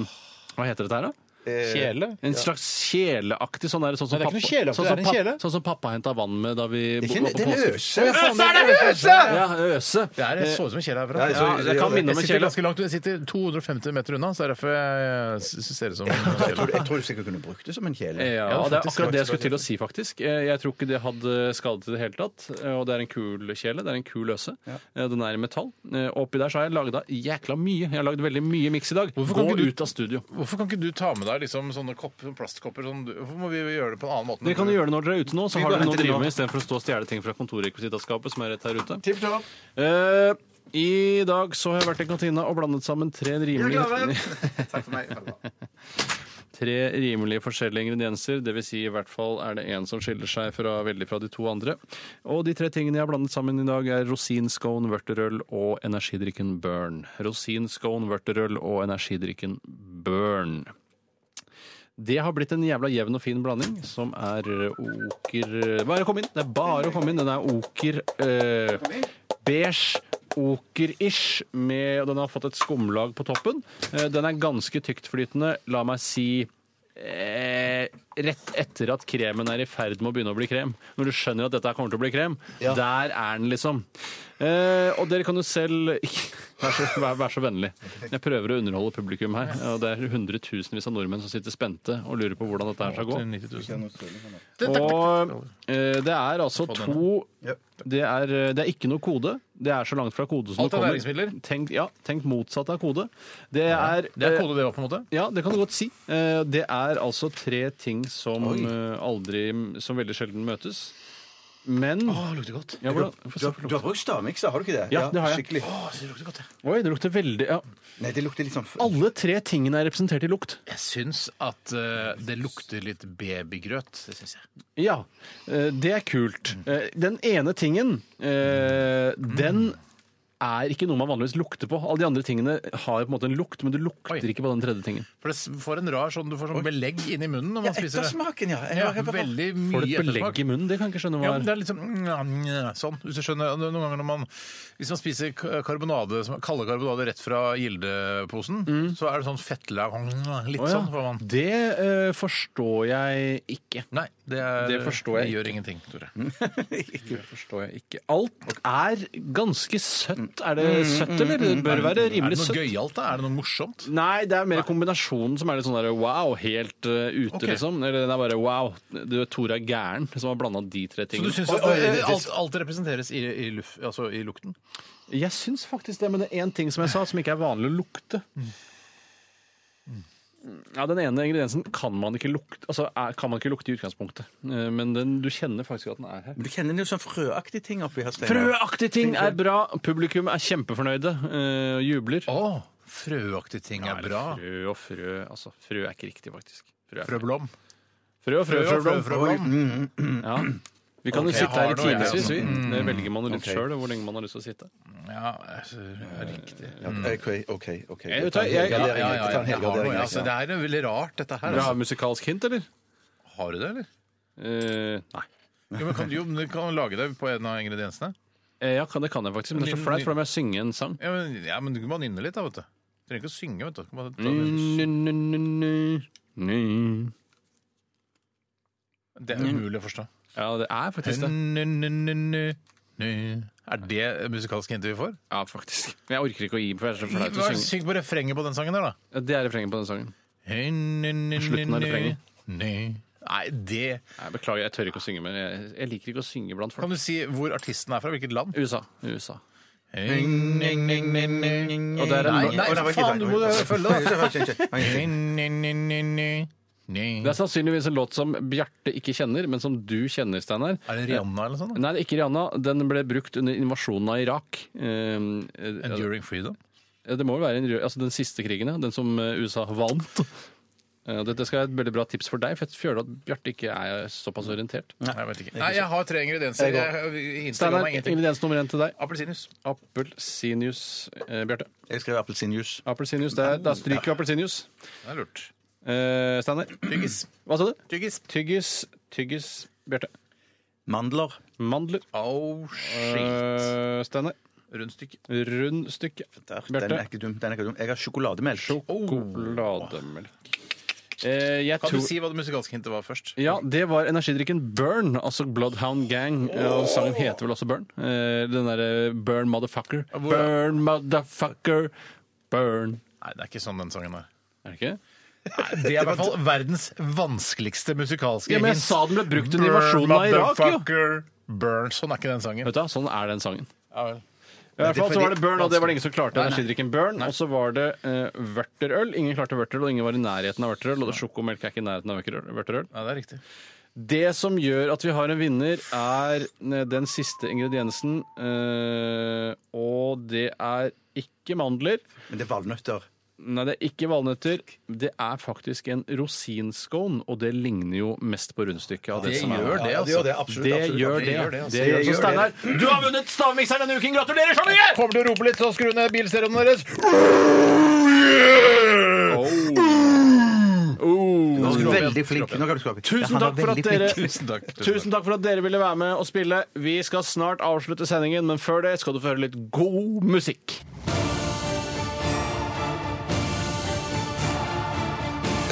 C: Hva heter dette her, da?
B: Kjele?
C: En slags kjeleaktig sånn der, sånn som
B: Nei, det er ikke noe kjeleaktig,
C: pappa- sånn
B: det er en
C: som pappa-
B: kjele.
C: Sånn som pappa henta vann med da vi
D: Det er
C: var
D: ikke- Det
C: på
D: er en
C: påske.
D: øse!
B: Øse, er det øse?!
C: Ja, øse.
B: Det er, jeg så ut som en kjele herfra.
D: Ja, så-
C: jeg kan
B: Jeg
C: minne om en
B: sitter
C: kjele.
B: ganske langt, jeg sitter 250 meter unna, så det er derfor jeg s- s- ser ut som en
D: Jeg tror,
B: kjele.
D: jeg tror du sikkert kunne brukt det som en kjele.
C: Ja,
B: Ja,
C: det er
B: faktisk,
C: akkurat det jeg
B: faktisk,
C: skulle til å si, faktisk. Eh, Jeg tror ikke det hadde skadet i det hele tatt. Eh, Og det er en kul kjele. Det er en kul øse. Eh, Den er i metall. Eh, og Oppi der så har jeg laga jækla mye. Jeg har lagd veldig mye miks i dag.
B: Hvorfor kan ikke
C: Gå
B: du-
C: ut av studio.
B: Hvorfor kan ikke du ta med deg liksom sånne kopper, sånne plastkopper? Sånn, du- hvorfor må vi gjøre det på en annen måte?
C: Dere kan jo gjøre det når dere er ute nå, så
D: Vi
C: har
D: går
C: dere noe å
D: og henter de nå.
C: drive med istedenfor å stå og stjele ting fra kontorrekvisittaskapet som er rett her ute.
D: Tipp topp.
C: Eh, I dag så har jeg vært i kantina og blandet sammen tre rimelige
D: Takk for meg.
C: tre rimelig forskjellige ingredienser. Dvs. Si, i hvert fall er det en som skiller seg fra, veldig fra de to andre. Og de tre tingene jeg har blandet sammen i dag, er rosinscone, vørterøl og energidrikken Burn. Rosinscone, vørterøl og energidrikken Burn. Det har blitt en jævla jevn og fin blanding, som er eh, oker eh, Bare kom inn! Det er bare å komme inn. Den er oker eh, beige. Oker-ish, med, og den har fått et skumlag på toppen. Eh, Den er ganske tyktflytende. La meg si eh, rett etter at kremen er i ferd med å begynne å bli krem. Når du skjønner at dette her kommer til å bli krem. Der er den, liksom. Eh, og dere kan jo selv vær så, vær, vær så vennlig. Jeg prøver å underholde publikum her. Og det er hundretusenvis av nordmenn som sitter spente og lurer på hvordan dette her skal gå.
B: 90 000.
C: Og eh, det er altså to Det er, eh, det er ikke noe kode. Det er så langt fra kode som
B: Alt
C: det
B: er
C: kommer.
B: næringsmidler.
C: Tenk, ja, tenk motsatt av kode. Det er,
B: Det er
C: eh,
B: kode, det òg, på en måte.
C: Ja, det kan du godt si. Eh, Det er altså tre ting som eh, aldri Som veldig sjelden møtes. Men
B: Det lukter godt.
C: ja, hvordan,
D: Du har, du har brukt stavmikser, har du ikke det?
C: Ja, det har jeg.
D: Skikkelig.
C: Oi, det lukter veldig ja.
D: Nei, det lukter litt sånn f-
C: Alle tre tingene er representert i lukt.
B: Jeg syns at eh, det lukter litt babygrøt. Det syns jeg.
C: Ja, eh, det er kult. Eh, Den ene tingen, eh, den er ikke noe man vanligvis lukter på. Alle de andre tingene har på en måte en lukt, men du lukter
B: Oi.
C: ikke på den tredje tingen.
B: For det s- får en rar sånn, Du får sånn belegg inni munnen når man spiser det.
D: Ettersmaken, ja. Jeg
B: Ja,
D: har- jeg har-
B: veldig mye
C: Får du et belegg i munnen? Det kan jeg ikke skjønne
B: Ja,
C: hva
B: men
C: er.
B: det er liksom sånn, hvis du skjønner. Noen ganger når man, hvis man spiser k- karbonade, som- kalde karbonade rett fra Gildeposen, så er det sånn fettlag Litt
C: Å,
B: sånn får
C: ja.
B: man.
C: Det eh, forstår jeg ikke.
B: Nei, det, er,
C: Det forstår jeg
B: Det gjør ingenting, Tore.
C: Det forstår jeg ikke. Alt er ganske søtt. Er det
B: Mm,
C: søtt, eller? Det bør være
B: Er det
C: rimelig
B: noe
C: søtt.
B: gøyalt, da? Er det noe morsomt?
C: Nei, det er mer kombinasjonen som er litt sånn der wow, helt eh, ute,
B: Ok.
C: liksom. Eller den er bare wow, du Tore er gæren, som har blanda de tre
B: Så du
C: tingene.
B: syns at eh, alt, alt representeres i, i, luf, altså i lukten?
C: Jeg syns faktisk det, men det er én ting som jeg sa som ikke er vanlig å lukte.
B: Mm.
C: Ja, Den ene ingrediensen kan man ikke lukte altså, er, kan man ikke lukte i utgangspunktet. Eh, Men den, du kjenner faktisk at den er her.
D: Men Du kjenner jo sånn frøaktige ting oppi her, Steinar.
C: Frøaktige ting er bra! Publikum er kjempefornøyde eh, og jubler.
B: Å, frøaktige ting er bra.
C: Frø og frø altså Frø er ikke riktig, faktisk. Ah. Frø, er feil.
B: Frøblom.
C: frø og frø,
B: Frø
C: frø,
B: og frø, Mm. frøblom.
C: Ja. Vi kan
B: Ok,
C: jo sitte her
B: jeg har
C: i
B: noe, jeg
C: timevis,
B: også.
C: vi. Det velger man jo litt sjøl, hvor lenge man har lyst til å sitte.
B: Ja, altså, ja, riktig.
D: OK, OK. ok.
C: Jeg vet hva, jeg-
D: Jeg
B: Ja, ja,
D: tar en
B: ja, jeg
D: helgardering, jeg tar en
B: har noe,
D: helgardering,
B: ja. altså,
D: jeg.
B: det er jo veldig rart, dette her.
C: Vil du ha
B: Altså.
C: musikalsk hint, eller?
B: Har du det, eller?
C: Eh, nei.
B: Jo, men kan, du- jo, men du kan lage det på en av ingrediensene.
C: Eh, ja, kan- det kan jeg faktisk, men det er så flaut, for da må jeg synge en sang.
B: Ja, men, ja, men du kan bare nynne litt, da, vet du. Du trenger ikke å synge, vet du. du. kan bare ta
C: Mm.
B: det-
C: Ja,
B: Det er umulig å forstå.
C: det er faktisk det.
B: Nynne-nynne-nynne. Er det musikalsk hint vi får?
C: Ja, faktisk. Men jeg orker ikke å gi, for jeg er så flaut å
B: Hva-
C: synge.
B: Syng på refrenget på den sangen der, da.
C: Ja, Det er refrenget på den sangen.
B: Slutten
C: Slutten av refrenget.
B: Nei, det
C: Nei, beklager, jeg tør ikke å synge mer. Jeg, jeg liker ikke å synge blant
B: Kan
C: folk.
B: du si hvor artisten er fra? Hvilket land?
C: USA. USA.
B: Og
C: der er
B: Nei,
C: en-
B: nei
D: Å, det var ikke
B: faen,
D: det.
B: du må følge det!
D: Sorry, sorry, sorry, sorry.
C: Det er
B: Er
C: sannsynligvis en låt som Bjarte ikke kjenner, men som du kjenner, Steinar.
B: det Rihanna eller noe sånt? da?
C: Nei, det er ikke Rihanna. Den ble brukt under invasjonen av Irak. Eh, eh,
B: Enduring Freedom?
C: ja, det må jo være en, altså den siste krigen, ja. Den som eh, USA vant. Eh, Dette skal være et veldig bra tips for deg, for jeg føler at Bjarte ikke er såpass orientert.
B: Nei, jeg vet ikke. Nei, jeg har tre ingredienser.
D: Jeg går.
B: Jeg- jeg- Instagram
C: Steinar,
B: er ingenting.
C: ingrediens nummer én til deg.
B: Appelsinjuice.
C: Appelsinjuice. Eh, Bjarte.
D: Jeg skrev appelsinjuice.
C: Appelsinjuice. Der, da stryker vi appelsinjuice.
B: Det er lurt.
C: Eh, Steinar.
B: Tyggis.
C: Hva sa du?
B: Tyggis.
C: Tyggis. Tyggis. Bjarte.
D: Mandler.
C: Mandler.
B: Oh, shit.
C: Eh, Steinar.
B: Rundstykke.
C: Rundstykke.
D: Der, Den
C: Bjarte.
D: er ikke dum. den er ikke dum. Jeg har sjokolademelk.
C: Sjokolademelk. Oh. Eh, jeg
B: Kan du
C: tror
B: si hva det musikalske hintet var først?
C: Ja, det var energidrikken Burn, altså Bloodhound Gang. Og sangen heter vel også Burn. Eh, Den derre Burn Motherfucker.
B: Hvor-
C: Burn Motherfucker. Burn.
B: Nei, det er ikke sånn den sangen er.
C: Er det ikke?
B: Det er i hvert fall verdens vanskeligste musikalske
C: Ja, men jeg
B: hint.
C: sa den ble brukt under
B: Burn,
C: invasjonen av Irak, jo.
B: motherfucker, Burn. Sånn er ikke den sangen.
C: Vet du, hva, Sånn er den sangen.
B: Ja vel.
C: I hvert fall så var det Burn, og det var det ingen som klarte. Energidrikken Burn. Og så var det eh, vørterøl. Ingen klarte vørterøl, og ingen var i nærheten av vørterøl. Og det- sjokomelk er ikke i nærheten av vørterøl- vørterøl.
B: Ja, det er riktig.
C: Det som gjør at vi har en vinner, er eh, den siste ingrediensen. eh, Og det er ikke mandler.
D: Men det er valnøtter.
C: Nei, det er ikke valnøtter. Det er faktisk en rosinscone, og det ligner jo mest på rundstykket. av det,
B: Det
C: som er.
B: gjør det,
D: Ja,
B: altså.
D: det gjør det, absolutt.
C: Det
D: absolutt,
C: gjør
D: absolutt.
C: det.
B: gjør det,
C: det,
B: altså.
C: gjør
D: Det
C: det.
D: gjør
C: Så Steinar, du har vunnet stavmikseren denne uken! Gratulerer så mye!
B: Kommer til å rope litt, så skru ned bilstereoen deres.
D: Nå er du Veldig flink. Nå kan du skru opp. Ja,
C: Tusen
D: han var
C: takk, for at
D: veldig
C: dere,
D: flink.
B: Tusen takk.
C: tusen takk for at dere ville være med og spille. Vi skal snart avslutte sendingen, men før det skal du få høre litt god musikk.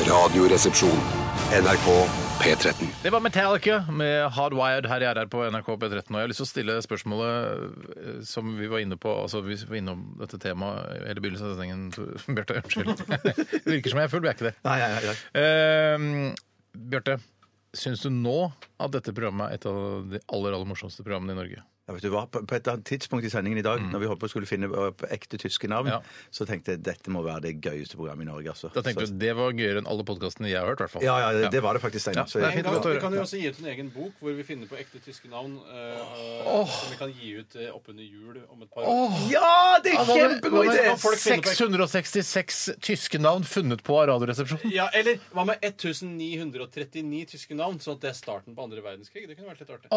E: Radioresepsjon. NRK P13.
B: Det var Metallica med Hardwired her jeg er her på NRK P13. Og jeg har lyst til å stille spørsmålet eh, som vi var inne på altså Vi var innom dette temaet hele begynnelsen av sendingen. Tor- Bjarte, unnskyld. Det virker som jeg er full, men jeg er ikke det.
D: Nei, nei, nei, nei.
B: Eh, Bjarte, syns du nå at dette programmet er et av de aller aller morsomste programmene i Norge?
D: Ja, vet du hva? På på et eller annet tidspunkt i sendingen i dag, når vi holdt på å skulle finne opp ekte tyske navn,
B: Mm. Ja.
D: så tenkte jeg dette må være det gøyeste programmet i Norge. altså.
B: Da tenkte
D: Så-
B: du det var gøyere enn alle podkastene jeg har hørt, i hvert fall.
D: Ja, ja, det, det var det faktisk, Steinar.
B: Ja.
D: Så
B: Nei,
D: jeg-
B: Det er
C: Vi
B: fint å
C: kan,
B: høre.
C: vi kan jo også gi ut en egen bok hvor vi finner på ekte tyske navn. eh, Som vi kan gi ut eh, oppunder jul om et par år.
D: Ja, det er kjempegod
B: Hva
D: idé!
B: med 666 tyske navn funnet på av Radioresepsjonen.
C: Ja, Eller hva med 1939 tyske navn? Sånn at det er starten på andre verdenskrig. Det kunne vært litt artig.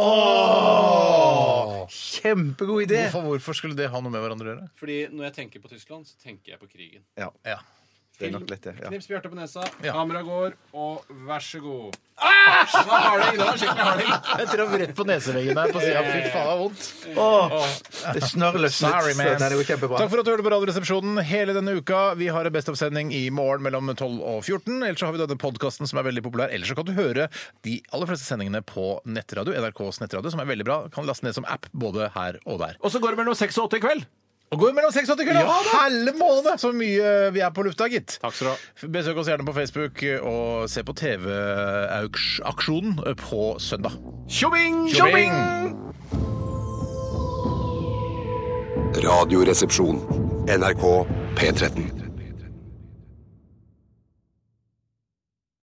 D: Kjempegod idé!
B: Hvorfor, hvorfor skulle det ha noe med hverandre å gjøre?
C: Fordi når jeg tenker på Tyskland, så tenker jeg på krigen.
D: Ja,
B: Ja.
D: det er nok lett, det. Ja.
C: Knips Bjarte på nesa,
B: Ja.
C: kamera går, og vær så god. Ah! Da har det, da er det skikkelig harding.
B: Jeg traff rett på neseveggen der på sida. Fy faen, det er vondt.
D: Det snørr løsnet.
B: Sorry, man.
D: så- Nei, det går kjempebra.
B: Takk for at du hørte på Radioresepsjonen hele denne uka. Vi har en bestoppsending i morgen mellom 12 og 14. Ellers så har vi denne podkasten som er veldig populær. Ellers så kan du høre de aller fleste sendingene på nettradio, NRKs nettradio, som er veldig bra. Kan laste ned som app både her og der.
C: Og så går det mellom seks og åtte i kveld.
B: Og går mellom 6 og 80 kroner! Halve måned! Så mye vi er på lufta, gitt.
C: Takk skal du ha.
B: Besøk oss gjerne på Facebook og se på TV-aksjonen på søndag.
C: Tjobing!
B: Tjobing!
E: Radioresepsjon. NRK P13.